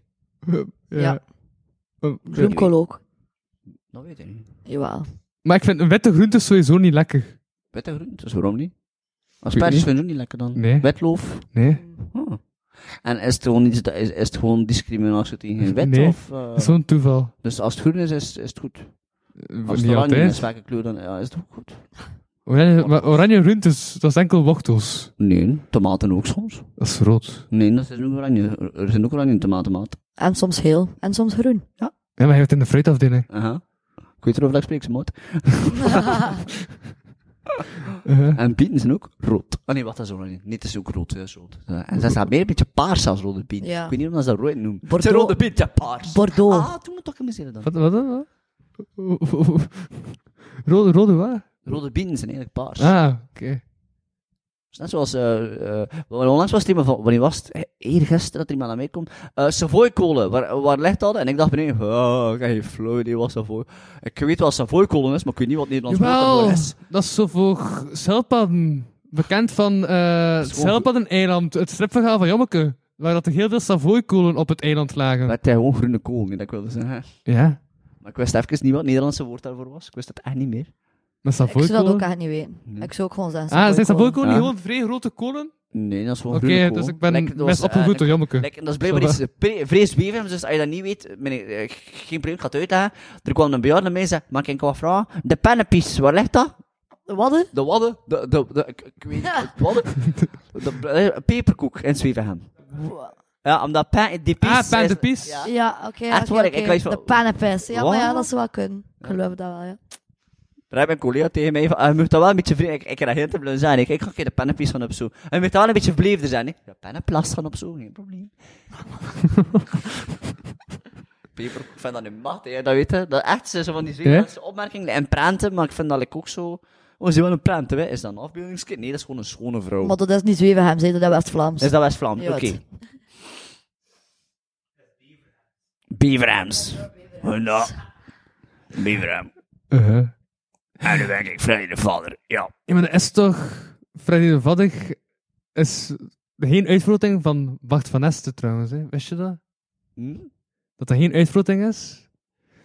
[SPEAKER 3] Ja.
[SPEAKER 4] Ja.
[SPEAKER 3] Eh,
[SPEAKER 4] Bloemkool ook.
[SPEAKER 5] Dat weet ik niet.
[SPEAKER 4] Jawel.
[SPEAKER 3] Maar ik vind witte groenten sowieso niet lekker.
[SPEAKER 5] Witte groenten, dus waarom niet?
[SPEAKER 3] niet.
[SPEAKER 5] Asperges vind je ook niet lekker dan?
[SPEAKER 3] Nee.
[SPEAKER 5] Witloof?
[SPEAKER 3] Nee.
[SPEAKER 5] Oh. En is het gewoon, iets, dat- is, is het gewoon discriminatie tegen wit?
[SPEAKER 3] Nee.
[SPEAKER 5] Of, eh,
[SPEAKER 3] Dat is Zo'n toeval.
[SPEAKER 5] dus als het groen is, is, is het goed.
[SPEAKER 3] Eh,
[SPEAKER 5] Als het
[SPEAKER 3] niet
[SPEAKER 5] oranje is,
[SPEAKER 3] altijd.
[SPEAKER 5] welke kleur dan? Ja, is het ook goed?
[SPEAKER 3] Oranje, maar oranje groentes, dat is enkel wortels.
[SPEAKER 5] Nee, tomaten ook soms.
[SPEAKER 3] Dat is rood.
[SPEAKER 5] Nee, dat is ook oranje. Er- Er zijn ook oranje tomatenmaat.
[SPEAKER 4] En soms heel. En soms groen.
[SPEAKER 3] Ja, maar je hebt het in de fruitafdeling.
[SPEAKER 5] Aha. Ik weet erover dat ik spreek, ze maat.
[SPEAKER 3] Eh,
[SPEAKER 5] En bieten zijn ook rood. Oh nee, wat dat is oranje. Nee, het is ook rood. hè, is rood. Ja, En ze zijn meer een beetje paars als rode bieten.
[SPEAKER 4] Ja.
[SPEAKER 5] Ik weet niet of ze dat rood noemen. Het zijn
[SPEAKER 4] Bordeaux.
[SPEAKER 5] rode bieten, ja, paars.
[SPEAKER 4] Bordeaux.
[SPEAKER 5] Ah, toen moet ik me zeggen dan.
[SPEAKER 3] Wat, wat, wat? Rode, rode wat?
[SPEAKER 5] Rode bieten zijn eigenlijk paars.
[SPEAKER 3] Ah, oké.
[SPEAKER 5] Dus net zoals, eh, eh, onlangs was het iemand van, wanneer was het? Eh, Eergisteren dat er iemand aan mij komt. Eh Savoy kolen, waar, waar ligt dat? En ik dacht beneden, oh, ik heb geen flauw idee wat Savoy. Ik weet wel Savoy kolen is, maar ik weet niet wat Nederlands brood daarvoor
[SPEAKER 3] Jawel,
[SPEAKER 5] is.
[SPEAKER 3] dat is zo voor zeilpadden. Bekend van eh het
[SPEAKER 5] gewoon-
[SPEAKER 3] zeilpaddeneiland, het stripverhaal van Jommeke. Waar dat er heel veel savoykolen op het eiland lagen.
[SPEAKER 5] Maar het is gewoon groene kool, niet dat ik wilde zeggen.
[SPEAKER 3] Ja,
[SPEAKER 5] Maar ik wist even niet wat het Nederlandse woord daarvoor was. Ik wist het echt niet meer.
[SPEAKER 3] met
[SPEAKER 4] Ik zou dat ook
[SPEAKER 3] savoykolen.
[SPEAKER 4] echt niet weten. Ik zou ook gewoon zeggen.
[SPEAKER 3] Ah, zijn
[SPEAKER 4] savoykolen.
[SPEAKER 3] savoykolen niet
[SPEAKER 5] Ja.
[SPEAKER 3] gewoon vrij grote kolen?
[SPEAKER 5] Nee, dat is gewoon
[SPEAKER 3] Oké,
[SPEAKER 5] groene kool.
[SPEAKER 3] dus ik ben
[SPEAKER 5] Lekker, dat was,
[SPEAKER 3] best opgevoed
[SPEAKER 5] eh,
[SPEAKER 3] door Jommeke.
[SPEAKER 5] Lekker, dat is blijkbaar iets eh, pre- vrees bevend, dus als je dat niet weet, meneer, eh, geen probleem, ik ga het uitleggen. Er kwam een bejaarde mee en zei, mag ik wat vragen? De pennenpies, waar ligt dat?
[SPEAKER 4] Wadden?
[SPEAKER 5] De wadden, de, de, de, ik, ik weet niet, wadden, de, eh, peperkoek in Zwevenham. Ja, omdat pen, die pies...
[SPEAKER 3] Ah, Pijn de
[SPEAKER 5] is-
[SPEAKER 3] Pies.
[SPEAKER 5] Ja.
[SPEAKER 4] Ja, oké.
[SPEAKER 5] Echt
[SPEAKER 4] oké,
[SPEAKER 5] waar, Ah, ik-
[SPEAKER 4] oké.
[SPEAKER 5] ik weet van-
[SPEAKER 4] De pannenpest. Ja, maar ja,
[SPEAKER 5] Wat?
[SPEAKER 4] dat zou wel kunnen. Ik geloof dat wel, ja.
[SPEAKER 5] Daar heb ik een collega tegen mij van, ah, je moet dat wel een beetje vriendelijk, ik, ik kan dat heel te blij zijn, ik, ik ga een keer de pennenpies gaan opzoeken. En je moet dat wel een beetje beleefder zijn, hè. Ja, pennenplas gaan opzoeken, geen probleem. Peper, ik vind dat nu macht, hè, dat weet je. Dat echt zo van die Zwevenhamse opmerkingen en prenten, maar ik vind dat ik ook zo... Oh, is die wel een prent, hè? Is dat een afbeeldingskind? Nee, dat is gewoon een schone vrouw.
[SPEAKER 4] Maar dat is niet Zwevenhem, zei dat is West-Vlaams.
[SPEAKER 5] Oh. Is dat West-Vlaams?
[SPEAKER 4] Ja,
[SPEAKER 5] Oké.
[SPEAKER 4] het-
[SPEAKER 5] Beaverhams. Nou, Beaverham.
[SPEAKER 3] Uh-huh.
[SPEAKER 5] En dan ben ik Freddy de vader. Ja.
[SPEAKER 3] Ja, maar dat is toch... Freddy de Vaddig is geen uitvloting van Bart van Esten trouwens, hè. wist je dat?
[SPEAKER 5] Hm?
[SPEAKER 3] dat dat geen uitvloting is.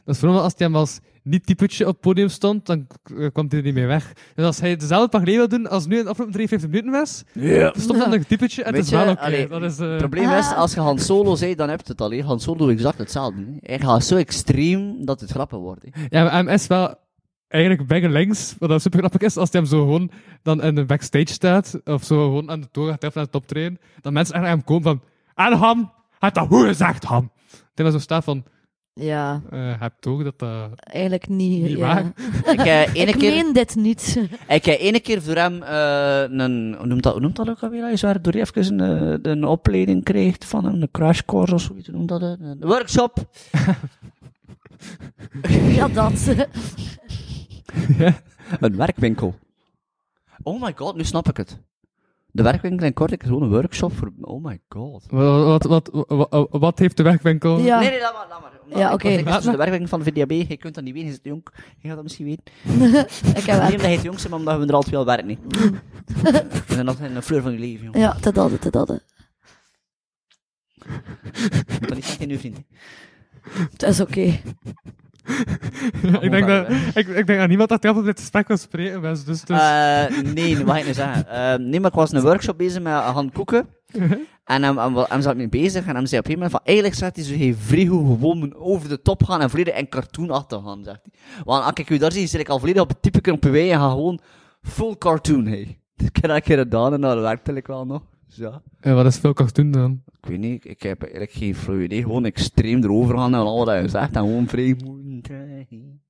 [SPEAKER 3] Dat is vooral als hij hem als niet-typetje op het podium stond, dan k- eh, kwam hij er niet mee weg. Dus als hij dezelfde pagina wil doen als nu in de afgelopen 53 minuten was,
[SPEAKER 5] Ja.
[SPEAKER 3] stond dan een typetje en het
[SPEAKER 5] Weet
[SPEAKER 3] is
[SPEAKER 5] je,
[SPEAKER 3] wel oké.
[SPEAKER 5] allee,
[SPEAKER 3] Dat is... eh,
[SPEAKER 5] Het probleem
[SPEAKER 4] Ah.
[SPEAKER 5] is, als je Han Solo zei, dan heb je het al. hè. Han Solo doet exact hetzelfde. hè. Hij gaat zo extreem dat het grappen wordt. hè.
[SPEAKER 3] Ja, maar MS wel eigenlijk bang links, wat dat super grappig is, als hij hem zo gewoon dan in de backstage staat, of zo gewoon aan de toren gaat treffen aan het optreden, dan mensen echt naar hem komen van, en Ham, hij heeft dat hoe gezegd, Ham? Terwijl hij zo staat van,
[SPEAKER 4] Ja,
[SPEAKER 3] eh heb toch dat dat
[SPEAKER 4] eigenlijk niet.
[SPEAKER 3] niet
[SPEAKER 4] ja.
[SPEAKER 3] waar?
[SPEAKER 5] Ik heb ene
[SPEAKER 4] Ik
[SPEAKER 5] keer,
[SPEAKER 4] meen dit niet.
[SPEAKER 5] ik heb ene keer voor hem eh, een... Hoe noemt dat, hoe noemt dat ook alweer? Hij waar door hij even een, eh, een opleiding kreeg van hem, een crash course of zoiets. hoe Noemt dat, eh, een workshop.
[SPEAKER 4] Ja, dat.
[SPEAKER 5] Een werkwinkel. Oh my god, nu snap ik het. De werkwinkel in Kortrijk is gewoon een workshop voor... Oh my god.
[SPEAKER 3] Wat, wat, wat, wat, wat heeft de werkwinkel?
[SPEAKER 4] Ja.
[SPEAKER 5] Nee, nee, laat maar, laat maar. Omdat
[SPEAKER 4] Ja,
[SPEAKER 5] ik
[SPEAKER 4] oké.
[SPEAKER 5] was- Ik was dus de werkwinkel van de VDAB, je kunt dat niet weten, je zit jong. Je gaat dat misschien weten.
[SPEAKER 4] Ik heb
[SPEAKER 5] Niet omdat
[SPEAKER 4] werk.
[SPEAKER 5] je het jong bent, maar omdat we er altijd wel werken. hè. We zijn altijd in de fleur van je leven, jong.
[SPEAKER 4] Ja, te dat, te dat.
[SPEAKER 5] Je moet dat niet zeggen tegen je vriend.
[SPEAKER 4] Het is oké.
[SPEAKER 3] ik, denk dat, ik, ik denk dat niemand dat heel veel dit gesprek wil spreken, was, dus, dus
[SPEAKER 5] Eh, nee, wat ga ik nu zeggen? Eh, nee, maar ik was in een workshop bezig met Han Koeken. En hem, hem, hem zat mee bezig en hem zei op een gegeven moment van, eigenlijk zegt hij zo, hey, Vrigo gewoon moet over de top gaan en volledig en cartoon achter gaan, zegt hij. Want als ik u daar zie, zit ik al volledig op het type op en ga gewoon full cartoon, hey. Dus ik heb dat een keer gedaan en dat werkte ik wel nog. Dus ja.
[SPEAKER 3] Ja, wat is veel cartoon dan?
[SPEAKER 5] Ik weet niet, ik heb eigenlijk geen flauw idee. Gewoon extreem erover gaan en al wat je zegt en gewoon vrij moeten krijgen.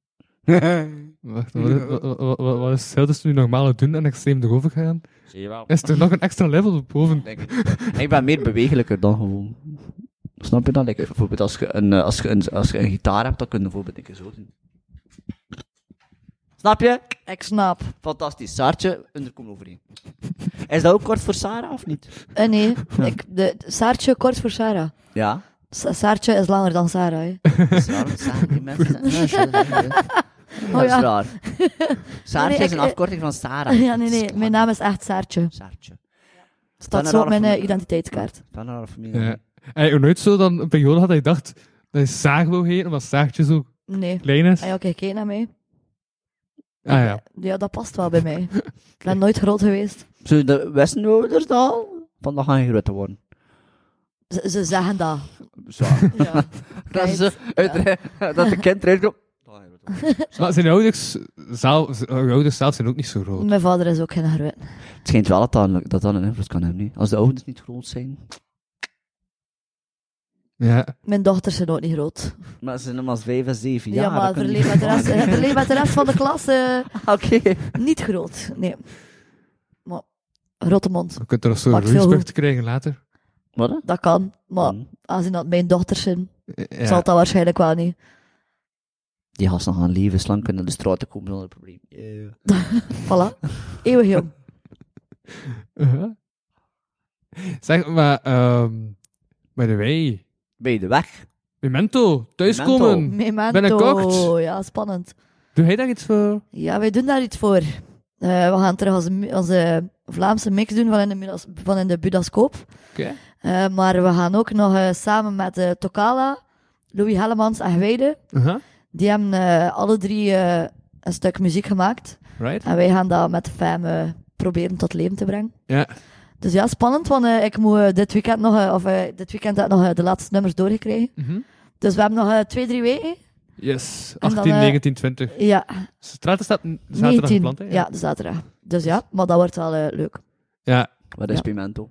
[SPEAKER 3] Wacht, wat, is- wat, wat, wat- wat is heel dus nu normale doen en extreem erover gaan?
[SPEAKER 5] Zie je wel.
[SPEAKER 3] Is er nog een extra level boven?
[SPEAKER 5] Denk ik. ik ben meer bewegelijker dan gewoon. Snap je dat? Like, bijvoorbeeld als je, een, eh, als, je een, als je een gitaar hebt, dan kun je bijvoorbeeld een keer zo doen. Snap je?
[SPEAKER 4] Ik snap.
[SPEAKER 5] Fantastisch. Saartje, onderkom overeen. Is dat ook kort voor Sarah of niet?
[SPEAKER 4] Eh, nee, ik, de, Saartje kort voor Sarah.
[SPEAKER 5] Ja.
[SPEAKER 4] Sa- Saartje is langer dan Sarah. hè.
[SPEAKER 5] Dat is raar, want Sarah, die mensen zijn- Dat is
[SPEAKER 4] Oh, ja.
[SPEAKER 5] raar. Saartje
[SPEAKER 4] Nee,
[SPEAKER 5] is
[SPEAKER 4] ik,
[SPEAKER 5] een
[SPEAKER 4] eh,
[SPEAKER 5] afkorting van Sarah.
[SPEAKER 4] Ja, nee,
[SPEAKER 5] Dat is
[SPEAKER 4] nee.
[SPEAKER 5] klaar.
[SPEAKER 4] Mijn naam is echt Saartje.
[SPEAKER 5] Saartje.
[SPEAKER 4] Staat
[SPEAKER 5] Ben
[SPEAKER 4] zo
[SPEAKER 5] er
[SPEAKER 4] op mijn
[SPEAKER 5] al
[SPEAKER 4] eh,
[SPEAKER 5] van-
[SPEAKER 4] identiteitskaart.
[SPEAKER 5] Van haar familie.
[SPEAKER 3] Ja. Heb je nooit zo dan een periode had dat je dacht, dat is Sago heet, omdat Saagje zo
[SPEAKER 4] Nee.
[SPEAKER 3] klein is.
[SPEAKER 4] Ah ja, kijk, kijk naar mij.
[SPEAKER 3] Ah ja.
[SPEAKER 4] Ja, dat past wel bij mij. Ik ben nooit groot geweest.
[SPEAKER 5] Zullen de Westenouders dat al? Van dan gaan je groter worden.
[SPEAKER 4] Ze, ze zeggen dat.
[SPEAKER 5] Zo.
[SPEAKER 4] Ja.
[SPEAKER 5] dat,
[SPEAKER 4] Right.
[SPEAKER 5] ze, uit, dat de kind eruit komt. Dan ga je groter worden.
[SPEAKER 3] Maar zijn ouders zelf, zijn ouders zelf zijn ook niet zo groot.
[SPEAKER 4] Mijn vader is ook geen groot.
[SPEAKER 5] Het schijnt wel dat dat, dat dat een invloed kan hebben. hè. Als de ouders niet groot zijn.
[SPEAKER 4] Mm.
[SPEAKER 3] Ja.
[SPEAKER 4] Mijn dochters zijn ook niet groot.
[SPEAKER 5] Maar ze zijn hem als 5 en 7
[SPEAKER 4] Ja,
[SPEAKER 5] jaar.
[SPEAKER 4] maar
[SPEAKER 5] dat kan
[SPEAKER 4] verleef
[SPEAKER 5] niet.
[SPEAKER 4] met, de rest- verleef met de rest van de klas eh,
[SPEAKER 5] Oké.
[SPEAKER 4] niet groot. Nee. Maar, rotte mond.
[SPEAKER 3] Je kunt er nog zo'n
[SPEAKER 4] Maakt veel
[SPEAKER 3] roeisbucht krijgen later.
[SPEAKER 5] Wat?
[SPEAKER 4] Dat kan. Maar
[SPEAKER 5] dan?
[SPEAKER 4] aangezien dat mijn dochters zijn,
[SPEAKER 3] Ja.
[SPEAKER 4] zal dat waarschijnlijk wel niet.
[SPEAKER 5] Die gasten gaan levenslang kunnen de straten komen zonder probleem. Eh,
[SPEAKER 4] Voilà. Eeuwig jong.
[SPEAKER 3] Uh-huh. Zeg, maar... ehm by the way...
[SPEAKER 5] Ben je de weg?
[SPEAKER 3] Memento, thuiskomen.
[SPEAKER 5] Memento.
[SPEAKER 4] Memento.
[SPEAKER 3] Binnenkort.
[SPEAKER 4] Ja, spannend.
[SPEAKER 3] Hm. Doe jij daar iets voor?
[SPEAKER 4] Ja, wij doen daar iets voor. Eh, we gaan terug onze, mu- onze Vlaamse mix doen van in de, midas- van in de Budascoop.
[SPEAKER 3] Oké.
[SPEAKER 4] Eh, maar we gaan ook nog eh, samen met eh, Tokala, Louis Hellemans en Gwijde.
[SPEAKER 3] Uh-huh.
[SPEAKER 4] Die hebben eh, alle drie eh, een stuk muziek gemaakt.
[SPEAKER 3] Right?
[SPEAKER 4] En wij gaan dat met de fam eh, proberen tot leven te brengen.
[SPEAKER 3] Ja.
[SPEAKER 4] Dus ja, spannend, want eh, ik moet eh, dit weekend nog, eh, of eh, dit weekend heb ik nog eh, de laatste nummers doorgekregen.
[SPEAKER 3] Mhm.
[SPEAKER 4] Dus we hebben nog eh, twee, drie weken.
[SPEAKER 3] Yes,
[SPEAKER 4] En dan,
[SPEAKER 3] 18,
[SPEAKER 4] eh,
[SPEAKER 3] 19, 20.
[SPEAKER 4] Ja,
[SPEAKER 3] Straten staat n- zaterdag
[SPEAKER 4] 19.
[SPEAKER 3] gepland, hè?
[SPEAKER 4] ja, de zaterdag. Dus ja, maar dat wordt wel eh, leuk.
[SPEAKER 3] ja.
[SPEAKER 5] Wat is
[SPEAKER 4] Ja.
[SPEAKER 5] Pimento?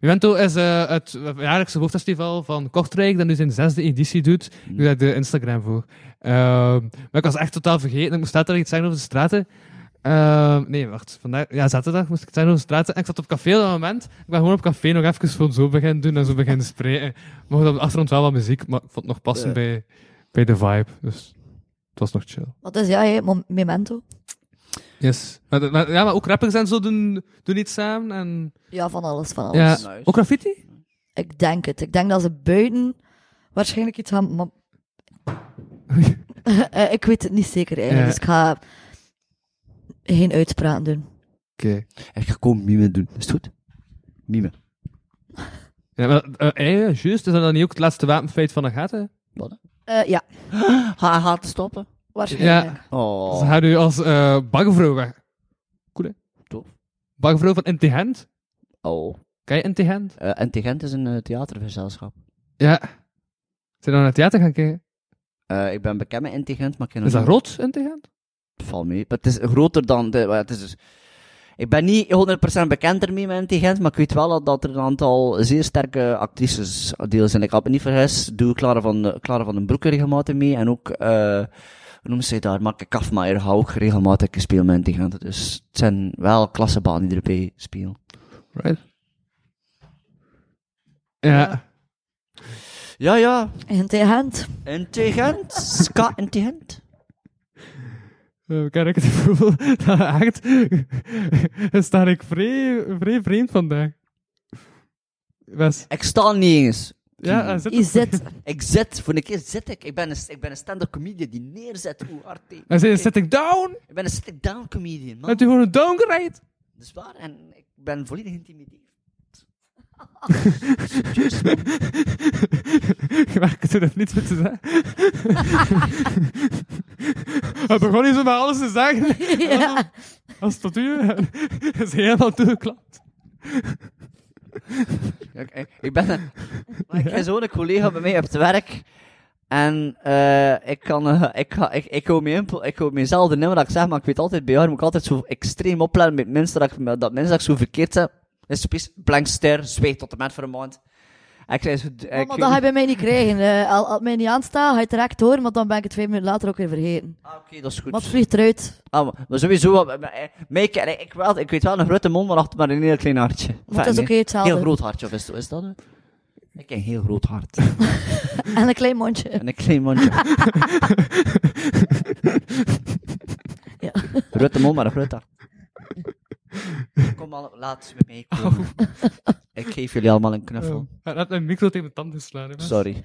[SPEAKER 3] Memento is eh, het jaarlijkse hoofdfestival van Kortrijk, dat nu zijn zesde editie doet. Ik doe daar de Instagram voor. Ehm, maar ik was echt totaal vergeten. Ik moest zaterdag iets zeggen over de straten. Ehm, nee, wacht. Vandaag, ja, zaterdag moest ik iets zeggen over de straten. En ik zat op café op dat moment. Ik ben gewoon op café nog even gewoon zo beginnen doen en zo beginnen spreken. Mocht op de achtergrond wel wat muziek, maar ik vond het nog passen
[SPEAKER 5] Ja.
[SPEAKER 3] bij, bij de vibe. Dus het was nog chill.
[SPEAKER 4] Maar dus ja, hey, mom- Memento.
[SPEAKER 3] Yes. Maar, de- maar- ja, maar ook rappers en zo doen, doen iets samen. En,
[SPEAKER 4] Ja, van alles, van alles.
[SPEAKER 3] ja.
[SPEAKER 5] nice.
[SPEAKER 3] Ook graffiti?
[SPEAKER 4] Ik denk het. Ik denk dat ze buiten waarschijnlijk iets gaan... Maar... Eh, ik weet het niet zeker eigenlijk,
[SPEAKER 3] Ja.
[SPEAKER 4] dus ik ga geen uitspraak doen.
[SPEAKER 3] Oké.
[SPEAKER 5] Ik ga gewoon mime doen. Is het goed? Mime.
[SPEAKER 3] Ja, maar eh, eh, juist, is dat dan niet ook het laatste wapenfeit van Agatha?
[SPEAKER 4] Eh, ja,
[SPEAKER 5] Ga gaat te stoppen.
[SPEAKER 4] waarschijnlijk.
[SPEAKER 3] Ze
[SPEAKER 5] Oh.
[SPEAKER 3] Dus gaat u als eh bagvrouw weg. Cool, hè?
[SPEAKER 5] Tof.
[SPEAKER 3] Bagvrouw van Intigent.
[SPEAKER 5] oh.
[SPEAKER 3] Ken je Intigent?
[SPEAKER 5] Eh, en Tegent is een eh, theatergezelschap.
[SPEAKER 3] Ja. Zijn dan naar het theater gaan kijken?
[SPEAKER 5] Eh, ik ben bekend met Integent, maar ik ken
[SPEAKER 3] Is dat
[SPEAKER 5] nog
[SPEAKER 3] rood, Intigent?
[SPEAKER 5] niet- Val mee. Maar het is groter dan... De, maar het is dus- ik ben niet 100% bekend ermee met Integent, maar ik weet wel dat er een aantal zeer sterke actrices eh, deel zijn. Ik had me niet vergist, doe Clara van, eh, Clara van den Broek er regelmatig mee. En ook, eh hoe noemen ze daar, Marke Kafmaier, hou ik regelmatig gespeeld met Integent. Dus het zijn wel klassebanen die erbij spelen.
[SPEAKER 3] Right. Ja. Eh,
[SPEAKER 5] Ja, ja.
[SPEAKER 4] In de hand.
[SPEAKER 5] Integent. Ska Integent.
[SPEAKER 3] Eh, Ik heb ik het gevoel dat echt... sta ik vrij, vrij vreemd vandaag. Wes.
[SPEAKER 5] Ik sta niet eens.
[SPEAKER 3] Ja, hij zit...
[SPEAKER 4] Is dit...
[SPEAKER 5] Ik zit, voor een keer zit ik. Ik ben een, ik ben een stand-up comedian die neerzet hoe hard hij-
[SPEAKER 3] Hij zit in
[SPEAKER 5] Ik-
[SPEAKER 3] sitting down.
[SPEAKER 5] Ik ben een sitting-down comedian, man.
[SPEAKER 3] Heeft u gewoon een downgrade?
[SPEAKER 5] Dat is waar, en ik ben volledig intimiderend.
[SPEAKER 3] Waar ik er nog niets meer te zeggen. Hij begon niet zo met alles te zeggen.
[SPEAKER 4] ja.
[SPEAKER 3] Als het tot u en is hij helemaal toegeklapt.
[SPEAKER 5] Ik, ik, ik ben een... Maar ik heb zo'n collega bij mij op het werk. En eh, ik kan... eh, ik, ga- ik, ik hou mijn impul- ik hou mijnzelf er niet meer dat ik zeg, maar ik weet altijd bij haar moet ik altijd zo extreem opletten met mensen dat, ik, dat mensen dat ik zo verkeerd heb. Dat is typisch blank ster, zweet tot de met voor een maand. En ik zei zo...
[SPEAKER 4] Maar
[SPEAKER 5] ik-
[SPEAKER 4] dat ga je bij mij niet krijgen. Eh, al, als het mij niet aanstaat, ga je het direct horen, want dan ben ik het twee minuten later ook weer vergeten.
[SPEAKER 5] Ah, Oké, dat is goed.
[SPEAKER 4] Maar het vliegt eruit.
[SPEAKER 5] Ah, maar- maar sowieso, wat- maar, eh, Mike, eh, ik, wel, ik weet wel een grote mond, maar achter maar een heel klein hartje.
[SPEAKER 4] Maar het
[SPEAKER 5] Enfin,
[SPEAKER 4] is
[SPEAKER 5] nee,
[SPEAKER 4] oké, hetzelfde.
[SPEAKER 5] Heel groot hartje, of is, is dat? het? Ik heb een heel groot hart.
[SPEAKER 4] En een klein mondje.
[SPEAKER 5] en een klein mondje.
[SPEAKER 4] Ja.
[SPEAKER 5] Grote mond, maar een groot hart. Kom al, laat eens met mij komen. Ik geef jullie allemaal een knuffel.
[SPEAKER 3] Oh, Hij had mijn micro tegen mijn tand geslaan. hè, Wes.
[SPEAKER 5] Sorry.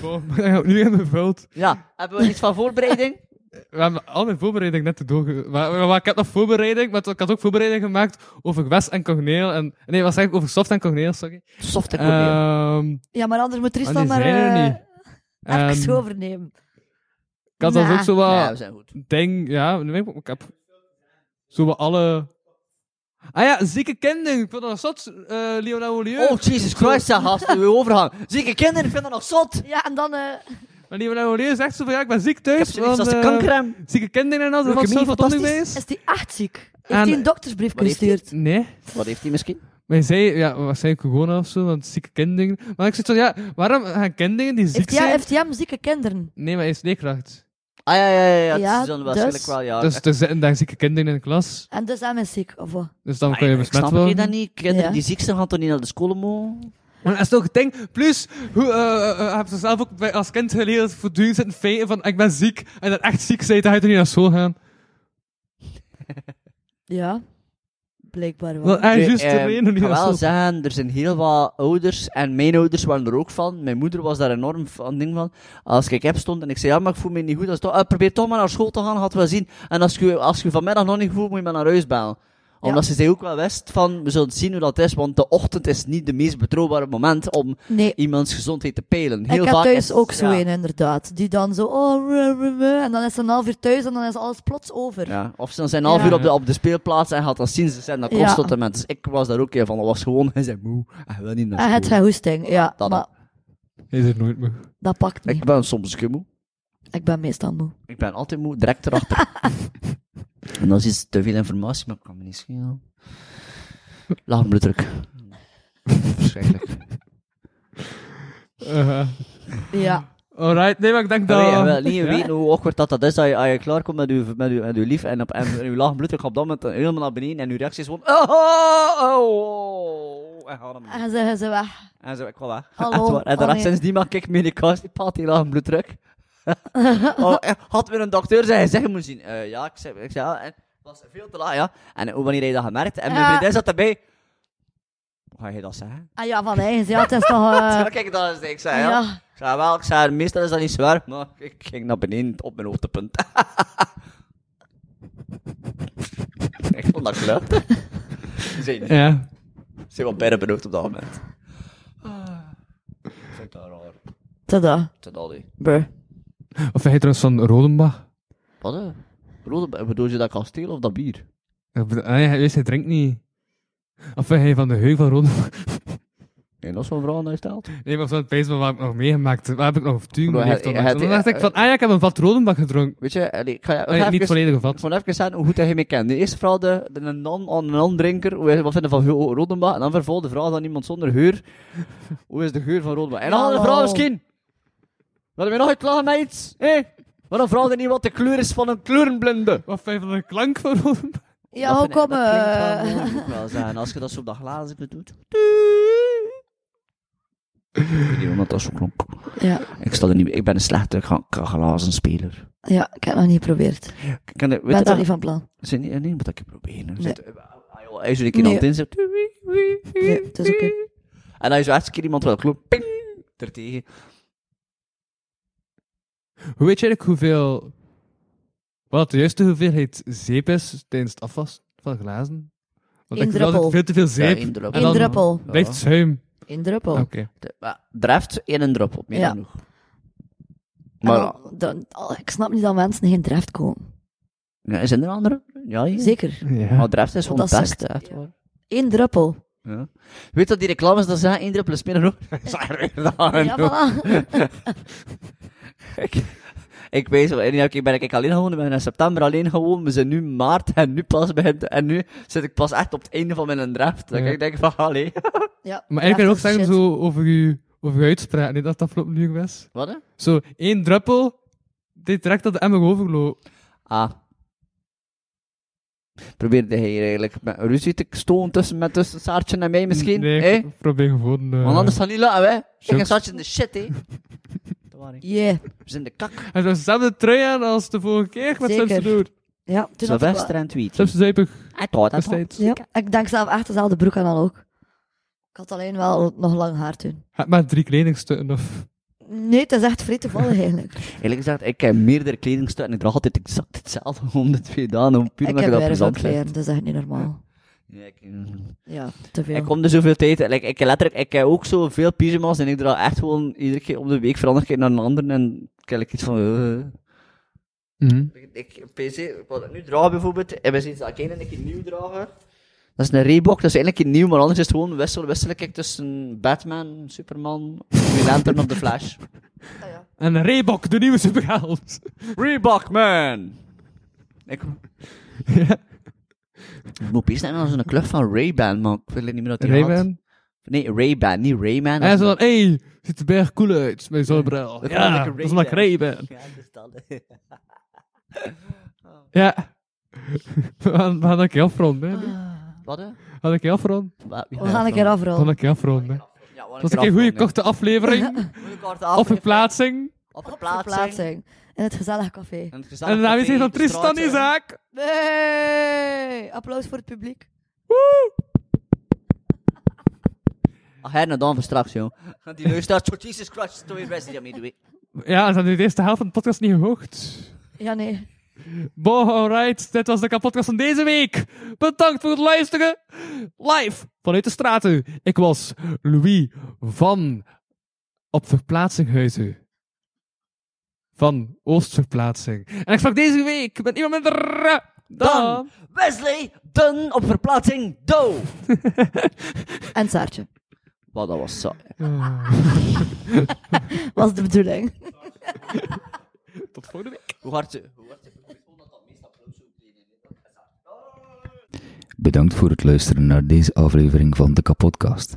[SPEAKER 3] Wow, maar hij gaat nu in mijn veld.
[SPEAKER 5] Ja, hebben we iets van voorbereiding?
[SPEAKER 3] We we hebben al mijn voorbereiding net doorge... Maar, maar- maar ik heb nog voorbereiding, maar ik had ook voorbereiding gemaakt over West en Corneel. En, nee, wat zeg ik? Over Soft en Corneel, sorry.
[SPEAKER 5] Soft en corneel.
[SPEAKER 3] Ehm
[SPEAKER 4] Ja, maar anders moet
[SPEAKER 3] maar
[SPEAKER 4] Tristan
[SPEAKER 3] Oh, die
[SPEAKER 4] maar
[SPEAKER 3] zijn er
[SPEAKER 4] eh,
[SPEAKER 3] niet. Ehm. En
[SPEAKER 4] even overnemen.
[SPEAKER 3] ik had dat
[SPEAKER 4] Nah.
[SPEAKER 3] ook zo wat...
[SPEAKER 5] ja, we zijn goed.
[SPEAKER 3] denk, ja, nu weet ik, ik heb zo wel alle. Ah ja, zieke kinderen. Ik vond dat zot, eh Leonel Olieu.
[SPEAKER 5] Oh, Jesus Christ, ja, gast, uw overgang. Zieke kinderen vinden dat zot. Ik
[SPEAKER 4] Ja, en dan... eh,
[SPEAKER 3] Maar Leonel Olieu zegt zo van, ja, ik ben ziek thuis.
[SPEAKER 5] heb zoiets
[SPEAKER 3] want,
[SPEAKER 5] als de
[SPEAKER 3] eh,
[SPEAKER 5] kankerem.
[SPEAKER 3] Zieke kinderen en al,
[SPEAKER 5] Leukemie,
[SPEAKER 3] wat zelf wat
[SPEAKER 5] fantastisch.
[SPEAKER 3] onderwijs.
[SPEAKER 4] is die echt ziek? Heeft
[SPEAKER 3] En-
[SPEAKER 4] hij een doktersbrief
[SPEAKER 5] Wat heeft hij?
[SPEAKER 4] gestuurd?
[SPEAKER 3] Nee,
[SPEAKER 5] eh, Wat heeft hij misschien?
[SPEAKER 3] maar hij zei, ja, waarschijnlijk corona of zo, want zieke kinderen. Maar ik zeg zo, ja, waarom gaan kinderen die ziek
[SPEAKER 4] Heeft hij,
[SPEAKER 3] zijn...
[SPEAKER 4] heeft hij hem zieke kinderen?
[SPEAKER 3] Nee, maar hij is leerkracht.
[SPEAKER 5] Ah ja, ja, ja, ja, het
[SPEAKER 4] Ja,
[SPEAKER 5] is dan waarschijnlijk
[SPEAKER 4] dus-
[SPEAKER 5] wel, Ah, ja.
[SPEAKER 3] Dus er zitten daar zieke kinderen in de klas,
[SPEAKER 4] En dus hem is ziek, of wat?
[SPEAKER 3] dus dan
[SPEAKER 5] Ah,
[SPEAKER 3] kun je
[SPEAKER 5] ik
[SPEAKER 3] besmet
[SPEAKER 5] snap je
[SPEAKER 3] worden.
[SPEAKER 5] dat niet? Kinderen
[SPEAKER 4] Ja.
[SPEAKER 5] die ziek zijn, gaan toch niet naar de school, mogen?
[SPEAKER 3] Maar dat is toch het ding. Plus, hoe, eh, eh, eh, heb ze zelf ook bij, als kind geleerd voortdurend zitten feiten van ik ben ziek. En dat echt ziek zijn, dan ga je toch niet naar school gaan.
[SPEAKER 4] Ja. Blijkbaar wel.
[SPEAKER 3] Dat is
[SPEAKER 5] Nee,
[SPEAKER 3] juist de
[SPEAKER 5] ehm,
[SPEAKER 3] reden om niet
[SPEAKER 5] ik ga
[SPEAKER 3] naar
[SPEAKER 5] wel
[SPEAKER 3] school te
[SPEAKER 5] zeggen, er zijn heel wat ouders, en mijn ouders waren er ook van. Mijn moeder was daar enorm van, ding van. Als ik heb stond en ik zei, ja, maar ik voel me niet goed, dan is toch, "Ah, probeer toch maar naar school te gaan, gaat wel zien. En als je als je vanmiddag nog niet voelt, moet je maar naar huis bellen. Omdat ze zich ook wel wist van, we zullen zien hoe dat is, want de ochtend is niet de meest betrouwbare moment om
[SPEAKER 4] Nee,
[SPEAKER 5] iemands gezondheid te peilen. Heel
[SPEAKER 4] ik heb
[SPEAKER 5] vaak
[SPEAKER 4] thuis
[SPEAKER 5] is-
[SPEAKER 4] ook zo
[SPEAKER 5] ja.
[SPEAKER 4] een, inderdaad. Die dan zo... Oh, ruh, ruh, ruh, en dan is ze een half uur thuis en dan is alles plots over.
[SPEAKER 5] Ja, of ze dan zijn half
[SPEAKER 4] Ja.
[SPEAKER 5] uur op de, op de speelplaats en gaat dan zien ze zijn dat kost
[SPEAKER 4] Ja.
[SPEAKER 5] tot en met. Dus ik was daar ook een van. Dat was gewoon, hij zei moe, hij wil niet naar
[SPEAKER 4] en
[SPEAKER 5] school.
[SPEAKER 4] Ah, het gaat hoesting, ja.
[SPEAKER 5] Dat
[SPEAKER 4] maar
[SPEAKER 3] doen. Hij is er nooit meer.
[SPEAKER 4] dat pakt niet.
[SPEAKER 5] Ik ben soms een keer moe.
[SPEAKER 4] Ik ben meestal moe.
[SPEAKER 5] Ik ben altijd moe, direct erachter. en dan is te veel informatie, maar ik kan me niet schelen. Laag bloeddruk. Verschrikkelijk.
[SPEAKER 3] Eh,
[SPEAKER 4] Ja.
[SPEAKER 3] Alright, nee, maar ik denk dat...
[SPEAKER 5] Nee, je wil niet
[SPEAKER 3] Nou. Ja?
[SPEAKER 5] weten hoe awkward dat, dat is, dat je, als je klaarkomt met je, met je, met je lief en, op, en je laag bloeddruk op dat moment helemaal naar beneden en je reactie is gewoon... Oh, oh, oh, en ga dan
[SPEAKER 4] En zeggen ze ah, weg.
[SPEAKER 5] En zo, ik wel weg.
[SPEAKER 4] Hallo,
[SPEAKER 5] Echt waar. En daarna,
[SPEAKER 4] allee.
[SPEAKER 5] sindsdien maak ik medicatie, paalt heel laag een bloeddruk. oh, eh, had weer een dokter zijn zeggen moet zien. Eh, ja, ik zei, ik zei ja, en het was veel te laag, ja. En hoe wanneer heb je dat gemerkt? En mijn
[SPEAKER 4] Ja.
[SPEAKER 5] vriendin zat erbij. Hoe ga je dat zeggen?
[SPEAKER 4] Ah ja, van eigen. Ja, het is toch... eh,
[SPEAKER 5] Ja, kijk, dat is, ik zei, ja.
[SPEAKER 4] ja.
[SPEAKER 5] Ik zei, wel, ik zei, meestal is dat niet zwaar, maar ik ging naar beneden op mijn hoogtepunt. ik vond dat geluid. Zijn niet.
[SPEAKER 3] Ja.
[SPEAKER 5] Ze wat bijna benauwd op dat moment.
[SPEAKER 4] Ah.
[SPEAKER 5] Ik vind dat raar.
[SPEAKER 4] Tada.
[SPEAKER 5] Ik vind dat niet.
[SPEAKER 4] Brr.
[SPEAKER 3] Of vind je trouwens van Rodenbach?
[SPEAKER 5] Wat hè? Rode, bedoel je dat kasteel of dat bier?
[SPEAKER 3] Ik bedoel, Nee, hij, weet, hij drinkt niet. Of vind je van de heug van Rodenbach?
[SPEAKER 5] Nee, dat is zo'n vrouw naar stelt.
[SPEAKER 3] Nee, maar van het feest van wat heb ik nog meegemaakt? Waar heb ik nog op tuin
[SPEAKER 5] Bro,
[SPEAKER 3] beleefd?
[SPEAKER 5] hij-
[SPEAKER 3] onlangs?
[SPEAKER 5] hij-
[SPEAKER 3] En Dan dacht
[SPEAKER 5] hij-
[SPEAKER 3] ik van, ah ja, ik heb een vat Rodenbach gedronken.
[SPEAKER 5] Weet je, allee, ik ga
[SPEAKER 3] Nee,
[SPEAKER 5] ik ga
[SPEAKER 3] niet
[SPEAKER 5] even,
[SPEAKER 3] volledig
[SPEAKER 5] ik
[SPEAKER 3] gevat.
[SPEAKER 5] vond even aan hoe goed dat je mee kent. De eerste vrouw, de, de non- on- non-drinker, hoe is- wat vinden van Ro- Rodenbach? En dan vervolgens de vrouw van iemand zonder geur. Hoe is de geur van Rodenbach? En dan
[SPEAKER 4] Hallo.
[SPEAKER 5] de vrouw misschien. Willen we nog iets klagen met iets? Hé? Waarom vraagt hij niet wat de kleur is van een kleurenblinde?
[SPEAKER 3] Wat vind je van de klank van Rodenbach?
[SPEAKER 4] Ja, hoe
[SPEAKER 5] kom
[SPEAKER 4] kom
[SPEAKER 5] Dat klinkt wel
[SPEAKER 4] eh,
[SPEAKER 5] mooi, moet ik wel zeggen. Als je dat zo op dat glazen doet. Ik weet niet wat dat zo klonk.
[SPEAKER 4] Ja.
[SPEAKER 5] Ik, sta er niet, ik ben een slechte ga- ga- glazenspeler.
[SPEAKER 4] Ja, ik heb het nog niet geprobeerd. Ik
[SPEAKER 5] Ik Kan, weet
[SPEAKER 4] ben
[SPEAKER 5] je
[SPEAKER 4] daar
[SPEAKER 5] dat?
[SPEAKER 4] niet van plan.
[SPEAKER 5] Zijn niet, nee, moet dat ik proberen.
[SPEAKER 4] Nee.
[SPEAKER 5] Zit- eh, ah, joh, Als je een keer aan
[SPEAKER 4] Nee.
[SPEAKER 5] het inzet.
[SPEAKER 4] Nee, het is oké.
[SPEAKER 5] En als je echt een keer iemand wil kloppen. Ping! Ertegen.
[SPEAKER 3] Hoe weet je eigenlijk hoeveel... Wat de juiste hoeveelheid zeep is tijdens het afwassen van glazen? Want
[SPEAKER 4] Eén
[SPEAKER 3] ik vind
[SPEAKER 4] druppel.
[SPEAKER 3] altijd veel te veel
[SPEAKER 5] Ja,
[SPEAKER 3] zeep.
[SPEAKER 5] één druppel. Oh.
[SPEAKER 3] En
[SPEAKER 4] Eén
[SPEAKER 3] dan-
[SPEAKER 4] druppel.
[SPEAKER 5] Ja.
[SPEAKER 3] Blijft zuim.
[SPEAKER 4] Eén druppel.
[SPEAKER 3] Oké.
[SPEAKER 5] De- maar Draft één druppel, meer
[SPEAKER 4] Ja.
[SPEAKER 5] dan genoeg.
[SPEAKER 4] En
[SPEAKER 5] Maar
[SPEAKER 4] dan- dan- oh, ik snap niet dat mensen geen draft komen.
[SPEAKER 5] ja, zijn er andere? Ja, hier.
[SPEAKER 4] Zeker.
[SPEAKER 3] Ja.
[SPEAKER 5] Maar draft is gewoon
[SPEAKER 4] Dat
[SPEAKER 5] het
[SPEAKER 4] zegt-
[SPEAKER 5] beste. echt waar.
[SPEAKER 4] Eén druppel.
[SPEAKER 5] Ja. Weet dat die reclames dat zijn? Eén druppel is meer dan genoeg. Dat is eigenlijk dan
[SPEAKER 4] Ja,
[SPEAKER 5] genoeg.
[SPEAKER 4] voilà.
[SPEAKER 5] ik, ik weet wel, en ja, oké, ben ik alleen gewoon, ik ben in september alleen gewoon, we zijn nu maart en nu pas begint, en nu zit ik pas echt op het einde van mijn draft. Dan
[SPEAKER 3] Ja.
[SPEAKER 5] ik denk van, allee.
[SPEAKER 4] Ja,
[SPEAKER 3] Maar eigenlijk kan je ook
[SPEAKER 4] draft is
[SPEAKER 3] zeggen
[SPEAKER 4] shit.
[SPEAKER 3] zo over je, over je uitspraak, niet dat het afgelopen uur was.
[SPEAKER 5] Wat hè?
[SPEAKER 3] Zo, één druppel, deed direct dat de emmer overloopt.
[SPEAKER 5] Ah. Probeerde hij hier eigenlijk met ruzie te stoon tussen, met tussen Saartje en mij misschien?
[SPEAKER 3] Nee,
[SPEAKER 5] hè?
[SPEAKER 3] ik probeer gewoon... eh,
[SPEAKER 5] Want anders gaan niet laten, hè? Ik en
[SPEAKER 3] jokes.
[SPEAKER 5] Saartje in de shit, hè? Dat waar, hè.
[SPEAKER 4] Yeah.
[SPEAKER 5] We zijn de kak.
[SPEAKER 3] Hij heeft dezelfde trui aan als de vorige keer met
[SPEAKER 4] Zeker.
[SPEAKER 3] Simpson Doer.
[SPEAKER 4] Ja, toen had ik
[SPEAKER 5] Sylvester en Tweet.
[SPEAKER 3] Simpson Zuipig,
[SPEAKER 5] Hij thought, hij
[SPEAKER 3] nog
[SPEAKER 5] thought.
[SPEAKER 3] steeds.
[SPEAKER 4] wel- ja, ik denk zelf echt dezelfde broek aan al ook. Ik had alleen wel nog lang haar toen.
[SPEAKER 3] Heb maar drie kledingstukken of...
[SPEAKER 4] Nee, het is echt vrij toevallig eigenlijk.
[SPEAKER 5] Eerlijk gezegd, ik heb meerdere kledingstukken en ik draag altijd exact hetzelfde om de twee dagen. om Puur
[SPEAKER 4] ik
[SPEAKER 5] omdat je
[SPEAKER 4] heb
[SPEAKER 5] dat
[SPEAKER 4] weer zo'n
[SPEAKER 5] plezant
[SPEAKER 4] kleren,
[SPEAKER 5] vindt.
[SPEAKER 4] dat is echt niet normaal.
[SPEAKER 5] Ja, ik- eh,
[SPEAKER 4] Ja, te veel.
[SPEAKER 5] Ik kom er zoveel tijd. Like, ik, heb letterlijk, ik heb ook zoveel pyjama's en ik draag echt gewoon iedere keer om de week verander ik naar een ander en ik heb like iets van. eh. Ik, PC, wat ik nu draag bijvoorbeeld, hebben ze iets dat ik één en een keer nieuw draag. Dat is een Reebok, dat is eigenlijk een keer nieuw, maar anders is het gewoon wissel, wissel ik tussen Batman, Superman, Green Lantern of The Flash.
[SPEAKER 3] En Reebok, de nieuwe superheld.
[SPEAKER 5] Reebok man! Ik Ik moet opeens denken aan zo'n club van Ray-Ban, maar ik weet niet meer dat die had.
[SPEAKER 3] Rayman.
[SPEAKER 5] Nee, Ray-Ban, niet
[SPEAKER 3] En
[SPEAKER 5] Rayman. dat
[SPEAKER 3] hij
[SPEAKER 5] is
[SPEAKER 3] zei
[SPEAKER 5] een-
[SPEAKER 3] dan, hey, ziet er berg cool uit met zo'n bril.
[SPEAKER 5] Dat kan
[SPEAKER 3] Ja,
[SPEAKER 5] lekker
[SPEAKER 3] dat is omdat ik
[SPEAKER 5] Ray-Ban.
[SPEAKER 3] Ray-Ban.
[SPEAKER 5] Ja, dus dat.
[SPEAKER 3] Ja. We gaan- we gaan een keer afronden, hè.
[SPEAKER 5] Ah.
[SPEAKER 3] nu.
[SPEAKER 5] Wat? hè?
[SPEAKER 3] We gaan een keer afronden.
[SPEAKER 5] Wa- wie
[SPEAKER 4] We gaan een keer
[SPEAKER 3] We
[SPEAKER 4] afrollen.
[SPEAKER 3] gaan een keer afronden.
[SPEAKER 5] Ja, wat
[SPEAKER 3] Dat was een keer een goede korte aflevering. Of verplaatsing.
[SPEAKER 5] Op
[SPEAKER 4] Op
[SPEAKER 5] verplaatsing.
[SPEAKER 4] verplaatsing. In het gezellig café.
[SPEAKER 5] En het
[SPEAKER 3] En de aanwezigheid van Tristan Isaac.
[SPEAKER 4] Nee! Applaus voor het publiek.
[SPEAKER 5] Ach, her en dan van straks, joh. Want Die luisteraat, zo Jesus Christ, doe je best, die hem niet doet.
[SPEAKER 3] Ja, ze hebben nu de eerste helft van de podcast niet gehoord.
[SPEAKER 4] Ja, nee.
[SPEAKER 3] Bo, alright. Dit was de kapotkast van deze week. Bedankt voor het luisteren. Live vanuit de straten. Ik was Louis van op verplaatsinghuizen. Van Oostverplaatsing. En ik sprak deze week met iemand minder dan...
[SPEAKER 5] Dan Wesley Dunn op verplaatsing, do!
[SPEAKER 4] En Saartje.
[SPEAKER 5] Wat, dat was zo.
[SPEAKER 4] Was de bedoeling.
[SPEAKER 3] Tot volgende week.
[SPEAKER 5] Hoe hard... Hoe hard...
[SPEAKER 6] Bedankt voor het luisteren naar deze aflevering van de Kapodcast.